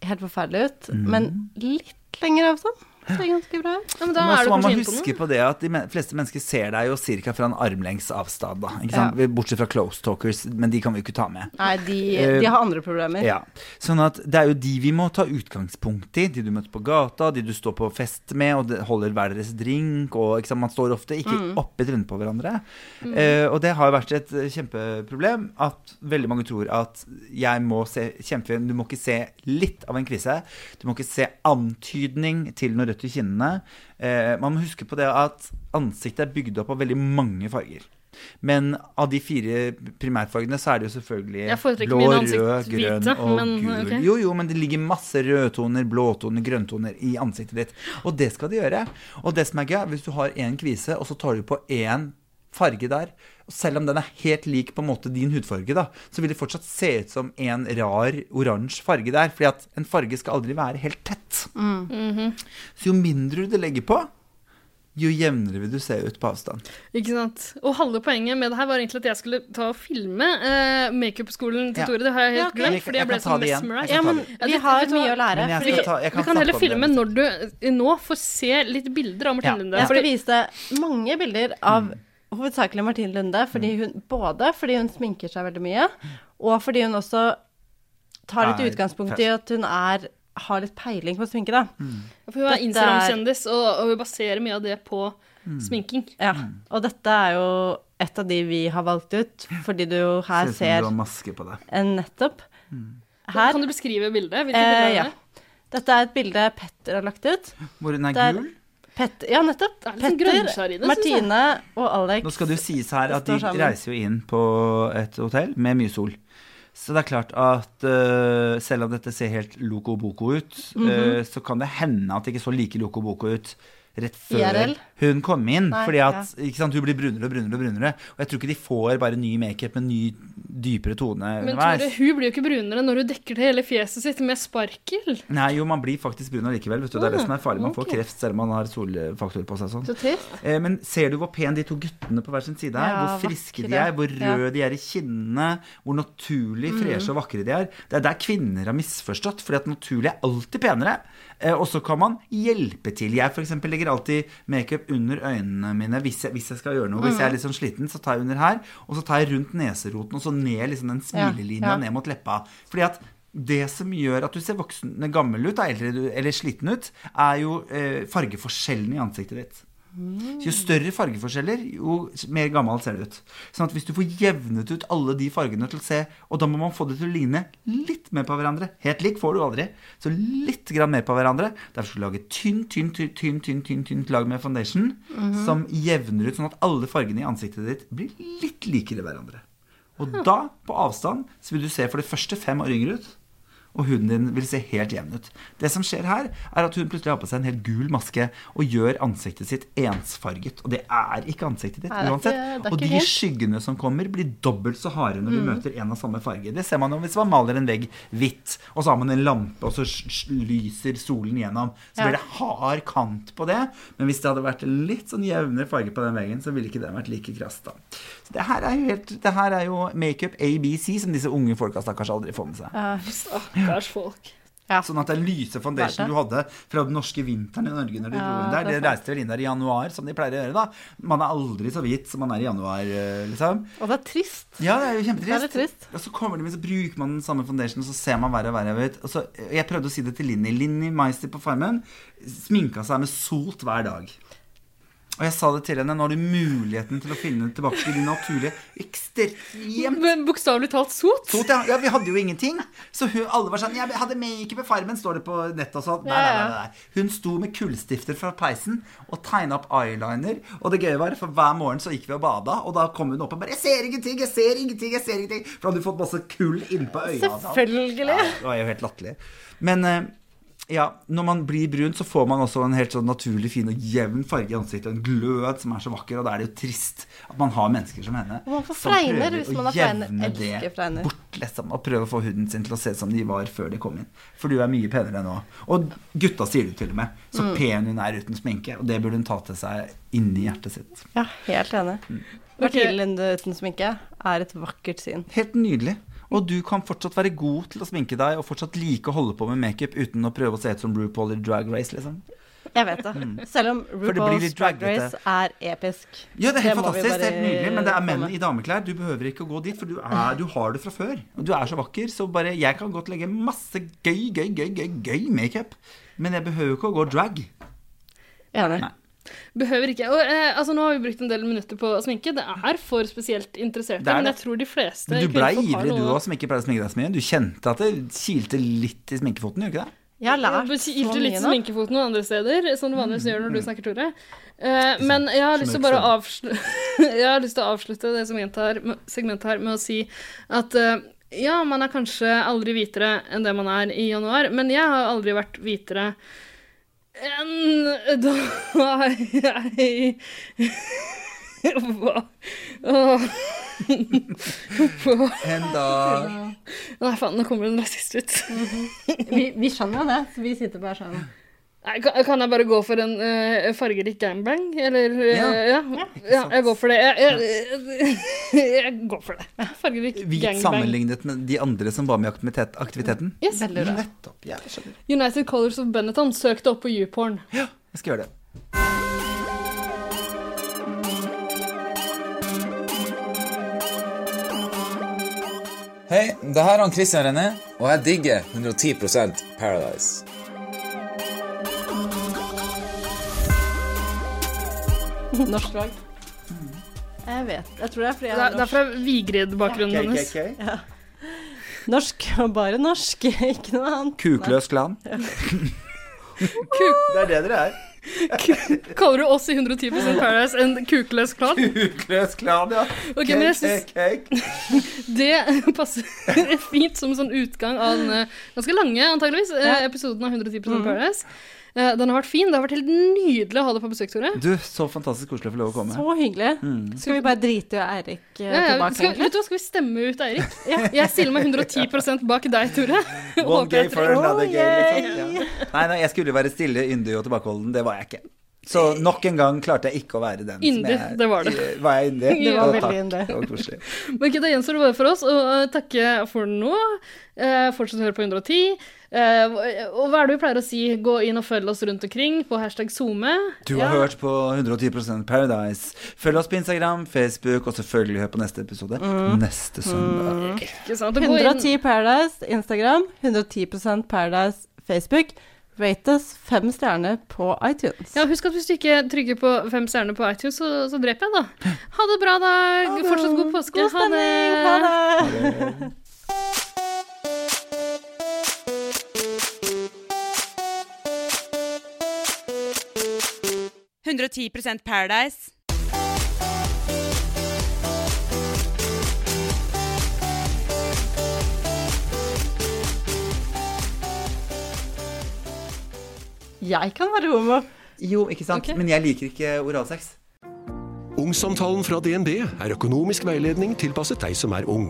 Speaker 5: helt forferdelig ut.
Speaker 4: Mm.
Speaker 5: Men litt lenger avstand ser ganske bra ut.
Speaker 3: Ja, men
Speaker 4: Men også må man huske på det at de men- fleste mennesker ser deg jo cirka fra en armlengs avstand, da. Ikke sant? Bortsett fra close talkers, men de kan vi jo ikke ta med.
Speaker 5: Nei, de,
Speaker 4: Eh,
Speaker 5: de har andre problemer.
Speaker 4: Ja. Sånn at det er jo de vi må ta utgangspunkt i. De du møter på gata, de du står på fest med og de- holder hver deres drink. Og, ikke sant? Man står ofte
Speaker 15: Mm.
Speaker 4: ikke oppi trynet på hverandre.
Speaker 15: Mm.
Speaker 4: Eh, og det har vært et eh, kjempeproblem at veldig mange tror at jeg må se kjempefin Du må ikke se litt av en kvise. Du må ikke se antydning til noe rødt i kinnene. Eh, man må huske på det at ansiktet er bygd opp av veldig mange farger. Men av de fire primærfargene så er det jo selvfølgelig
Speaker 3: Jeg foretrekker
Speaker 4: blå,
Speaker 3: mine
Speaker 4: rød,
Speaker 3: ansiktsvite,
Speaker 4: grønn og
Speaker 3: men,
Speaker 4: gul.
Speaker 3: ok.
Speaker 4: Jo, jo, men det ligger masse rødtoner, blåtoner, grønntoner i ansiktet ditt. Og det skal det gjøre. Og det som er gøy, er hvis du har én kvise, og så tar du på én farge der, og selv om den er helt lik på en måte din hudfarge, da, så vil det fortsatt se ut som en rar oransje farge der. Fordi at en farge skal aldri være helt tett. Mhm.
Speaker 5: Mm.
Speaker 4: Så jo mindre du legger på, jo jevnere vil du se ut på avstand.
Speaker 3: Ikke sant? Og halve poenget med det her var egentlig at jeg skulle ta og filme eh, makeup-skolen til
Speaker 4: Ja.
Speaker 3: Tore. Det har jeg
Speaker 4: Ja,
Speaker 3: helt
Speaker 4: ok. Jeg-
Speaker 3: glemt, fordi jeg
Speaker 4: jeg
Speaker 3: ble sånn
Speaker 4: kan ta
Speaker 3: så
Speaker 4: det igjen. Jeg
Speaker 3: mesmerized.
Speaker 4: kan Ja, ta men det
Speaker 5: vi har mye å lære. Men jeg
Speaker 3: Vi
Speaker 5: skal ta- jeg kan
Speaker 3: vi kan
Speaker 5: snakke
Speaker 3: heller
Speaker 5: om det
Speaker 3: filme når du eh, nå får se litt bilder av Martine Lunde.
Speaker 5: Jeg skal
Speaker 3: fordi-
Speaker 5: vise deg mange bilder av hovedsakelig Martine Lunde, fordi hun, både fordi hun sminker seg veldig mye, og fordi hun også tar litt
Speaker 3: Er
Speaker 5: utgangspunkt i
Speaker 3: fest.
Speaker 5: at hun er, har litt peiling på sminke, da.
Speaker 3: For hun er
Speaker 5: Dette
Speaker 3: Instagram-kjendis, og, og hun baserer mye av det på
Speaker 5: Mm.
Speaker 3: sminking.
Speaker 5: Ja, og dette er jo et av de vi har valgt ut, fordi du jo
Speaker 4: ut
Speaker 5: her
Speaker 4: som
Speaker 5: ser
Speaker 4: du har maske på deg.
Speaker 5: en nettopp.
Speaker 3: Her. Kan du beskrive bildet? Hvilket
Speaker 5: Eh,
Speaker 3: bilde
Speaker 5: ja.
Speaker 3: er det?
Speaker 5: Dette er et bilde Petter har lagt ut.
Speaker 4: Hvor hun er
Speaker 5: Der-
Speaker 4: gul.
Speaker 5: Petter, ja, nettopp.
Speaker 3: er litt sånn grønnskjær i det,
Speaker 5: Petter,
Speaker 3: synes jeg.
Speaker 5: Martine og Alex.
Speaker 4: Nå skal det jo sies her at de
Speaker 5: står sammen.
Speaker 4: reiser jo inn på et hotell med mye sol. Så det er klart at eh, selv om dette ser helt loco boco ut,
Speaker 5: Mhm.
Speaker 4: eh, så kan det hende at det ikke så like loco boco ut rett før
Speaker 5: IRL?
Speaker 4: hun kom inn.
Speaker 5: Nei,
Speaker 4: fordi at ikke sant, hun blir brunere og brunere og brunere. Og jeg tror ikke de får bare ny makeup med ny, dypere tone
Speaker 3: Men Tore,
Speaker 4: underveis.
Speaker 3: hun blir jo ikke brunere når hun dekker til hele fjeset sitt med sparkel.
Speaker 4: Nei, jo, man blir faktisk brun allikevel. Vet du. Det er det
Speaker 5: Mm,
Speaker 4: som er farlig. Man
Speaker 3: Ok.
Speaker 4: får kreft selv om man har solfaktor på seg. og sånn.
Speaker 3: Så trist.
Speaker 4: Eh, Men ser du hvor pen de to guttene på hver sin side er?
Speaker 5: Ja,
Speaker 4: hvor friske de
Speaker 5: vakre.
Speaker 4: er, hvor
Speaker 5: Ja.
Speaker 4: røde de er i kinnene, hvor naturlig
Speaker 5: Mm.
Speaker 4: freshe og vakre de er. Det er der kvinner har misforstått, fordi at naturlig er alltid penere. Eh, Og så kan man hjelpe til. Jeg for eksempel legger alltid makeup under øynene mine hvis jeg, hvis jeg skal gjøre noe. Hvis
Speaker 15: Mm.
Speaker 4: jeg er litt sånn sliten, så tar jeg under her, og så tar jeg rundt neseroten, og så ned liksom den smilelinja
Speaker 15: Ja, ja.
Speaker 4: ned mot leppa. Fordi at det som gjør at du ser voksen, gammel ut, da, eller, eller sliten ut, er jo eh, fargeforskjellen i ansiktet ditt. Jo større fargeforskjeller, jo mer gammel ser det ut. Sånn at hvis du får jevnet ut alle de fargene til å se, og da må man få det til å ligne litt mer på hverandre. Helt lik får du aldri, så litt grann mer på hverandre. Derfor skal du lage tynn, tynn, tynn, tynn, tynn, tynn, tynt lag med foundation
Speaker 15: Mhm.
Speaker 4: som jevner ut, sånn at alle fargene i ansiktet ditt blir litt likere hverandre. Og da, på avstand, så vil du se for det første fem år yngre ut. Og huden din vil se helt jevn ut. Det som skjer her, er at hun plutselig har på seg en helt gul maske og gjør ansiktet sitt ensfarget. Og det er ikke ansiktet ditt
Speaker 15: Nei, det er ikke-
Speaker 4: uansett.
Speaker 15: det er ikke
Speaker 4: og de
Speaker 15: helt.
Speaker 4: skyggene som kommer, blir dobbelt så harde når vi
Speaker 15: Mm.
Speaker 4: møter en av samme farge. Det ser man jo hvis man maler en vegg hvitt, og så har man en lampe, og så sj- sj- lyser solen gjennom. Så
Speaker 15: Ja.
Speaker 4: blir det hard kant på det. Men hvis det hadde vært litt sånn jevnere farge på den veggen, så ville ikke den vært like krass, da. Så det her er jo, helt- det her er jo makeup ABC, som disse unge folka stakkars aldri får med seg.
Speaker 3: Stakkars folk.
Speaker 4: Sånn at den lyse foundation
Speaker 5: Verdt det.
Speaker 4: du hadde fra den norske vinteren i Norge når du dro
Speaker 5: Ja,
Speaker 4: inn der,
Speaker 5: det
Speaker 4: det
Speaker 5: er
Speaker 4: reiste vel inn der i januar, som de pleier å gjøre, da. Man er aldri så hvit som man er i januar, eh, liksom.
Speaker 5: Og det er trist.
Speaker 4: Ja, det er jo
Speaker 5: Det er
Speaker 4: kjempetrist.
Speaker 5: litt trist.
Speaker 4: Og så kommer de med, så bruker man den samme foundationen, og så ser man verre og verre ut. Og så, jeg prøvde å si det til Linni. Linni Meister på Farmen sminka seg med sot hver dag. Og jeg sa det til henne. Nå har du muligheten til å finne tilbake til din naturlige ekstremt
Speaker 3: Men bokstavelig talt sot?
Speaker 4: Sot, ja. ja. Vi hadde jo ingenting. Så hun, alle var sånn Jeg hadde makeup i Farmen, står det på nettet og sånn. Nei, nei, nei, nei, nei. Hun sto med kullstifter fra peisen og tegna opp eyeliner. Og det gøye var, for hver morgen så gikk vi og bada, og da kom hun opp og bare 'Jeg ser ingenting, jeg ser ingenting', jeg ser ingenting. For da hadde hun fått masse kull innpå øynene. og sånn.
Speaker 5: Selvfølgelig.
Speaker 4: Ja, det var jo helt latterlig. Men eh, ja, når man blir brun, så får man også en helt sånn naturlig fin og jevn farge i ansiktet, og en glød som er så vakker, og da er det jo trist at man har mennesker som henne.
Speaker 5: Og man får
Speaker 4: som
Speaker 5: fregner
Speaker 4: prøver
Speaker 5: hvis
Speaker 4: å
Speaker 5: man har fregner.
Speaker 4: jevne
Speaker 5: Elsker
Speaker 4: det
Speaker 5: fregner.
Speaker 4: Bort, liksom, og prøve å få huden sin til å se ut som de var før de kom inn. For du er mye penere nå. Og gutta sier det til og med. Så
Speaker 5: Mm.
Speaker 4: pen hun er uten sminke, og det burde hun ta til seg inni hjertet sitt.
Speaker 5: Ja, helt enig. Bertilinde uten sminke er et vakkert syn.
Speaker 4: Helt nydelig. Og du kan fortsatt være god til å sminke deg, og fortsatt like å holde på med makeup uten å prøve å se ut som RuPaul i Drag Race, liksom.
Speaker 5: Jeg vet det.
Speaker 4: Mm.
Speaker 5: Selv om
Speaker 4: det blir
Speaker 5: RuPaul's
Speaker 4: litt
Speaker 5: Drag
Speaker 4: draggete.
Speaker 5: Race er episk.
Speaker 4: Ja, det er helt
Speaker 5: må vi
Speaker 4: fantastisk. Det er
Speaker 5: bare
Speaker 4: helt nydelig. Men det er menn
Speaker 5: komme.
Speaker 4: i dameklær. Du behøver ikke å gå dit, for du, er, du har det fra før. Og du er så vakker, så bare Jeg kan godt legge masse gøy, gøy, gøy, gøy, gøy makeup, men jeg behøver ikke å gå drag.
Speaker 5: Enig.
Speaker 3: Behøver ikke. Og, eh, altså, nå har vi brukt en del minutter på å sminke. Det er for spesielt interesserte,
Speaker 4: Det er
Speaker 3: men jeg
Speaker 4: det.
Speaker 3: tror de fleste
Speaker 4: Men du blei
Speaker 3: kvinnfolk har
Speaker 4: ivrig, du
Speaker 3: noe-
Speaker 4: òg, som ikke pleier å sminke deg så mye. Du kjente at det kilte litt i sminkefoten, gjorde ikke det?
Speaker 5: Jeg har lært
Speaker 3: Jeg
Speaker 5: så
Speaker 3: kilte litt
Speaker 5: mye nå. Mm.
Speaker 3: sminkefoten noen andre steder, som du vanligvis gjør når du snakker, Tore. Eh, men jeg har, lyst til å
Speaker 5: Som
Speaker 3: bare
Speaker 5: jeg
Speaker 3: å avslu- *laughs* jeg har lyst til å avslutte det segmentet her, med- segmentet her med å si at eh, ja, man er kanskje aldri hvitere enn det man er i januar, men jeg har aldri vært hvitere enn *laughs* da jeg *laughs* Hva? Åh.
Speaker 4: En dag.
Speaker 3: Nei, faen, nå kommer det en rasist ut.
Speaker 5: Vi, vi skjønner jo det, så vi sitter bare sånn.
Speaker 3: Nei, Kan, kan jeg bare gå for en eh, fargerik gangbang? Eller eh,
Speaker 5: Ja.
Speaker 3: ja. ja. jeg går for det. Jeg, jeg, *laughs* jeg, går for det. Fargerik
Speaker 4: Hvit
Speaker 3: gangbang.
Speaker 4: sammenlignet med de andre som var med i aktivitet, aktiviteten.
Speaker 3: Yes.
Speaker 4: Nettopp. Ja, jeg skjønner.
Speaker 3: United Colors of Benetton søkte opp på YouPorn.
Speaker 4: Jeg skal gjøre det.
Speaker 15: Hei, det her er han Christian René, og jeg digger 110 Paradise.
Speaker 5: Norsk drag. Jeg vet. Jeg tror det er fordi jeg
Speaker 3: Det er- det er fra Vigrid-bakgrunnen
Speaker 5: Ja.
Speaker 3: hennes.
Speaker 5: Ja. Norsk, og bare norsk, *laughs* ikke noe annet.
Speaker 4: Kukløs klan. *laughs*
Speaker 5: Ja.
Speaker 4: Det er det dere er.
Speaker 3: *laughs* Kaller du oss i 110 Paradise en kukløs klan?
Speaker 4: Kukløs klan, ja.
Speaker 3: Ok, men jeg
Speaker 4: Cake,
Speaker 3: synes-
Speaker 4: cake, cake.
Speaker 3: Det passer *laughs* fint som sånn utgang av den eh, ganske lange, antageligvis, eh, episoden av 110 Paradise. Eh, Den har vært fin. Det har vært helt nydelig å ha deg på besøk, Tore.
Speaker 4: Du, så fantastisk koselig å få lov å komme.
Speaker 5: Så hyggelig.
Speaker 4: Mm.
Speaker 5: Skal vi bare drite i Eirik eh,
Speaker 3: Ja, ja,
Speaker 5: tilbake?
Speaker 3: skal, vet du hva, skal vi stemme ut
Speaker 4: *laughs*
Speaker 3: Eirik? Jeg stiller meg 110 bak deg, Tore.
Speaker 4: One
Speaker 3: *laughs* Håper
Speaker 4: gay
Speaker 3: jeg
Speaker 4: for
Speaker 3: treffer.
Speaker 4: another gay. Liksom. Ja. Nei, nei, jeg skulle være stille, yndig og tilbakeholden. Det var jeg ikke. Så nok en gang klarte jeg ikke å være den. som
Speaker 3: Yndig,
Speaker 4: jeg-
Speaker 3: det var du.
Speaker 4: Var jeg yndig?
Speaker 3: *laughs* Det var
Speaker 4: Ja, takk.
Speaker 3: veldig yndig.
Speaker 4: Det var koselig.
Speaker 3: Men ikke, Da gjenstår det bare for oss å eh, takke for nå. Eh, fortsett å høre på 110. Eh, og hva er det vi pleier å si? Gå inn og følg oss rundt omkring på hashtag SoMe.
Speaker 4: Du har hørt på 110 Paradise. Følg oss på Instagram, Facebook, og selvfølgelig hør på neste episode
Speaker 5: Mm.
Speaker 4: neste søndag.
Speaker 3: Ikke sant? Og gå inn-
Speaker 5: 110 Paradise Instagram, 110 Paradise Facebook. Rate oss fem stjerner på iTunes.
Speaker 3: Ja, husk at hvis du ikke trykker på fem stjerner på iTunes, så, så dreper jeg deg, da. Ha det bra, da. Fortsatt god påske.
Speaker 5: God stemning. Ha det.
Speaker 3: Ha det.
Speaker 12: Paradise.
Speaker 5: Jeg kan være homo.
Speaker 4: Jo, ikke sant? Men jeg liker ikke oralsex.
Speaker 1: Ungsamtalen fra DNB er økonomisk veiledning tilpasset deg som er ung.